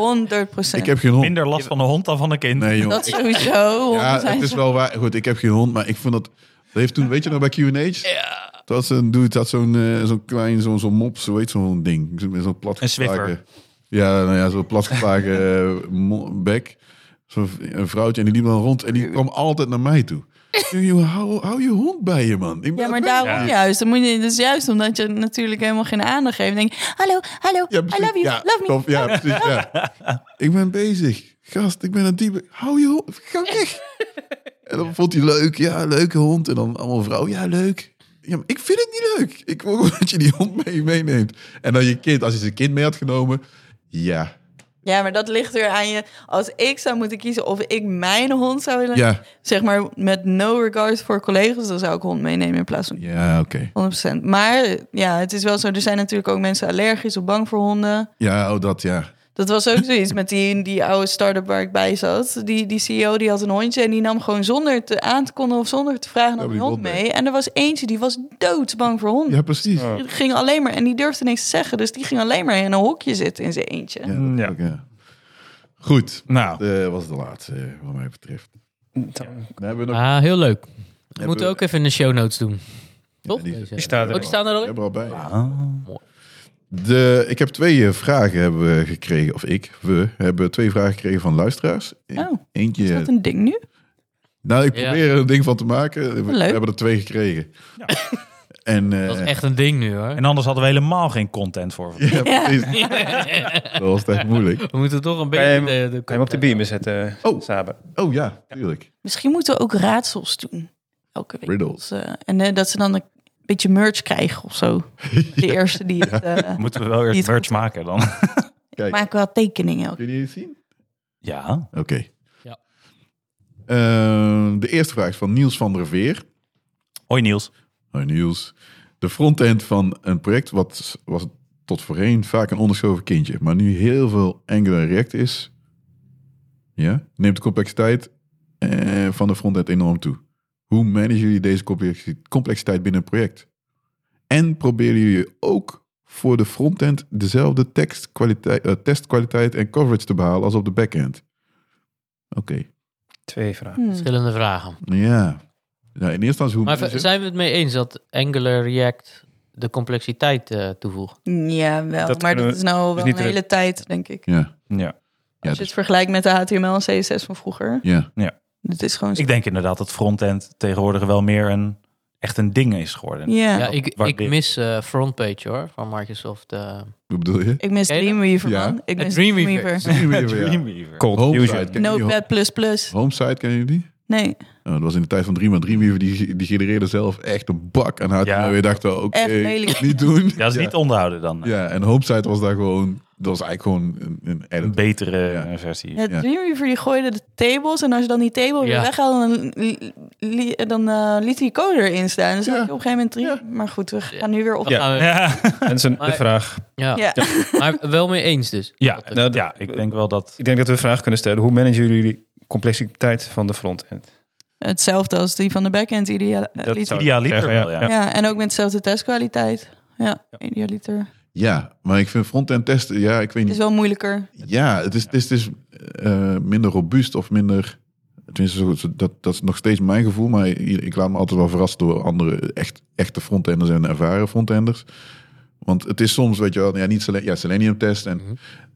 100%. Ik heb geen hond. Minder last van de hond dan van een kind. Nee, jongen. dat sowieso. Ja, 100%. het is wel waar. Goed, ik heb geen hond, maar ik vond dat... Dat heeft toen, weet je nog, bij Q&A's? Ja. Dat was een dude, had zo'n eh, zo'n klein, zo'n zo'n mop, zo weet zo'n ding. Zo- Met zo'n plat Een Swiffer. Ja, nou ja, zo'n platgeslagen eh, mo- bek. Zo'n v- een vrouwtje en die liep dan rond en die kwam altijd naar mij toe. Jongen, Hou, hou je hond bij je, man. Ik ben Ja, maar aan het daarom werk. juist. Dan moet je, dus juist omdat je natuurlijk helemaal geen aandacht geeft. denk je, hallo, hallo, Ja, I precies. love you, ja, love me. tof. ja, precies. Ja. Ik ben bezig. Gast, ik ben aan het diepe. Hou je hond. Ga weg. En dan vond hij leuk. Ja, leuke hond. En dan allemaal vrouw. Ja, leuk. Ja, maar ik vind het niet leuk. Ik wil gewoon dat je die hond mee meeneemt. En dan je kind, als je zijn kind mee had genomen. Ja. Ja, maar dat ligt er aan je. Als ik zou moeten kiezen of ik mijn hond zou willen... Ja. Zeg maar met no regard voor collega's, dan zou ik hond meenemen in plaats van... Ja, oké. 100%. Maar ja, het is wel zo. Er zijn natuurlijk ook mensen allergisch of bang voor honden. Ja, oh, dat ja. Dat was ook zoiets met die, die oude start-up waar ik bij zat. Die, die CEO die had een hondje en die nam gewoon zonder te aan te kondigen of zonder te Ja, vragen nam die die hond hond mee. mee. En er was eentje die was doodsbang voor honden. Ja, precies. Ja, Die Ging alleen maar en die durfde niks te zeggen. Dus die ging alleen maar in een hokje zitten in zijn eentje. dat Ja. ook, ja. Goed. Nou, Dat was de laatste, eh, wat mij betreft. Dan hebben we nog... Ah, heel leuk. We Hebben moeten we- ook even in de show notes doen. Toch? die- Deze. die staat Oh, er. die staan er al We in? Ah, hebben er al bij. Mooi. De, ik heb twee eh, vragen hebben we gekregen, of ik, we hebben twee vragen gekregen van luisteraars. E- Oh, Eentje. Is dat een ding nu? Nou, ik Ja. probeer er een ding van te maken. We, we Leuk. hebben er twee gekregen. En, eh, Dat is echt een ding nu hoor. En anders hadden we helemaal geen content voor. Ja, precies. Dat was echt moeilijk. We moeten toch een Kan je beetje... hem- de- de- kan je hem op de beamer zetten, Oh. oh. Saber? Oh ja, tuurlijk. Misschien moeten we ook raadsels doen. Elke week. Riddles. Dus, eh, en eh, dat ze dan een beetje merch krijgen of zo. De eerste die het... eh, Moeten we wel Die is eerst merch goed. maken dan? Kijk, maak wel tekeningen. elke- kun je het zien? Ja. Oké. Ja. Eh, de eerste vraag is van Niels van der Veer. Hoi Niels. Hoi Niels. De frontend van een project wat was tot voorheen vaak een onderschoven kindje, maar nu heel veel Angular en React is, ja, neemt de complexiteit eh, van de frontend enorm toe. Hoe managen jullie deze complexi- complexiteit binnen een project? En proberen jullie ook voor de frontend dezelfde tekstkwaliteit, eh, testkwaliteit en coverage te behalen als op de backend? Oké, Twee vragen. Hmm. eh, Verschillende vragen. ja. Nou, in eerste instantie hoe... Maar v- zijn we het mee eens dat Angular React de complexiteit eh, toevoegt? Ja, wel. Dat maar kunnen dat we- is nou is wel niet een hele tijd, denk ik. Ja, dus- Ja. ja, Als je het vergelijkt met de HTML en CSS van vroeger. ja. Het is gewoon... zo- Ik denk inderdaad dat frontend tegenwoordig wel meer een, echt een ding is geworden. ja. Ja, ik, ik waardeer ik. mis eh, Frontpage hoor, van Microsoft. eh. Hoe bedoel je? Ik mis Ken je dat? Dreamweaver, Ja. man. Ik Eh, mis Dreamweaver. Dreamweaver. Dreamweaver. Cold Homesite, Fusion. kennen jullie Notepad++. plus plus. Homesite, kennen jullie die? Nee, Oh, dat was in de tijd van Dreamweaver. Dreamweaver die, die genereerde zelf echt een bak aan haar. Ja. Ja. We dachten, oké, Echt lelijk. niet doen. Ja, dat is niet onderhouden dan. Ja, en Homesite was daar gewoon... Dat was eigenlijk gewoon een, een Een edit. betere Ja. eh, versie. het Dreamweaver die gooide de tables en als je dan die table weer Ja. weghaalde, dan, li- li- dan eh, liet hij code erin staan. Dus Ja. dan had je op een gegeven moment drie. Maar goed, we gaan nu weer op. Dan Ja. gaan we- Ja. En dat is een- Maar- de vraag. ja. Ja. maar wel mee eens dus. Ja, Dat- Nou, ja, ik denk wel dat... Ik denk dat we een vraag kunnen stellen. Hoe managen jullie de complexiteit van de frontend? hetzelfde als die van de backend idealiter. Dat zou ik Idealiter zeggen, wel, ja. Ja, en ook met dezelfde testkwaliteit. Ja, idealiter. Ja, maar ik vind frontend testen... Ja, ik weet Het niet. is wel moeilijker. Ja, het is, het is, het is eh, minder robuust of minder... Tenminste, zo- zo- dat, dat is nog steeds mijn gevoel. Maar ik, ik laat me altijd wel verrassen door andere echt, echte frontenders en ervaren frontenders. Want het is soms, weet je wel, ja, niet Selen- ja, Selenium test. En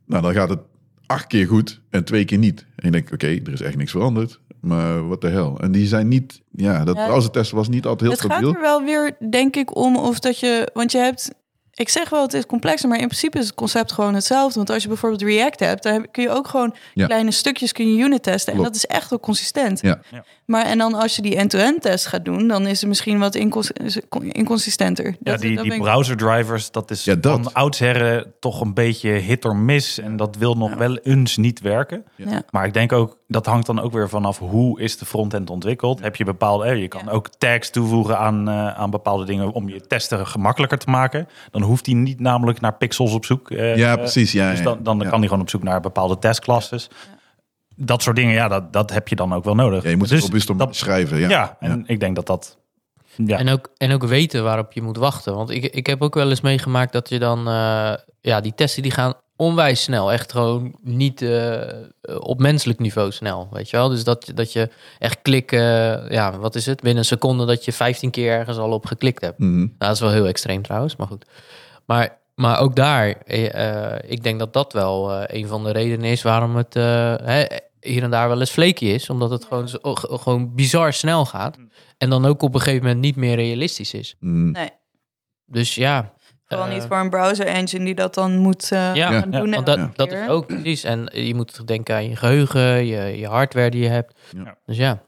nou, dan gaat het acht keer goed en twee keer niet. En je denkt, oké, er is echt niks veranderd. Maar wat de hel. En die zijn niet, ja, dat Ja. browser test was niet altijd heel het gaat stabiel. er wel weer, denk ik, om of dat je... Want je hebt... Ik zeg wel, het is complexer, maar in principe is het concept gewoon hetzelfde. Want als je bijvoorbeeld React hebt, dan heb- kun je ook gewoon Ja. kleine stukjes kun je unit testen. En Klopt. dat is echt wel consistent. Ja. Ja. Maar en dan als je die end-to-end test gaat doen, dan is het misschien wat incons- inconsistenter. Ja, Dat- die, dat die ben ik- browser drivers, dat is Ja, dat. van oudsherren toch een beetje hit or miss. En dat wil nog wel eens niet werken. Ja. Maar ik denk ook, dat hangt dan ook weer vanaf hoe is de frontend ontwikkeld. Heb je bepaalde, eh, je kan Ja. ook tags toevoegen aan, eh, aan bepaalde dingen om je testen gemakkelijker te maken. Dan hoeft hij niet namelijk naar pixels op zoek. eh, Ja, eh, precies. Ja, Dus dan, dan ja. kan hij gewoon op zoek naar bepaalde testklasses. Dat soort dingen, ja, dat, dat heb je dan ook wel nodig. Ja, je moet dus het robuust om dat- schrijven. Ja, ja, en ik denk dat dat... Ja, En, ook, en ook weten waarop je moet wachten. Want ik, ik heb ook wel eens meegemaakt dat je dan... eh, ja, die testen die gaan onwijs snel. Echt gewoon niet eh, op menselijk niveau snel, weet je wel. Dus dat, dat je echt klikken... ja, wat is het? Binnen een seconde dat je 15 keer ergens al op geklikt hebt. Mhm. Nou, dat is wel heel extreem trouwens, maar goed. Maar, maar ook daar, eh, eh, ik denk dat dat wel eh, een van de redenen is waarom het... eh, hè, hier en daar wel eens flaky is. Omdat het gewoon, zo- ge- gewoon bizar snel gaat. Mm. En dan ook op een gegeven moment niet meer realistisch is. Mm. Dus ja. Gewoon eh, niet voor een browser engine die dat dan moet eh, Ja, gaan doen. Want elke dat, dat keer. is ook precies. En je moet denken aan je geheugen, je, je hardware die je hebt. Ja. Dus ja.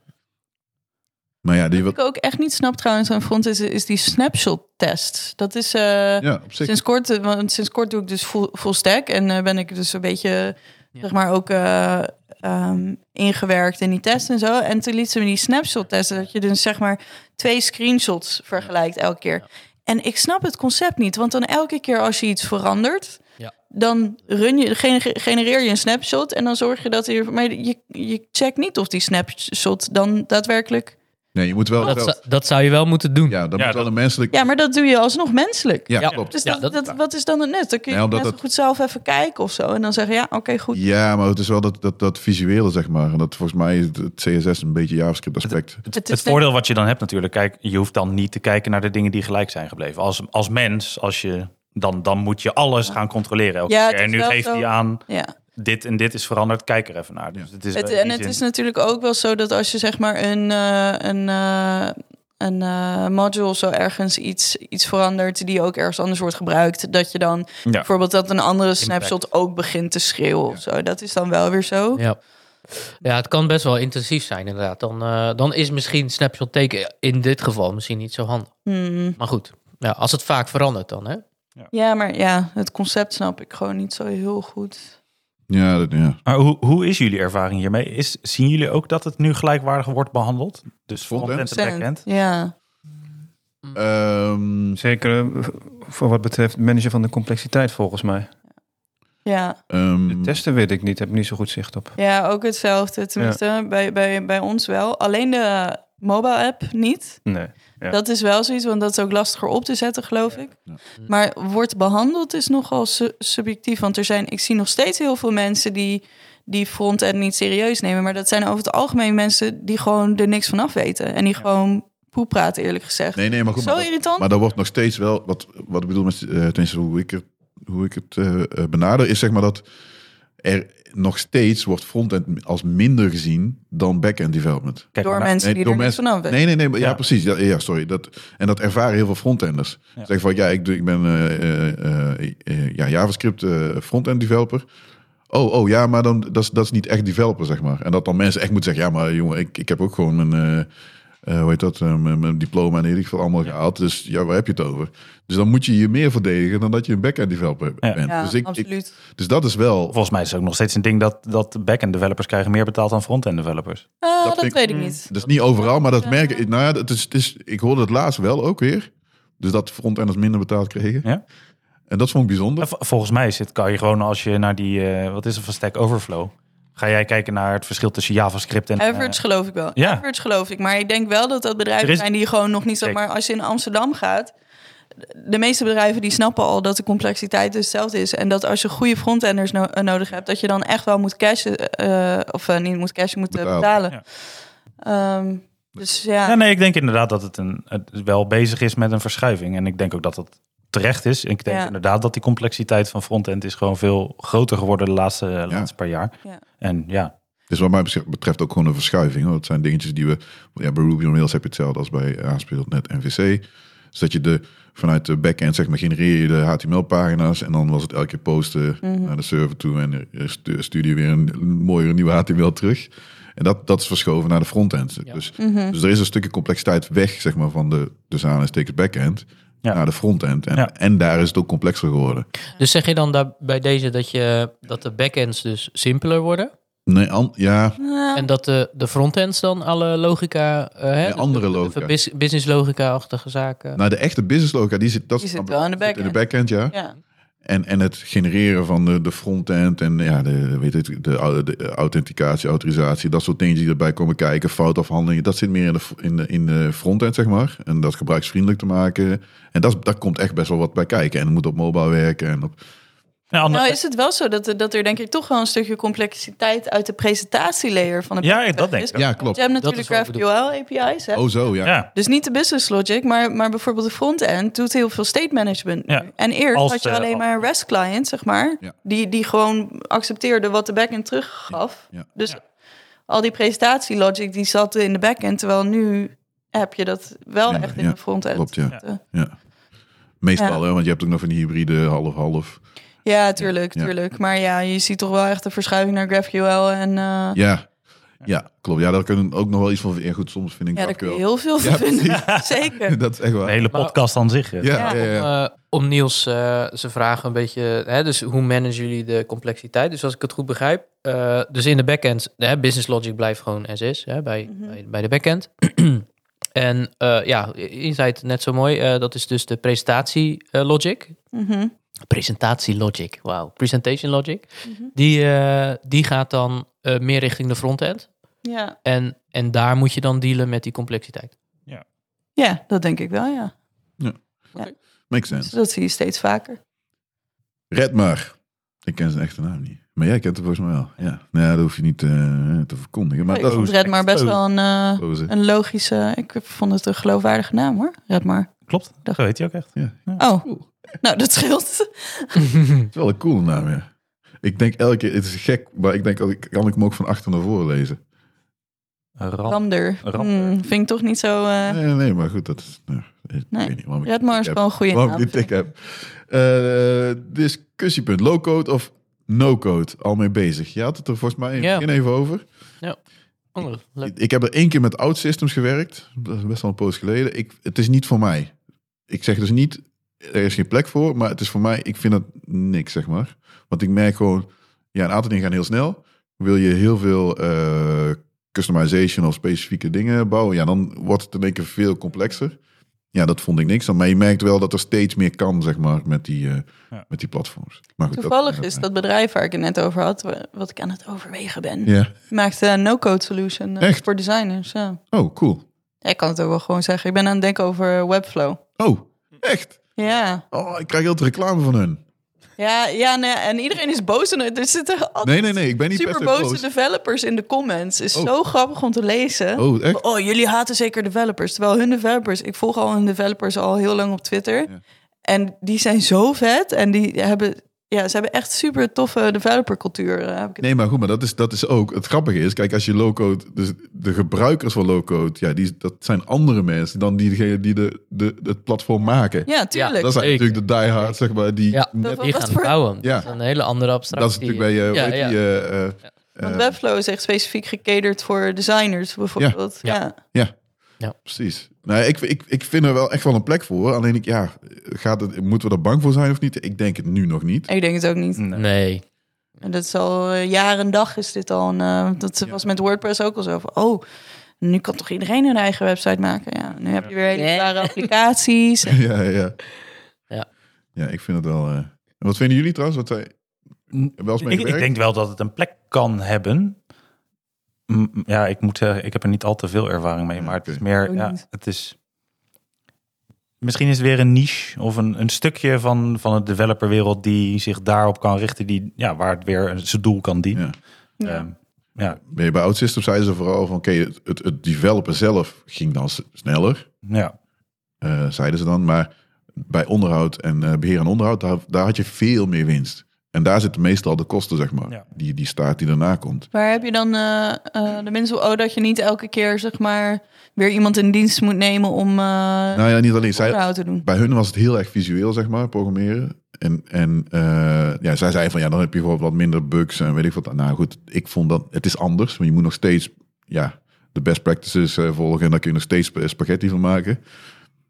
Maar ja, die Wat wat... ik ook echt niet snap trouwens aan front is, is die snapshot-test. Dat is eh, Ja, op zich. sinds kort, eh, want sinds kort doe ik dus full, full stack en eh, ben ik dus een beetje, Ja. zeg maar, ook eh, ehm, ingewerkt in die test en zo. En toen liet ze me die snapshot-test, dat je dus zeg maar twee screenshots vergelijkt elke keer. En ik snap het concept niet, want dan elke keer als je iets verandert, Ja. dan run je, gener- genereer je een snapshot en dan zorg je dat er, maar je, je checkt niet of die snapshot dan daadwerkelijk Nee, je moet wel... Dat, wel- zou- dat zou je wel moeten doen. Ja, dat Ja, moet wel dat- een menselijk... Ja, maar dat doe je alsnog menselijk. Ja, Ja. klopt. Dus Ja, dat, dat- dat, wat is dan het nut? Dan kun je Nee, omdat net zo dat- goed zelf even kijken of zo. En dan zeggen, ja, oké, goed. Ja, maar het is wel dat, dat, dat visuele, zeg maar. En dat volgens mij is het CSS een beetje JavaScript aspect. Het Het is voordeel wat je dan hebt natuurlijk, kijk, je hoeft dan niet te kijken naar de dingen die gelijk zijn gebleven. Als, als mens, als je, dan, dan moet je alles gaan controleren. elke Ja, keer. het En is nu wel geeft zo. hij aan, ja. dit en dit is veranderd, kijk er even naar. Dus het is, het, eh, in en die het zin- is natuurlijk ook wel zo dat als je zeg maar een, eh, een, eh, een eh, module of zo ergens iets, iets verandert... die ook ergens anders wordt gebruikt... dat je dan bijvoorbeeld dat een andere snapshot ook begint te schreeuwen of zo. Dat is dan wel weer zo. Ja. Ja, het kan best wel intensief zijn, inderdaad. Dan, eh, dan is misschien snapshot taken in dit geval misschien niet zo handig. Hmm. Maar goed, ja, als het vaak verandert dan, hè? Ja, maar ja, het concept snap ik gewoon niet zo heel goed. Ja, dat, ja. Maar hoe, hoe is jullie ervaring hiermee? Is, zien jullie ook dat het nu gelijkwaardig wordt behandeld? Dus Frontend? frontend en backend? Ja. Ehm, Zeker eh, voor wat betreft managen van de complexiteit volgens mij. ja. ehm, Hmm. De testen weet ik niet, heb ik niet zo goed zicht op. Ja, ook hetzelfde. Tenminste, bij, bij, bij ons wel. Alleen de mobile app niet. Nee. Ja. Dat is wel zoiets, want dat is ook lastiger op te zetten, geloof ik. Ja. Maar wordt behandeld is nogal su- subjectief. Want er zijn, ik zie nog steeds heel veel mensen die, die front-end niet serieus nemen. Maar dat zijn over het algemeen mensen die gewoon er niks van af weten. En die gewoon poep praten, eerlijk gezegd. nee, nee, maar goed. Zo maar dat- irritant. Maar daar wordt nog steeds wel, wat, wat ik bedoel met, eh, tenminste hoe ik, er, hoe ik het eh, eh, benader, is zeg maar dat er nog steeds wordt frontend als minder gezien dan back-end development. Kijk, door maar nou- mensen nee, die door er niks mensen- van af weten. Nee, nee, nee, maar ja, Ja. precies. Ja, ja, sorry. Dat, en dat ervaren heel veel frontenders. Ja. Zeggen van, ja, ik, doe- ik ben eh, eh, eh, eh, ja, JavaScript eh, frontend developer. Oh, oh, ja, maar dan, dat, is, dat is niet echt developer, zeg maar. En dat dan mensen echt moeten zeggen, ja, maar jongen, ik, ik heb ook gewoon mijn, eh, eh, hoe heet dat, eh, mijn, mijn diploma in ieder geval allemaal gehaald. Dus ja, waar heb je het over? Dus dan moet je je meer verdedigen dan dat je een back-end developer Ja. bent. Ja, dus, ik, ik- absoluut. dus dat is wel... Volgens mij is het ook nog steeds een ding dat, dat back-end developers krijgen meer betaald dan front-end developers. Ah, dat dat, vind ik- weet ik niet. Dus niet overal, maar dat merk ik. Nou ja, het is, het is, ik hoorde het laatst wel ook weer. Dus dat frontenders minder betaald kregen. Ja. En dat vond ik bijzonder. En v- Volgens mij zit, kan je gewoon als je naar die, eh, wat is het van Stack Overflow? Ga jij kijken naar het verschil tussen JavaScript en... eh, Average geloof ik wel. ja. Average geloof ik. Maar ik denk wel dat dat bedrijven Er is- zijn die gewoon nog niet zo... Zeker. Maar als je in Amsterdam gaat... De meeste bedrijven die snappen al dat de complexiteit dus hetzelfde is. En dat als je goede frontenders no- eh, nodig hebt... dat je dan echt wel moet cashen. eh, of eh, niet moet cashen, moet eh, Betalen. betalen. Ehm, dus ja. Ja, nee, ik denk inderdaad dat het, een, het wel bezig is met een verschuiving. En ik denk ook dat dat terecht is. Ik denk Ja. inderdaad dat die complexiteit van frontend is gewoon veel groter geworden de laatste, laatste paar jaar. Ja. En ja, Dus wat mij betreft ook gewoon een verschuiving. Hoor. Dat zijn dingetjes die we... Ja, bij Ruby on Rails heb je hetzelfde als bij ASP.NET en VC. Dus dat je de, vanuit de backend zeg maar, genereer je de HTML-pagina's... en dan was het elke keer posten naar de server toe... en eh, stu- stuur je weer een mooiere nieuwe HTML terug. En dat, dat is verschoven naar de frontend. Dus, dus er is een stukje complexiteit weg zeg maar, van de dus aanhalingstekens backend... Ja. naar de frontend. En, Ja. en daar is het ook complexer geworden. Dus zeg je dan daar, bij deze dat, je, dat de backends dus simpeler worden? Nee, an- ja, Nou, En dat de, de frontends dan alle logica... eh, hè, Nee, andere logica. business logica-achtige zaken... nou, de echte business logica, die zit, dat Die zit wel in de in backend. de backend, ja. ja. En, en het genereren van de, de frontend en ja, de, weet het, de, au- de authenticatie, autorisatie, dat soort dingen die erbij komen kijken, foutafhandelingen, dat zit meer in de, f- in de, in de frontend, zeg maar. En dat gebruiksvriendelijk te maken. En dat, is- daar komt echt best wel wat bij kijken. En het moet op mobile werken. En op, Ja, ander- Nou is het wel zo dat, er- dat er denk ik toch wel een stukje complexiteit... uit de presentatielayer van de Ja, backend dat denk is. ik ook. ja, Want klopt. Je hebt Dat is natuurlijk wat ik bedoel. GraphQL-API's. Oh, zo, ja. ja. Dus niet de business logic, maar, maar bijvoorbeeld de front-end doet heel veel state management. nu. Ja. En eerst Als, had je eh, alleen al- maar een REST client, zeg maar, Ja. die, die gewoon accepteerde wat de backend teruggaf. Ja. Ja. Dus al die presentatielogic die zat in de backend. Terwijl nu heb je dat wel Minder, echt in ja. de frontend. Klopt, ja. Ja. ja. Meestal, Ja. Hè, want je hebt ook nog van die hybride half-half. Ja, tuurlijk, Ja. tuurlijk. Maar ja, je ziet toch wel echt de verschuiving naar GraphQL. En eh, ja, Ja. ja, klopt. Ja, daar kunnen we ook nog wel iets van... Ja, goed, soms vind ik daar dat kun je wel. heel veel van Ja, vinden. Zeker. Dat is echt De waar. hele Maar- podcast aan zich. eh. Ja, ja, ja. Eh, om Niels eh zijn vragen een beetje... Hè, dus hoe managen jullie de complexiteit? Dus als ik het goed begrijp... eh, dus in de backend... Hè, business logic blijft gewoon as is hè, bij, Mhm. bij, bij de backend. en eh, ja, je je zei het net zo mooi. eh, dat is dus de presentatie eh, logic. Mhm. Presentatie logic, wauw. Presentation logic. Mhm. Die, eh, die gaat dan eh, meer richting de frontend. Ja. En, en daar moet je dan dealen met die complexiteit. ja, dat denk ik wel, ja. Makes Dus sense. dat zie je steeds vaker. Red maar. Ik ken zijn echte naam niet. Maar jij kent hem volgens mij wel. Ja, nou, ja, dat hoef je niet eh, te verkondigen. Maar Maar ik dat vond is goed. Red maar best wel een, eh, hoe ze- een logische... Ik vond het een geloofwaardige naam, hoor. Red maar. Klopt, Dag. zo heet hij ook echt. Ja. Oh, nou, dat scheelt. Het is wel een coole naam, ja. Ik denk elke keer, het is gek, maar ik denk, oh, ik- kan ik hem ook van achter naar voren lezen? Ram. Ramder. Ramder. Hmm, vind ik toch niet zo... eh Nee, nee, maar goed, dat is... Nou, ik Nee. weet niet waarom ik Red maar is heb- gewoon een goede Waarom naam. ik dit tik heb. Eh, discussiepunt, low-code of no-code, al mee bezig. Je had het er volgens mij in het Ja. begin even over. Oh, leuk. Ik, ik heb er één keer met Out Systems gewerkt. Dat is best wel een poos geleden. Ik, het is niet voor mij. Ik zeg dus niet, er is geen plek voor. Maar het is voor mij, ik vind dat niks, zeg maar. Want ik merk gewoon, ja, een aantal dingen gaan heel snel. Wil je heel veel eh, customization of specifieke dingen bouwen? Ja, dan wordt het in één keer veel complexer. Ja, dat vond ik niks aan. Maar je merkt wel dat er steeds meer kan, zeg maar, met die, eh, Ja. met die platforms. Maar goed, Toevallig is dat bedrijf waar ik het net over had, wa- wat ik aan het overwegen ben, Ja. maakt een no-code solution eh, Echt? voor designers. Ja. Oh, cool. Ja, Ik kan het ook wel gewoon zeggen. Ik ben aan het denken over eh, Webflow. Oh, echt? Ja, Oh, ik krijg heel veel reclame van hun. ja, ja nee, en iedereen is boos. En er zitten altijd Nee, nee, nee, ik ben niet per super se boze developers in de comments. Is Oh. zo grappig om te lezen. Oh, echt? Oh, jullie haten zeker developers. Terwijl hun developers, ik volg al hun developers al heel lang op Twitter. Ja. En die zijn zo vet. En die hebben, ja, ze hebben echt super toffe developercultuur. eh, Heb ik het Nee, maar goed, maar dat is, dat is ook... Het grappige is, kijk, als je low-code... Dus de gebruikers van low-code, ja, die, dat zijn andere mensen dan diegenen die de, de, het platform maken. Ja, tuurlijk. dat zijn zeker. natuurlijk de diehards, zeg maar, die... Ja. net- Wat Die was gaan voor- bouwen. Ja. Dat is een hele andere abstractie. dat is natuurlijk bij... eh, Ja, weet ja. die, eh, eh, Want eh, Webflow is echt specifiek gecaterd voor designers bijvoorbeeld. Ja, Ja. ja. Precies. Nou, ik, ik, ik vind er wel echt wel een plek voor. Alleen ik, ja, gaat het, moeten we er bang voor zijn of niet? Ik denk het nu nog niet. ik denk het ook niet. Nee. En dat is al eh, jaar en dag is dit al. Een, eh, dat was met WordPress ook al zo. Van, oh, nu kan toch iedereen een eigen website maken? Ja, nu heb je weer hele Ja. klare applicaties. ja, ja, ja. Ja. Ja, ik vind het wel... eh. En Wat vinden jullie trouwens? Wat zij wel eens mee Ik, ik gewerkt? denk wel dat het een plek kan hebben. M- Ja, ik moet zeggen, ik heb er niet al te veel ervaring mee. Ja, Maar het is oké. meer, Ook ja, niet. het is... Misschien is het weer een niche of een, een stukje van, van de developerwereld die zich daarop kan richten, die, ja, waar het weer zijn doel kan dienen. Ja. Ja. Ehm, ja, Nee, bij OutSystem zeiden ze vooral van, oké, het, het, het developen zelf ging dan s- sneller, ja. eh, zeiden ze dan. Maar bij onderhoud en eh, beheer en onderhoud, daar, daar had je veel meer winst. En daar zitten meestal de kosten, zeg maar, Ja. die, die staart die daarna komt. Waar heb je dan eh, eh, de mensen oh, dat je niet elke keer zeg maar weer iemand in dienst moet nemen om eh Nou ja, niet alleen, zij, onderhoud te doen? bij hun was het heel erg visueel, zeg maar, programmeren. En, en eh, ja, zij zeiden van, ja, dan heb je gewoon wat minder bugs en weet ik wat. Nou goed, ik vond dat, het is anders, maar je moet nog steeds, ja, de best practices eh, volgen en daar kun je nog steeds sp- spaghetti van maken.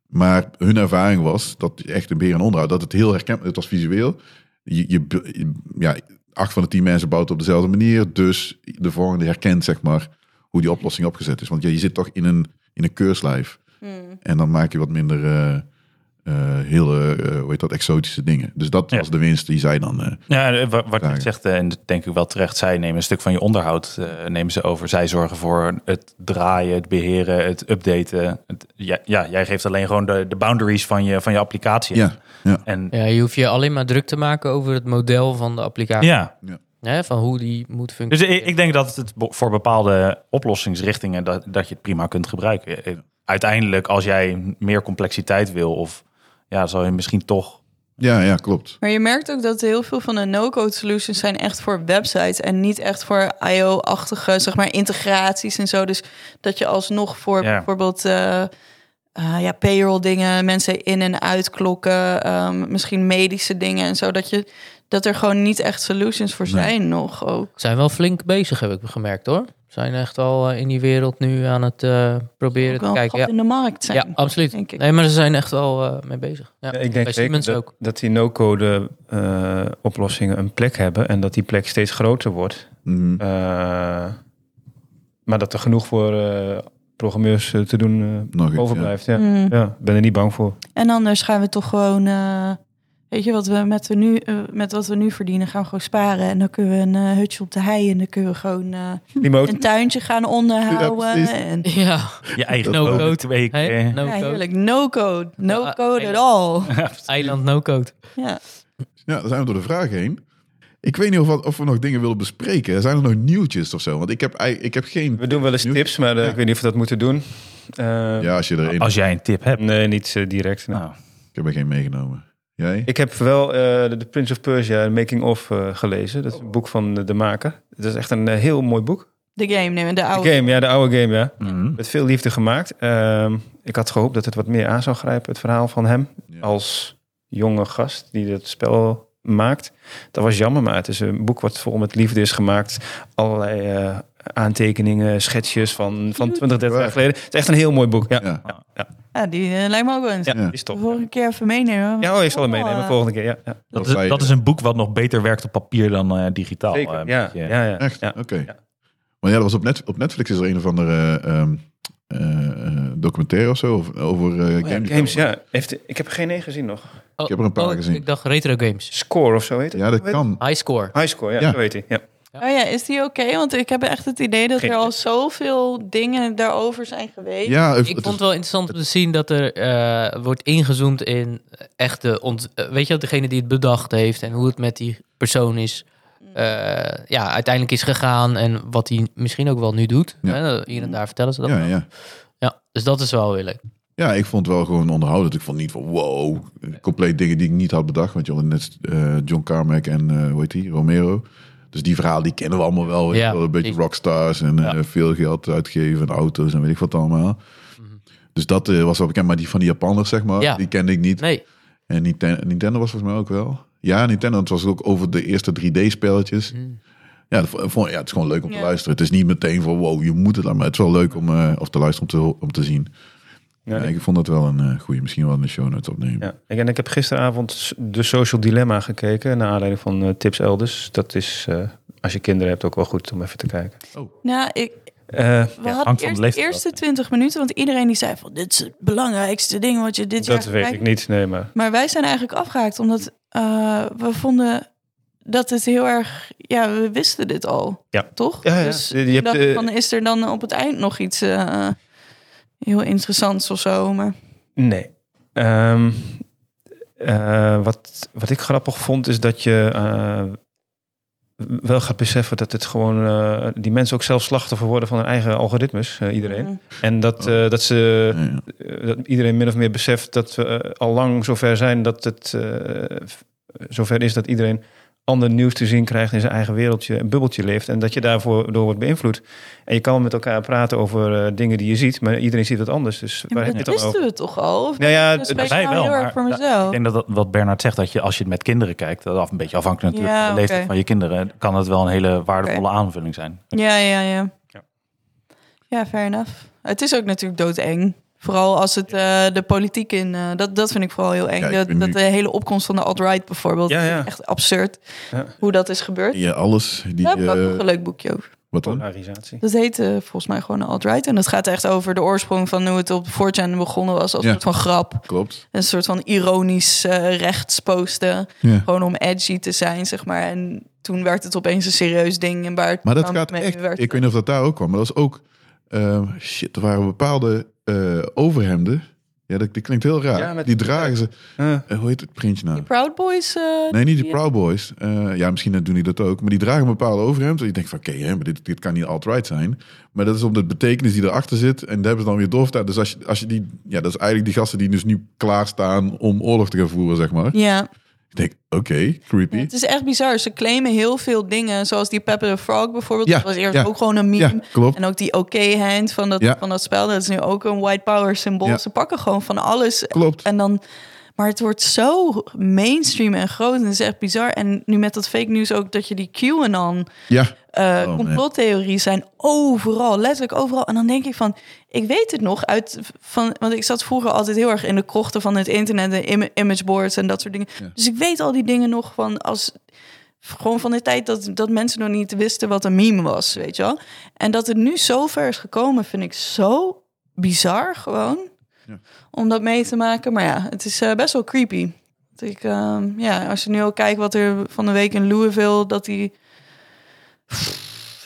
Maar hun ervaring was dat echt een beheer en onderhoud, dat het heel herkenbaar, het was visueel. Je, je, je- ja, acht van de tien mensen bouwt op dezelfde manier, dus de volgende herkent, zeg maar, hoe die oplossing opgezet is. Want ja, je zit toch in een, in een keurslijf. En dan maak je wat minder eh, eh, hele, eh, hoe heet dat, exotische dingen. Dus dat Ja. was de winst die zij dan... eh, Ja, eh, wa- wat je Vragen. zegt, eh, en dat denk ik wel terecht, zij nemen een stuk van je onderhoud, eh, nemen ze over. Zij zorgen voor het draaien, het beheren, het updaten. Het- ja, ja, jij geeft alleen gewoon de, de boundaries van je, van je applicatie. ja, ja. En Ja, je hoeft je alleen maar druk te maken over het model van de applicatie. ja, Hè, van hoe die moet dus functioneren. ik, ik denk dat het bo- voor bepaalde oplossingsrichtingen dat, dat je het prima kunt gebruiken. Eh, Uiteindelijk, als jij meer complexiteit wil, of ja, zal je misschien toch Ja, ja, klopt. Maar je merkt ook dat heel veel van de no-code solutions zijn echt voor websites en niet echt voor IO-achtige, zeg maar, integraties en zo. Dus dat je alsnog voor Ja. bijvoorbeeld eh, eh, ja, payroll dingen, mensen in- en uitklokken, ehm, misschien medische dingen en zo, dat, je, dat er gewoon niet echt solutions voor Nee. zijn nog ook. Zijn wel flink bezig, heb ik gemerkt hoor. Zijn echt al eh, in die wereld nu aan het eh, proberen Ook te wel een kijken. gat Ja, in de markt zijn. ja, absoluut. denk ik. Nee, maar ze zijn echt wel eh, mee bezig. Ja. Ja, ik denk Bij zeker Siemens dat, ook. dat die no-code eh, oplossingen een plek hebben en dat die plek steeds groter wordt. Mhm. Eh, maar dat er genoeg voor eh, programmeurs eh, te doen eh, Nog iets, overblijft. Ja. Mm. Ja, ik ben er niet bang voor. En anders gaan we toch gewoon, eh, weet je, wat we met, we nu, eh, met wat we nu verdienen, gaan we gewoon sparen. En dan kunnen we een eh, hutje op de hei en dan kunnen we gewoon eh, Remote. een tuintje gaan onderhouden. Ja, precies. en, Ja, Je eigen No code. Twee, Hey, eh, no ja, code. heerlijk. No code. No Ja, code at eiland. all. nou, Eiland no code. Ja. Ja, dan zijn we door de vraag heen. Ik weet niet of, wat- of we nog dingen willen bespreken. Zijn er nog nieuwtjes of zo? Want ik heb, ei- ik heb geen... We doen wel eens tips, maar eh, Ja. ik weet niet of we dat moeten doen. Eh, Ja, Ah. als je er een... Als jij een tip hebt. Nee, niet eh, direct. nee. Nou, Ik heb er geen meegenomen. Jij? Ik heb wel eh, de The Prince of Persia, de Making of, eh, gelezen. Dat is een boek van eh, de maker. Het is echt een eh, heel mooi boek. De game nemen, de De oude. game, ja, de oude game, ja. mhm. Met veel liefde gemaakt. Ehm, ik had gehoopt dat het wat meer aan zou grijpen, het verhaal van hem. Ja. Als jonge gast die het spel maakt. Dat was jammer, maar het is een boek wat vol met liefde is gemaakt. Allerlei eh, aantekeningen, schetsjes van, van 20, 30 jaar geleden. Het is echt een heel mooi boek. Ja, ja. Ja. Ja, die eh, lijkt me ook wel eens. Ja. die is De top. Volgende keer even meenemen. Ja, oh, ik zal hem Oh, meenemen eh. volgende keer. Ja, ja. dat, zei is, je. dat is een boek wat nog beter werkt op papier dan eh, digitaal. eh, Zeker. een Ja, beetje. ja, ja, Echt? Oh, ja. Oké. Maar ja, dat was op, net, op Netflix is er een of andere ehm, eh, documentaire of zo of, over eh, Oh ja, games. games, ja. Heeft, ik heb er geen één gezien nog. Oh, Ik heb er een paar oh, ik- gezien. Ik dacht retro games. Score of zo heet het. Ja, dat Hoe heet kan. High score. het? Highscore, ja, Ja. zo heet hij. Ja. Oh ja, is die oké? Want ik heb echt het idee dat Geen er idee. al zoveel dingen daarover zijn geweest. Ja, het- Ik het vond het wel interessant om te zien dat er eh, wordt ingezoomd in echte... ont- eh, weet je, wel, degene die het bedacht heeft en hoe het met die persoon is... eh, ja, uiteindelijk is gegaan en wat hij misschien ook wel nu doet. Ja. Hè, hier en daar vertellen ze is- dat. ja, ja. Ja, dus dat is wel weer leuk. ja, ik vond het wel gewoon onderhoudend. Ik vond niet van wow, compleet dingen die ik niet had bedacht. Want je had net eh, John Carmack en eh hoe heet die, Romero. Dus die verhalen die kennen we allemaal wel. weet Ja, je wel. een beetje precies. rockstars en eh, veel geld uitgeven en auto's en weet ik wat allemaal. Dus dat eh, was wel bekend. Maar die van die Japanners, zeg maar, Mhm. Ja. die kende ik niet. Nee, En Nintendo, Nintendo was volgens mij ook wel. Ja, Nintendo. Het was ook over de eerste 3D-spelletjes. Mm. Ja, dat vo- vond- ja, het is gewoon leuk om te Ja. luisteren. Het is niet meteen van wow, je moet het aan. Maar het is wel leuk om, eh, of te luisteren om te, ho- om te zien. Ja, Ja, ik vond dat wel een eh goede. Misschien wel in de show notes opnemen. Ja. Ik- En ik heb gisteravond s- de Social Dilemma gekeken. Naar aanleiding van eh, Tips Elders. Dat is, eh, als je kinderen hebt, ook wel goed om even te kijken. Nou, ik, Eh, We Ja, hangt hadden van eerst de de leeftijd af, eerste 20 minuten, want iedereen die zei van dit is het belangrijkste ding wat je dit jaar dat gaat weet ik kijken. niet, nee, maar... Maar wij zijn eigenlijk afgehaakt omdat eh, we vonden dat het heel erg, ja, we wisten dit al, Ja. toch? Ja, ja. Dus Je- je ik dacht hebt, eh, van is er dan op het eind nog iets eh, heel interessants of zo? Maar Nee. Ehm, eh, wat, wat ik grappig vond is dat je eh, wel gaat beseffen dat het gewoon eh, die mensen ook zelf slachtoffer worden van hun eigen algoritmes, eh, iedereen. Mm. En dat, eh, dat ze Ja, ja. eh, dat iedereen min of meer beseft dat we eh, al lang zover zijn dat het eh, f- zover is dat iedereen ander nieuws te zien krijgt in zijn eigen wereldje, een bubbeltje leeft en dat je daarvoor door wordt beïnvloed. En je kan met elkaar praten over eh, dingen die je ziet, maar iedereen ziet wat anders. Dus Ja, waar maar heb je dat het dan over? wisten we toch al? Of Nou ja, dat het- spreek ik wij nou wel, heel erg maar voor dat- mezelf. Ik denk dat, dat wat Bernard zegt, dat je als je het met kinderen kijkt, dat af een beetje afhankelijk natuurlijk Ja, van de leeftijd oké. van je kinderen, kan het wel een hele waardevolle aanvulling zijn. Ja, ja, ja. Ja. Ja, fair enough. Het is ook natuurlijk doodeng. Vooral als het eh, de politiek in... eh, dat, dat vind ik vooral heel eng. Ja, ik dat, ben dat nu- de hele opkomst van de alt-right bijvoorbeeld. Ja, ja. Echt absurd Ja. hoe dat is gebeurd. Ja, alles. Die, Daar heb ik ook eh, nog een leuk boekje over. wat dan? polarisatie. Dat heet eh, volgens mij gewoon alt-right. En dat gaat echt over de oorsprong van hoe het op 4chan begonnen was. Als Ja. een soort van grap. Klopt. Een soort van ironisch eh, rechts posten. Ja. Gewoon om edgy te zijn, zeg maar. En toen werd het opeens een serieus ding. En waar het Maar dat dan gaat mee echt. werd- Ik weet niet of dat daar ook kwam. Maar dat was ook. ehm, shit, er waren bepaalde eh, overhemden. Ja, dat, die klinkt heel raar. Ja, met- Die dragen ze. Eh, eh, hoe heet het printje nou? Proud Boys... eh, Nee, niet de Ja. Proud Boys. Eh, ja, misschien doen die dat ook. Maar die dragen een bepaalde overhemd. En je denkt van, oké, hè, maar dit, dit kan niet alt-right zijn. Maar dat is om de betekenis die erachter zit. En daar hebben ze dan weer doorvertaald. Dus als je, als je die... Ja, dat is eigenlijk die gasten die dus nu klaarstaan om oorlog te gaan voeren, zeg maar. Ja, Ik denk, oké, creepy. Ja, het is echt bizar. Ze claimen heel veel dingen, zoals die Pepper the Frog bijvoorbeeld. Ja, dat was eerst ja. ook gewoon een meme. ja, klopt. En ook die oké-hand van, dat Ja. van dat spel, dat is nu ook een white power symbool. Ja. Ze pakken gewoon van alles. Klopt. En dan, maar het wordt zo mainstream en groot en dat is echt bizar. En nu met dat fake nieuws ook dat je die QAnon Ja, eh, Oh, man. complottheorieën zijn overal, letterlijk overal. En dan denk ik van, ik weet het nog uit van, want ik zat vroeger altijd heel erg in de krochten van het internet, de im- imageboards en dat soort dingen. Ja. Dus ik weet al die dingen nog van als gewoon van de tijd dat, dat mensen nog niet wisten wat een meme was, weet je wel. En dat het nu zo ver is gekomen, vind ik zo bizar gewoon. Ja. Om dat mee te maken. Maar ja, het is eh, best wel creepy. Dat Ik, ehm, ja, als je nu ook kijkt wat er van de week in Louisville, dat die...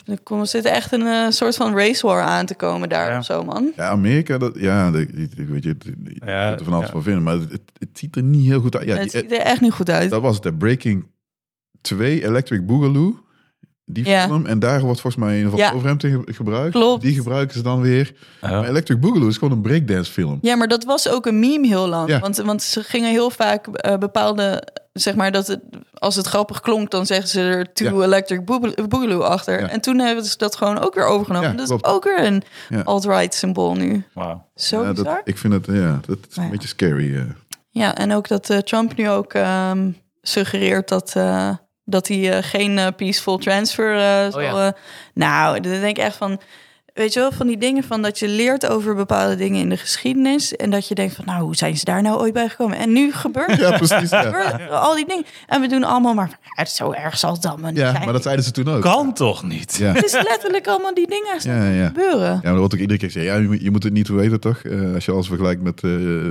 Er komt- zit echt een eh, soort van race war aan te komen daar Ja. of zo, man. ja Amerika, dat, ja, dat- ik weet je, het- je Ja, kunt er van alles ja. van vinden, maar het, het, het ziet er niet heel goed uit. Ja, het die- ziet er echt niet goed uit. dat was het, hè. Breaking 2, Electric Boogaloo. Die Ja. film. En daar wordt volgens mij een of Ja. andere overhemd in ge- gebruikt. Klopt. Die gebruiken ze dan weer. Maar Electric Boogaloo is gewoon een breakdance film. Ja, maar dat was ook een meme heel lang. Ja. Want, want ze gingen heel vaak eh, bepaalde, zeg maar, dat het, als het grappig klonk, dan zeggen ze er to Ja. electric Boogaloo- boogaloo achter. Ja. En toen hebben ze dat gewoon ook weer overgenomen. Ja, dat is klopt. ook weer een Ja. alt-right symbool nu. Wauw. Zo Ja, bizar. dat, ik vind het, ja, dat is een Maar ja. beetje scary. eh. Ja, en ook dat eh, Trump nu ook ehm, suggereert dat, eh, dat hij eh, geen eh, peaceful transfer eh, zal... ja. eh, nou, dan denk ik echt van... Weet je wel, van die dingen van dat je leert over bepaalde dingen in de geschiedenis... en dat je denkt van, nou, hoe zijn ze daar nou ooit bij gekomen? En nu gebeurt het. Ja, precies. Ja. gebeurt al die dingen. En we doen allemaal maar, van, "Ja, het is zo erg zal het allemaal niet ja, zijn. maar dat zeiden ze toen ook. Kan toch niet? Ja, Het is letterlijk allemaal die dingen die ja, ja. gebeuren. Ja, maar er wordt ook iedere keer gezegd, ja, je, moet- je moet het niet weten, toch? Eh, als je alles vergelijkt met eh,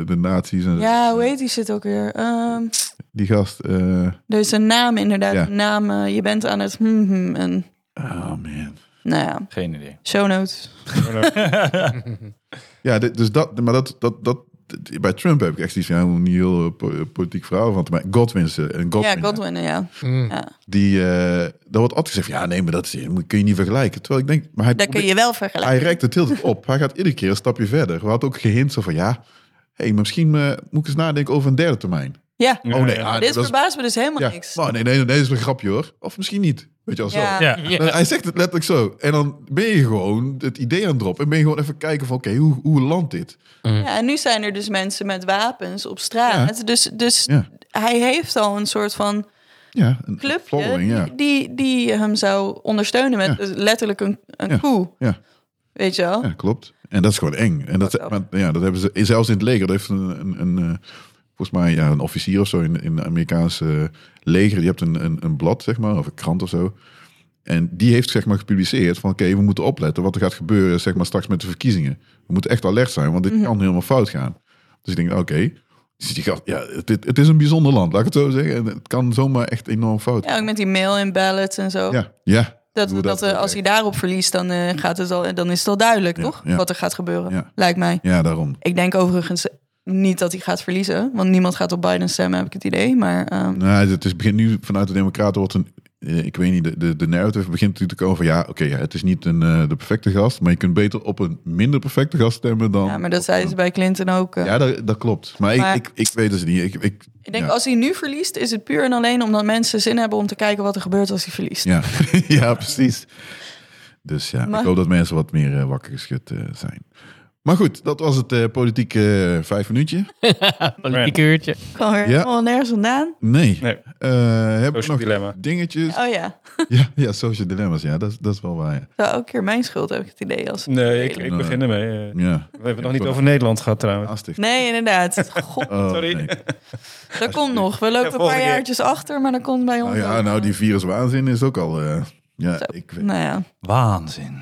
de nazi's en Ja, hoe heet die shit ook weer? Ehm, die gast. eh, er is een naam inderdaad. Ja. Een naam, eh, je bent aan het... hmm, hmm, en, oh man. nou ja, Geen idee. show notes. Ja, dit- dus dat, maar dat, dat, dat, bij Trump heb ik echt iets van, ja, ik moet niet heel eh, po- politiek verhaal van te maken. Godwin, is, eh, een Godwin. Ja, Godwin, ja. Mm. ja. Die, eh daar wordt altijd gezegd, van, ja, nee, maar dat is, eh, kun je niet vergelijken. Terwijl ik denk, maar hij, Dat kun je wel hij vergelijken. reikt het heel goed op. Hij gaat iedere keer een stapje verder. We hadden ook gehint zo van, ja, hey, maar misschien eh, moet ik eens nadenken over een derde termijn. Ja, Oh nee, ah, dit dat is- verbaast me dus helemaal ja. niks. Maar nee, nee, nee, dat is een grapje hoor. Of misschien niet. Weet je wel zo. Ja. Ja. Maar Hij zegt het letterlijk zo. En dan ben je gewoon het idee aan het droppen. En ben je gewoon even kijken van, oké, hoe, hoe landt dit? Ja, en nu zijn er dus mensen met wapens op straat. Dus, dus Ja. hij heeft al een soort van Ja, een clubje following, ja. die, die hem zou ondersteunen met letterlijk een, een Ja. koe. Ja. Weet je wel? Ja, klopt. En dat is gewoon eng. En dat, Fucked maar, ja, dat hebben ze zelfs in het leger. Dat heeft een, een, een, eh, volgens mij ja, een officier of zo in, in het Amerikaanse eh, leger. Die hebt een, een, een blad, zeg maar, of een krant of zo. En die heeft zeg maar gepubliceerd van oké, we moeten opletten wat er gaat gebeuren zeg maar, straks met de verkiezingen. We moeten echt alert zijn, want dit Mhm. kan helemaal fout gaan. Dus ik denk, oké, Dus die gast- ja, het, het is een bijzonder land, laat ik het zo zeggen. En het kan zomaar echt enorm fout Ja, ook met die mail en ballots en zo. Ja, ja. Dat, Hoe dat, eh, ook als echt. hij daarop verliest, dan, eh, gaat het al, dan is het al duidelijk, Ja, toch? ja. Wat er gaat gebeuren, Ja. lijkt mij. Ja, daarom. Ik denk overigens niet dat hij gaat verliezen. Want niemand gaat op Biden stemmen, heb ik het idee. Maar ehm, Nou, het is begint nu vanuit de Democraten wordt een. eh, Ik weet niet, de, de, de narrative begint natuurlijk te komen van ja, oké, ja, het is niet een, eh, de perfecte gast, maar je kunt beter op een minder perfecte gast stemmen dan. Ja, maar dat zeiden ze bij Clinton ook. eh. Ja, dat, dat klopt. Maar, Maar- ik, ik, ik weet het niet. Ik, ik, ik denk, ja. als hij nu verliest, is het puur en alleen omdat mensen zin hebben om te kijken wat er gebeurt als hij verliest. Ja, ja precies. Dus ja, Maar- ik hoop dat mensen wat meer eh, wakker geschud eh, zijn. Maar goed, dat was het eh, politieke eh, vijf minuutje. Politiek uurtje. Kan er Ja. helemaal nergens vandaan. Nee. Nee. Eh, hebben we Social nog dilemma. dingetjes? Ja. Oh ja, Ja, social dilemma's. Ja, dat, is- dat is wel waar. Ja. dat is ook keer mijn schuld, heb ik het idee. Als... Nee, ik, Nee. ik begin ermee. eh. ja. We hebben het nog Ik niet wil- over Nederland gehad trouwens. Aansticht. Nee, inderdaad. God, Oh, Sorry. nee. dat komt nog. We lopen een volgende paar keer. jaartjes achter, maar dat komt bij ons. Nou ja, ook. nou die viruswaanzin is ook al. eh, ja, Oh, Zo. ik, Nou ja. Waanzin.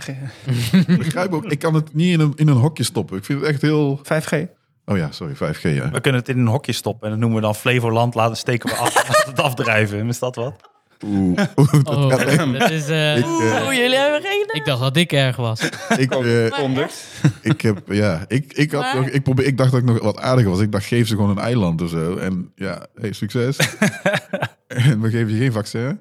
ik begrijp ook. Ik kan het niet in een, in een hokje stoppen. Ik vind het echt heel. 5G. Oh ja, sorry, 5G. Ja. We kunnen het in een hokje stoppen en dat noemen we dan Flevoland. Laten steken we af, laten we het afdrijven. Is dat wat? Oeh, oeh, dat Oh, gaat echt. dat is, eh, Ik, eh, Oeh, jullie hebben geen idee. ik dacht dat ik erg was. ik, eh, Ondert. ik heb, ja, ik, ik, had Maar- nog, ik, probeer, ik dacht dat ik nog wat aardiger was. Ik dacht, geef ze gewoon een eiland of zo. En ja, hey, succes. en we geven je geen vaccin.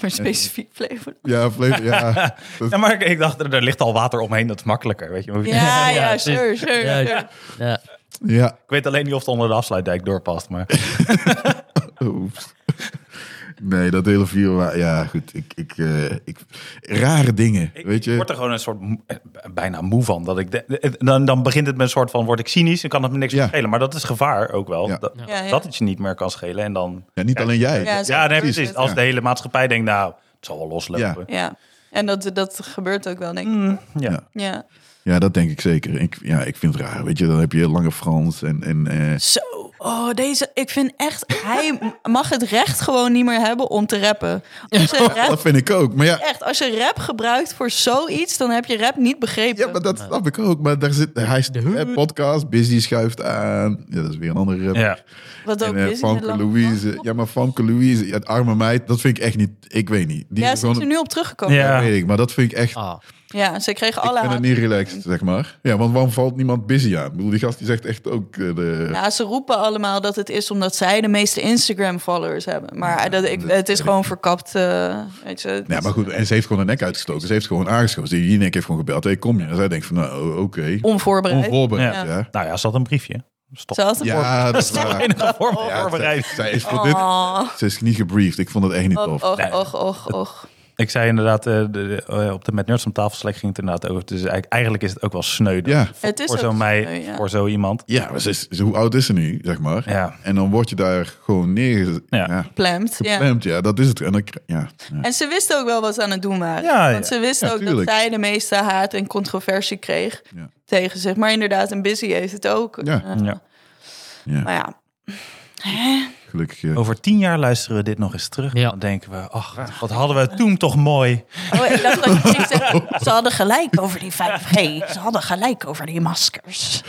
Maar specifiek Flevoland. Ja, vlees- ja. Ja, maar ik, ik dacht, er, er ligt al water omheen, dat is makkelijker. Weet je. We hoeven- Ja, Ja, ja, precies. sure, sure. Ja, sure. Ja. ja. Ik weet alleen niet of het onder de afsluitdijk doorpast. Maar Oeps. Nee, dat hele vier. wa- Ja, goed. Ik, ik, eh, ik, rare dingen. Ik, weet ik word je? er gewoon een soort moe- eh, bijna moe van. Dat ik de- eh, dan, dan begint het met een soort van word ik cynisch en kan het me niks Ja. meer schelen. Maar dat is gevaar ook wel. Ja. Dat, Ja, ja. dat het je niet meer kan schelen. En dan, Ja, niet alleen jij. Ja, Ja, zo ja, nee, gebeurt precies. het. Als Ja. de hele maatschappij denkt, nou, het zal wel loslopen. Ja, en dat, dat gebeurt ook wel, denk ik. Mm, ja. Ja. Ja. dat denk ik zeker. Ik, ja, ik vind het raar. Weet je, dan heb je lange Frans en. en eh, Zo, oh, deze, ik vind echt, hij mag het recht gewoon niet meer hebben om te rappen. Als je dat rap, vind ik ook. Maar ja, echt, als je rap gebruikt voor zoiets, dan heb je rap niet begrepen. Ja, maar dat snap ik ook. Maar daar zit, hij is de podcast, Busy schuift aan. Ja, dat is weer een andere rapper. Ja. Wat ook En eh, is. Famke Louise. Ja, maar Famke Louise, ja, de arme meid, dat vind ik echt niet... Ik weet niet. Die Ja, is ze is er gewoon... nu op teruggekomen. Ja, Ja. Ja, weet ik, maar dat vind ik echt... Ah, ze ik kreeg alle vind het haat. niet relaxed, zeg maar. Ja, want waarom valt niemand busy aan? Ik bedoel, die gast die zegt echt ook... eh, de, Ja, ze roepen allemaal dat het is omdat zij de meeste Instagram-followers hebben. Maar dat, ik, dat het is weet gewoon verkapt. eh, weet je, het Ja, is- maar goed, en ze heeft gewoon een nek uitgestoken. Ze heeft gewoon aangeschoven. Ze- Die nek heeft gewoon gebeld. hey, kom je? En zij denkt van, nou, oké. onvoorbereid. Onvoorbereid, Ja. ja. Nou ja, ze had een briefje. Stop. Ze had een Ja, dat is waar. Enige vorm van Ja, zij, voorbereiding. zij is voor dit... Oh, Ze is niet gebriefd. Ik vond het echt niet tof. och, och, Nee. och, och, och. Ik zei inderdaad, eh, de, de, eh, op de Met Nerds om tafel Slack ging het inderdaad over. Dus eigenlijk, eigenlijk is het ook wel sneu. dat- Ja. Het is voor ook zo mij, sneu, ja. voor zo iemand. Ja, maar ze is, ze- hoe oud is ze nu, zeg maar? Ja. En dan word je daar gewoon neer... Ja. Ja. Plemd. Ja. Geplemd, ja. dat is het. En dan, kri- ja, ja. En ze wist ook wel wat ze aan het doen waren. Ja, Want ja. ze wist Ja, ook tuurlijk. dat zij de meeste haat en controversie kreeg Ja. tegen zich. Maar inderdaad, en Busy heeft het ook. Ja. Eh, Ja. ja. Maar ja, gelukkig. eh, Over tien jaar luisteren we dit nog eens terug. Ja. Dan denken we, ach, wat hadden we toen toch mooi. oh, ik dacht dat je ging zeggen, ze hadden gelijk over die 5G. Ze hadden gelijk over die maskers.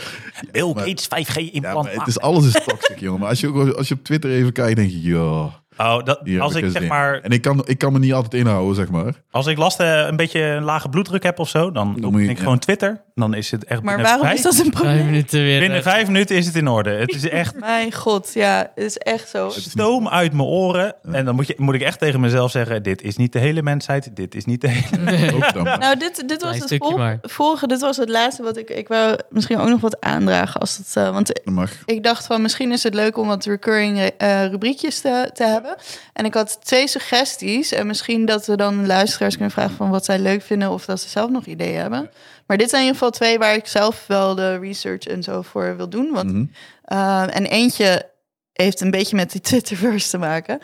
Bill maar- Gates 5G ja, implant. maar het is, alles is toxic, jongen. Maar als je, ook- als je op Twitter even kijkt, denk je, ja... oh, dat, hier heb als ik eens zeg in. maar, En ik kan, ik kan me niet altijd inhouden, zeg maar. als ik last eh, een beetje een lage bloeddruk heb of zo, dan moet open je- ik ja. gewoon Twitter. Dan is het echt Maar binnen waarom vijf- is dat een vijf probleem? minuten weer. Binnen eh, vijf minuten is het in orde. Het is echt Mijn god, ja, het is echt zo. stoom uit mijn oren. En dan moet, je, moet ik echt tegen mezelf zeggen, dit is niet de hele mensheid. Dit is niet de hele... Ook dan. Nou, dit, dit was Klein het stukje vol- maar. vorige, dit was het laatste wat ik... Ik wou misschien ook nog wat aandragen als dat... eh, want Dat mag. ik dacht van misschien is het leuk om wat recurring eh, rubriekjes te, te hebben. En ik had twee suggesties. En misschien dat we dan luisteraars kunnen vragen van wat zij leuk vinden of dat ze zelf nog ideeën hebben. Maar dit zijn in ieder geval twee waar ik zelf wel de research en zo voor wil doen. Want, Mhm. eh, en eentje heeft een beetje met die Twitterverse te maken.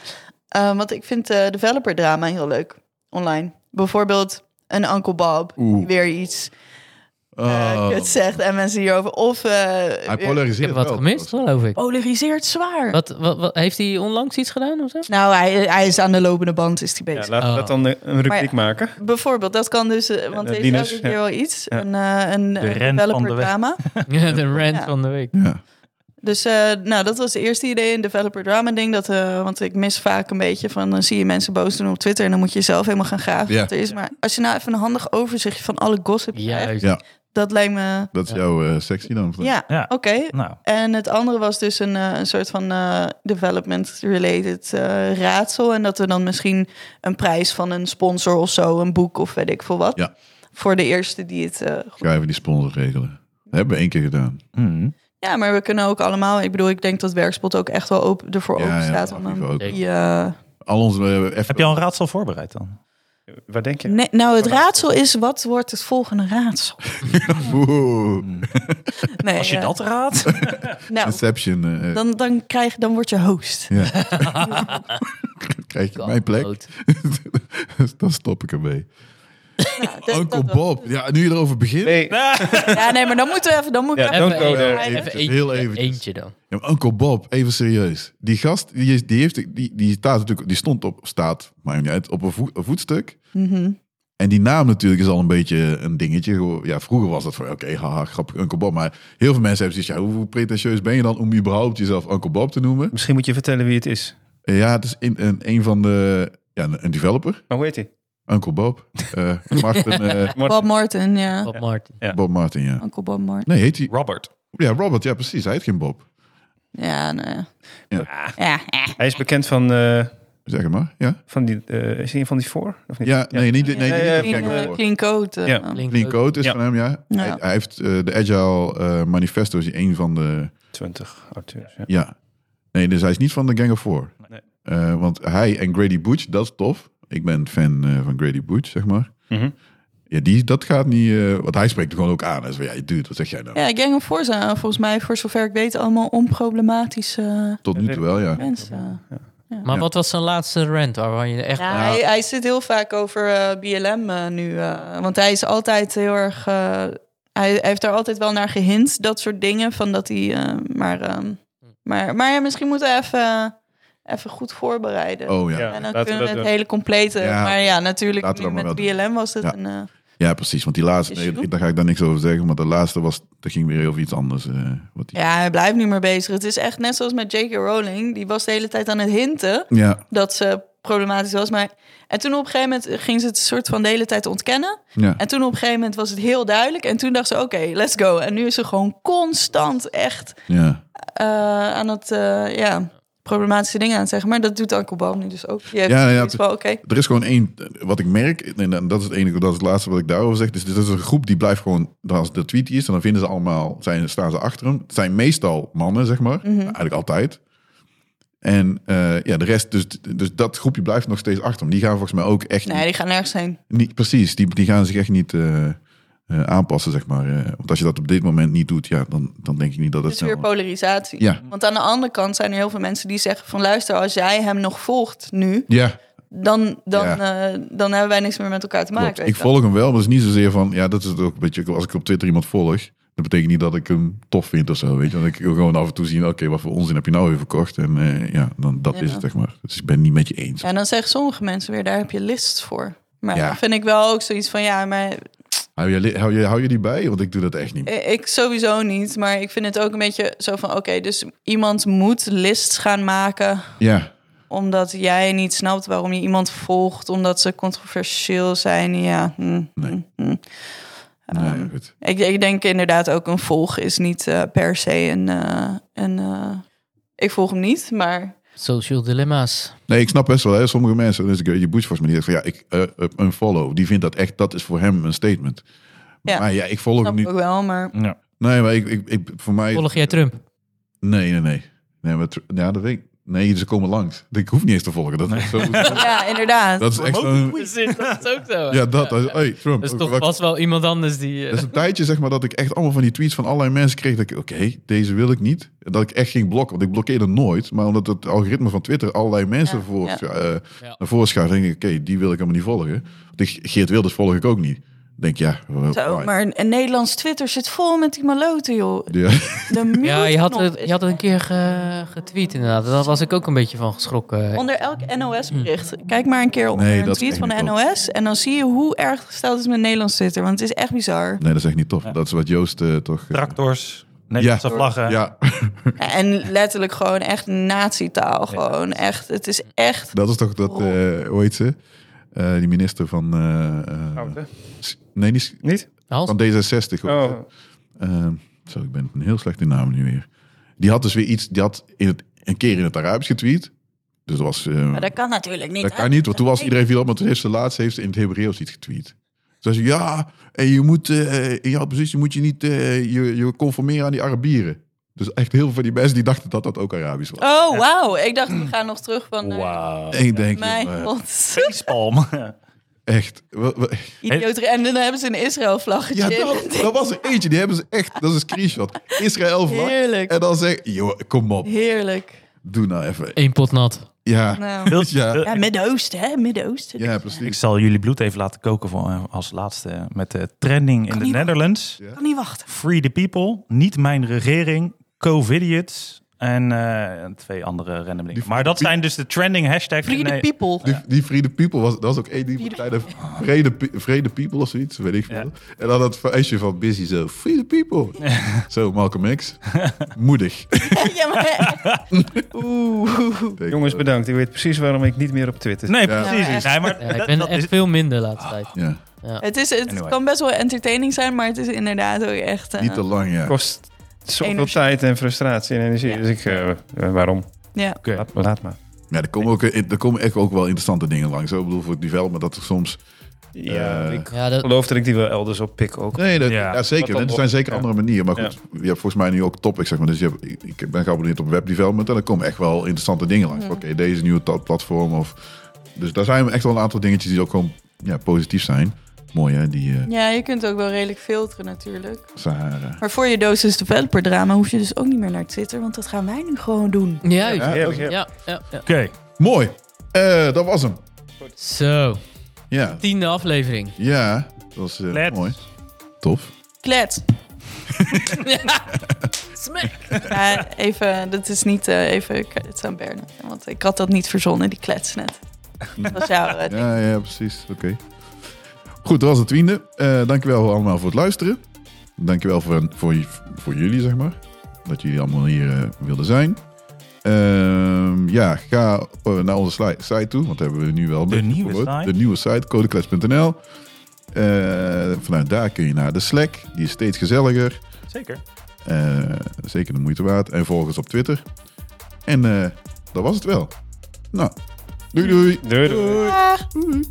Eh, want ik vind eh developer drama heel leuk online. Bijvoorbeeld een Uncle Bob die Oeh. weer iets Oh, het zegt en mensen hierover. Of eh, Hij weer- polariseert Ik heb wat wel, gemist, trouwens. geloof ik. polariseert zwaar. Oh. Wat, wat, wat- heeft hij onlangs iets gedaan of zo? Nou, hij, hij is aan de lopende band, is hij Ja, bezig. laten we Oh. dat dan eh, een rubriek maken. Bijvoorbeeld, dat kan dus, eh, want eh, er is Linus, elke keer ja. wel iets. Ja. Een, eh een eh, rent van developer de weg. drama. Ja, de rant Ja. van de week. Ja. Dus eh, nou, dat was het eerste idee, een developer drama ding. Dat, eh, want ik mis vaak een beetje van, dan zie je mensen boos doen op Twitter... en dan moet je zelf helemaal gaan graven Ja. wat er is. Maar als je nou even een handig overzichtje van alle gossip krijgt... Juist. Ja. dat lijkt me... Dat is jouw eh, sexy dan. Ja, Ja. oké. Nou, En het andere was dus een, eh, een soort van eh, development-related eh, raadsel. En dat we dan misschien een prijs van een sponsor of zo, een boek of weet ik veel wat. Ja. Voor de eerste die het. eh, goed- Ga even die sponsor regelen. Dat hebben we één keer gedaan. mm. ja, maar we kunnen ook allemaal. Ik bedoel, ik denk dat Werkspot ook echt wel open, ervoor Ja, open ja, Oh, staat. dat om mag dan ook. die, eh, Al onze... eh, even- heb je al een raadsel voorbereid dan? Waar denk je? nee, nou, het raadsel is: wat wordt het volgende raadsel? Oeh, Nou, Nee, Als je eh, dat raadt. Nou, Inception. eh, eh, dan, dan, krijg, dan word je host. ja. eh, Krijg je mijn plek? Dood. dan stop ik ermee. Ja, dat- Uncle dat wel. Bob. Ja, nu je erover begint. Nee, Ja, nee, maar dan moeten we even. Dan moet ik Ja, even- don't go there. Even, Eventjes, eentje, heel heel even. eventjes. Eentje dan. Ja, maar Uncle Bob, even serieus. Die gast, die, is, die, heeft, die, die staat natuurlijk, die stond op, staat, maakt niet uit, op een, voet- een voetstuk. Mhm. En die naam natuurlijk is al een beetje een dingetje. Gewoon, Ja, vroeger was dat van, oké, haha, grappig, Uncle Bob. Maar heel veel mensen hebben zoiets, ja, hoe, hoe pretentieus ben je dan om überhaupt jezelf Uncle Bob te noemen? misschien moet je vertellen wie het is. Eh, Ja, het is in, een, een van de, ja, een, een developer, Maar hoe heet hij? Uncle Bob. Eh, Martin, eh, Bob Martin, ja. Bob Martin. Bob Martin, ja. Uncle Bob Martin. Nee, heet hij, Robert. ja, Robert, ja, precies, hij heet geen Bob. Ja, nee. Ja. ja. Hij is bekend van, eh, Zeg het maar, ja. van die, eh, is hij een van die voor? Of niet? Ja, nee, niet, nee, die- Ja, ja, die- Clean, die- eh, die- clean code. eh. Ja. Link Clean Code is Ja. van hem, ja. Ja. Hij, hij heeft eh, de Agile eh, Manifesto, is hij een van de... 20 auteurs. Ja. Ja. Nee, dus hij is niet van de Gang of Four. Nee. Eh, want hij en Grady Butch, dat is tof. Ik ben fan eh, van Grady Butch, zeg maar. Mhm. Ja, die, dat gaat niet... eh, want hij spreekt er gewoon ook aan. Hij zegt, ja, je duurt, wat zeg jij nou? Ja, Gang of Four zijn eh, volgens mij, voor zover ik weet, allemaal onproblematische eh, Tot nu toe wel, ja. mensen. Maar wat was zijn laatste rant waarvan je echt... Ja, hij, hij zit heel vaak over eh, BLM eh, nu. eh, want hij is altijd heel erg. eh, hij, hij heeft daar altijd wel naar gehint, dat soort dingen. Van dat hij. eh, maar, ehm, maar, maar ja, misschien moeten we even, eh, even goed voorbereiden. Oh ja. Ja. ja. En dan laten we kunnen we dat het doen. hele complete. Ja. Maar ja, natuurlijk. Laten we nu dat maar met wel BLM was het Ja. een. eh, precies. Want die laatste, Is je nee, daar ga ik daar niks over zeggen. Maar de laatste was, dat ging weer over iets anders. eh, wat die, ja, hij blijft niet meer bezig. Het is echt net zoals met J.K. Rowling. Die was de hele tijd aan het hinten. ja, dat ze problematisch was. Maar... En toen op een gegeven moment ging ze het soort van de hele tijd ontkennen. ja. En toen op een gegeven moment was het heel duidelijk. En toen dacht ze, oké, let's go. En nu is ze gewoon constant echt ja. eh, aan het, eh, ja, problematische dingen aan het zeggen. Maar dat doet Uncle Bob nu dus ook. Je hebt Ja, ja, zoiets het- van, oké. Er is gewoon één, wat ik merk, en en dat is het enige, dat is het laatste wat ik daarover zeg. Dus dit is een groep die blijft gewoon, dan als de tweet is, en dan vinden ze allemaal, zijn, staan ze achter hem. Het zijn meestal mannen, zeg maar. Mhm. Eigenlijk altijd. En eh, ja, de rest, dus, dus dat groepje blijft nog steeds achter hem. Die gaan volgens mij ook echt Nee, die gaan nergens heen. Niet, precies, die, die gaan zich echt niet eh, eh, aanpassen, zeg maar. eh. want als je dat op dit moment niet doet, ja, dan, dan denk ik niet dat Het het is weer snel- polarisatie. Ja. Want aan de andere kant zijn er heel veel mensen die zeggen van... luister, als jij hem nog volgt nu, Ja, dan, dan, Ja. eh, dan hebben wij niks meer met elkaar te maken. klopt. Ik weet je wel. volg hem wel, maar het is niet zozeer van... Ja, dat is het ook een beetje... Als ik op Twitter iemand volg, dat betekent niet dat ik hem tof vind of zo, weet je. Want ik wil gewoon af en toe zien, oké, wat voor onzin heb je nou weer verkocht? En eh, ja, dan, dat Ja. is het, zeg maar. Dus ik ben het niet met je eens. Ja, en dan zeggen sommige mensen weer, daar heb je lists voor. Maar Ja. dan vind ik wel ook zoiets van, ja, maar Hou, je, li- hou, je, hou je die bij? Want ik doe dat echt niet. i- ik sowieso niet. Maar ik vind het ook een beetje zo van, oké, dus iemand moet lists gaan maken... Ja, omdat jij niet snapt waarom je iemand volgt... omdat ze controversieel zijn, ja. hm. nee. nee, goed. Ik, ik denk inderdaad ook een volg is niet eh, per se een... eh, een eh, ik volg hem niet, maar... Social dilemma's. Nee, ik snap best wel. Hè. Sommige mensen, dus ik je boet volgens mij die zegt van ja, ik eh, eh, een follow. Die vindt dat echt, dat is voor hem een statement. Ja. Maar ja, ik volg hem Snap ik niet. ook wel, maar... Ja. Nee, maar ik, ik, ik voor mij. Volg jij Trump? Nee, nee, nee. Nee, maar, tr- ja, dat weet ik. Nee, ze komen langs. Ik hoef niet eens te volgen. Dat, is, zo, Ja, inderdaad. dat is echt zo'n- Dat is ook zo. Ja, dat. Hey, Trump. Dat is ook toch wat- vast wel iemand anders die... eh, dat is een tijdje zeg maar dat ik echt allemaal van die tweets van allerlei mensen kreeg. Dat ik, oké, deze wil ik niet. Dat ik echt ging blokken. Want ik blokkeerde nooit. Maar omdat het algoritme van Twitter allerlei mensen Ja, voor, ja. eh, Ja. naar voren schuift, denk ik, oké, die wil ik helemaal niet volgen. Want ik, Geert Wilders volg ik ook niet. Ik Denk ja, wel, Zo, why? maar een, een Nederlands Twitter zit vol met die maloten, joh. Ja. De mute Ja, je had, knop het, is je had het een keer ge- getweet inderdaad. Daar was ik ook een beetje van geschrokken. Onder elk Hmm. NOS-bericht. Kijk maar een keer onder Nee, een dat tweet is van de echt niet NOS. En dan zie je hoe erg gesteld is met Nederlands Twitter. Want het is echt bizar. Hmm. Nee, dat is echt niet tof. Dat is wat Joost eh, toch... eh, Tractors, Nederlandse Ja. vlaggen. ja, En letterlijk gewoon echt nazi-taal. Gewoon echt. Het is echt. dat is toch Oh. dat, eh hoe heet ze? Eh, die minister van... eh, eh, Oud, nee, niet Niet? Hans? van D66. hoor. Oh, Ehm, zo, ik ben heel slecht in naam nu weer. Die had dus weer iets, die had in het, een keer in het Arabisch getweet. Dus dat was... eh, Maar dat kan natuurlijk niet. dat hè? kan niet, want toen was iedereen viel op, maar toen heeft ze laatst heeft ze in het Hebreeuws iets getweet. Toen zei ze, ja, en je moet, eh, in jouw positie moet je niet eh, je, je conformeren aan die Arabieren. Dus echt heel veel van die mensen die dachten dat dat ook Arabisch was. Oh, wauw. Ik dacht, we gaan nog terug van. eh, Wauw. En ik denk, Mijn joh, eh, god. Facepalm. echt. wa- wa- Idioter. En dan hebben ze een Ja, Israël-vlaggetje. dat, dat was er eentje, die hebben ze echt, dat is een screenshot. Israël vlag. Heerlijk. En dan zeg joh, kom op, Heerlijk. doe nou even. Eén pot nat. Ja, Nou. ja, Ja, Midden-Oosten, hè? Midden-Oosten. ja, Ik precies. zal jullie bloed even laten koken voor, eh, als laatste met de trending in de niet. Netherlands. Kan niet wachten. Free the people, niet mijn regering, Covidiots en eh, twee andere random dingen. Die- Maar dat zijn dus de trending hashtags. Free the Nee, people. Die, die Free the People was, dat was ook één die partij, de vrede, Pe- vrede People of zoiets, weet ik veel. Ja. En dan dat feestje van Busy zo, Free the People. Zo, Malcolm X, moedig. ja, maar. Oeh. Jongens, bedankt. Ik weet precies waarom ik niet meer op Twitter zit. Nee, Ja. precies. Ja, echt. Nee, maar Ja, ik dat- ben dat echt is- veel minder de laatste tijd. Ja, Het, is, het Anyway. kan best wel entertaining zijn, maar het is inderdaad ook echt... eh, niet te lang, ja. kost zoveel Energie. tijd en frustratie en energie. Ja. Dus ik, eh, eh, waarom? ja. Oké. Laat, laat maar. Ja, er komen, ook, er komen echt ook wel interessante dingen langs. hoor. Ik bedoel, voor het development dat er soms Ja, Eh, ik Ja, dat, geloof dat ik die wel elders op pik ook. Nee, dat, Ja. ja. zeker. Wat dan Er zijn nog? zeker Ja. andere manieren. Maar goed, je hebt volgens mij nu ook topics, zeg maar. Dus je hebt, ik- ik ben geabonneerd op webdevelopment en er komen echt wel interessante dingen langs. Oké, deze nieuwe ta- platform of... Dus daar zijn echt wel een aantal dingetjes die ook gewoon ja, positief zijn. Mooi hè, die eh, Ja, je kunt ook wel redelijk filteren natuurlijk. Sahara. Maar voor je dosis developer drama hoef je dus ook niet meer naar Twitter, want dat gaan wij nu gewoon doen. juist. Ja, Heerlijk, Ja, heerlijk. ja, ja. Oké. Mooi. Eh, dat was hem. Zo, Ja, tiende aflevering. ja dat was eh, Let's. mooi. Tof. Klet. Ja, even, dat is niet eh, even credits aan Berne. Want ik had dat niet verzonnen, die klets net. Dat was jouw eh, ding. Ja, ja, precies. Oké. Goed, dat was het tiende. Eh dankjewel allemaal voor het luisteren. Dankjewel voor, voor, voor jullie, zeg maar. Dat jullie allemaal hier eh, wilden zijn. Ehm, ja, ga eh, naar onze sli- site toe, want daar hebben we nu wel een De beetje nieuwe verwoord. site. De nieuwe site, codeklets.nl. Eh, vanuit daar kun je naar de Slack. Die is steeds gezelliger. Zeker. Eh, zeker de moeite waard. En volg ons op Twitter. En eh, dat was het wel. Nou, doei doei. Deur. Ah. doei.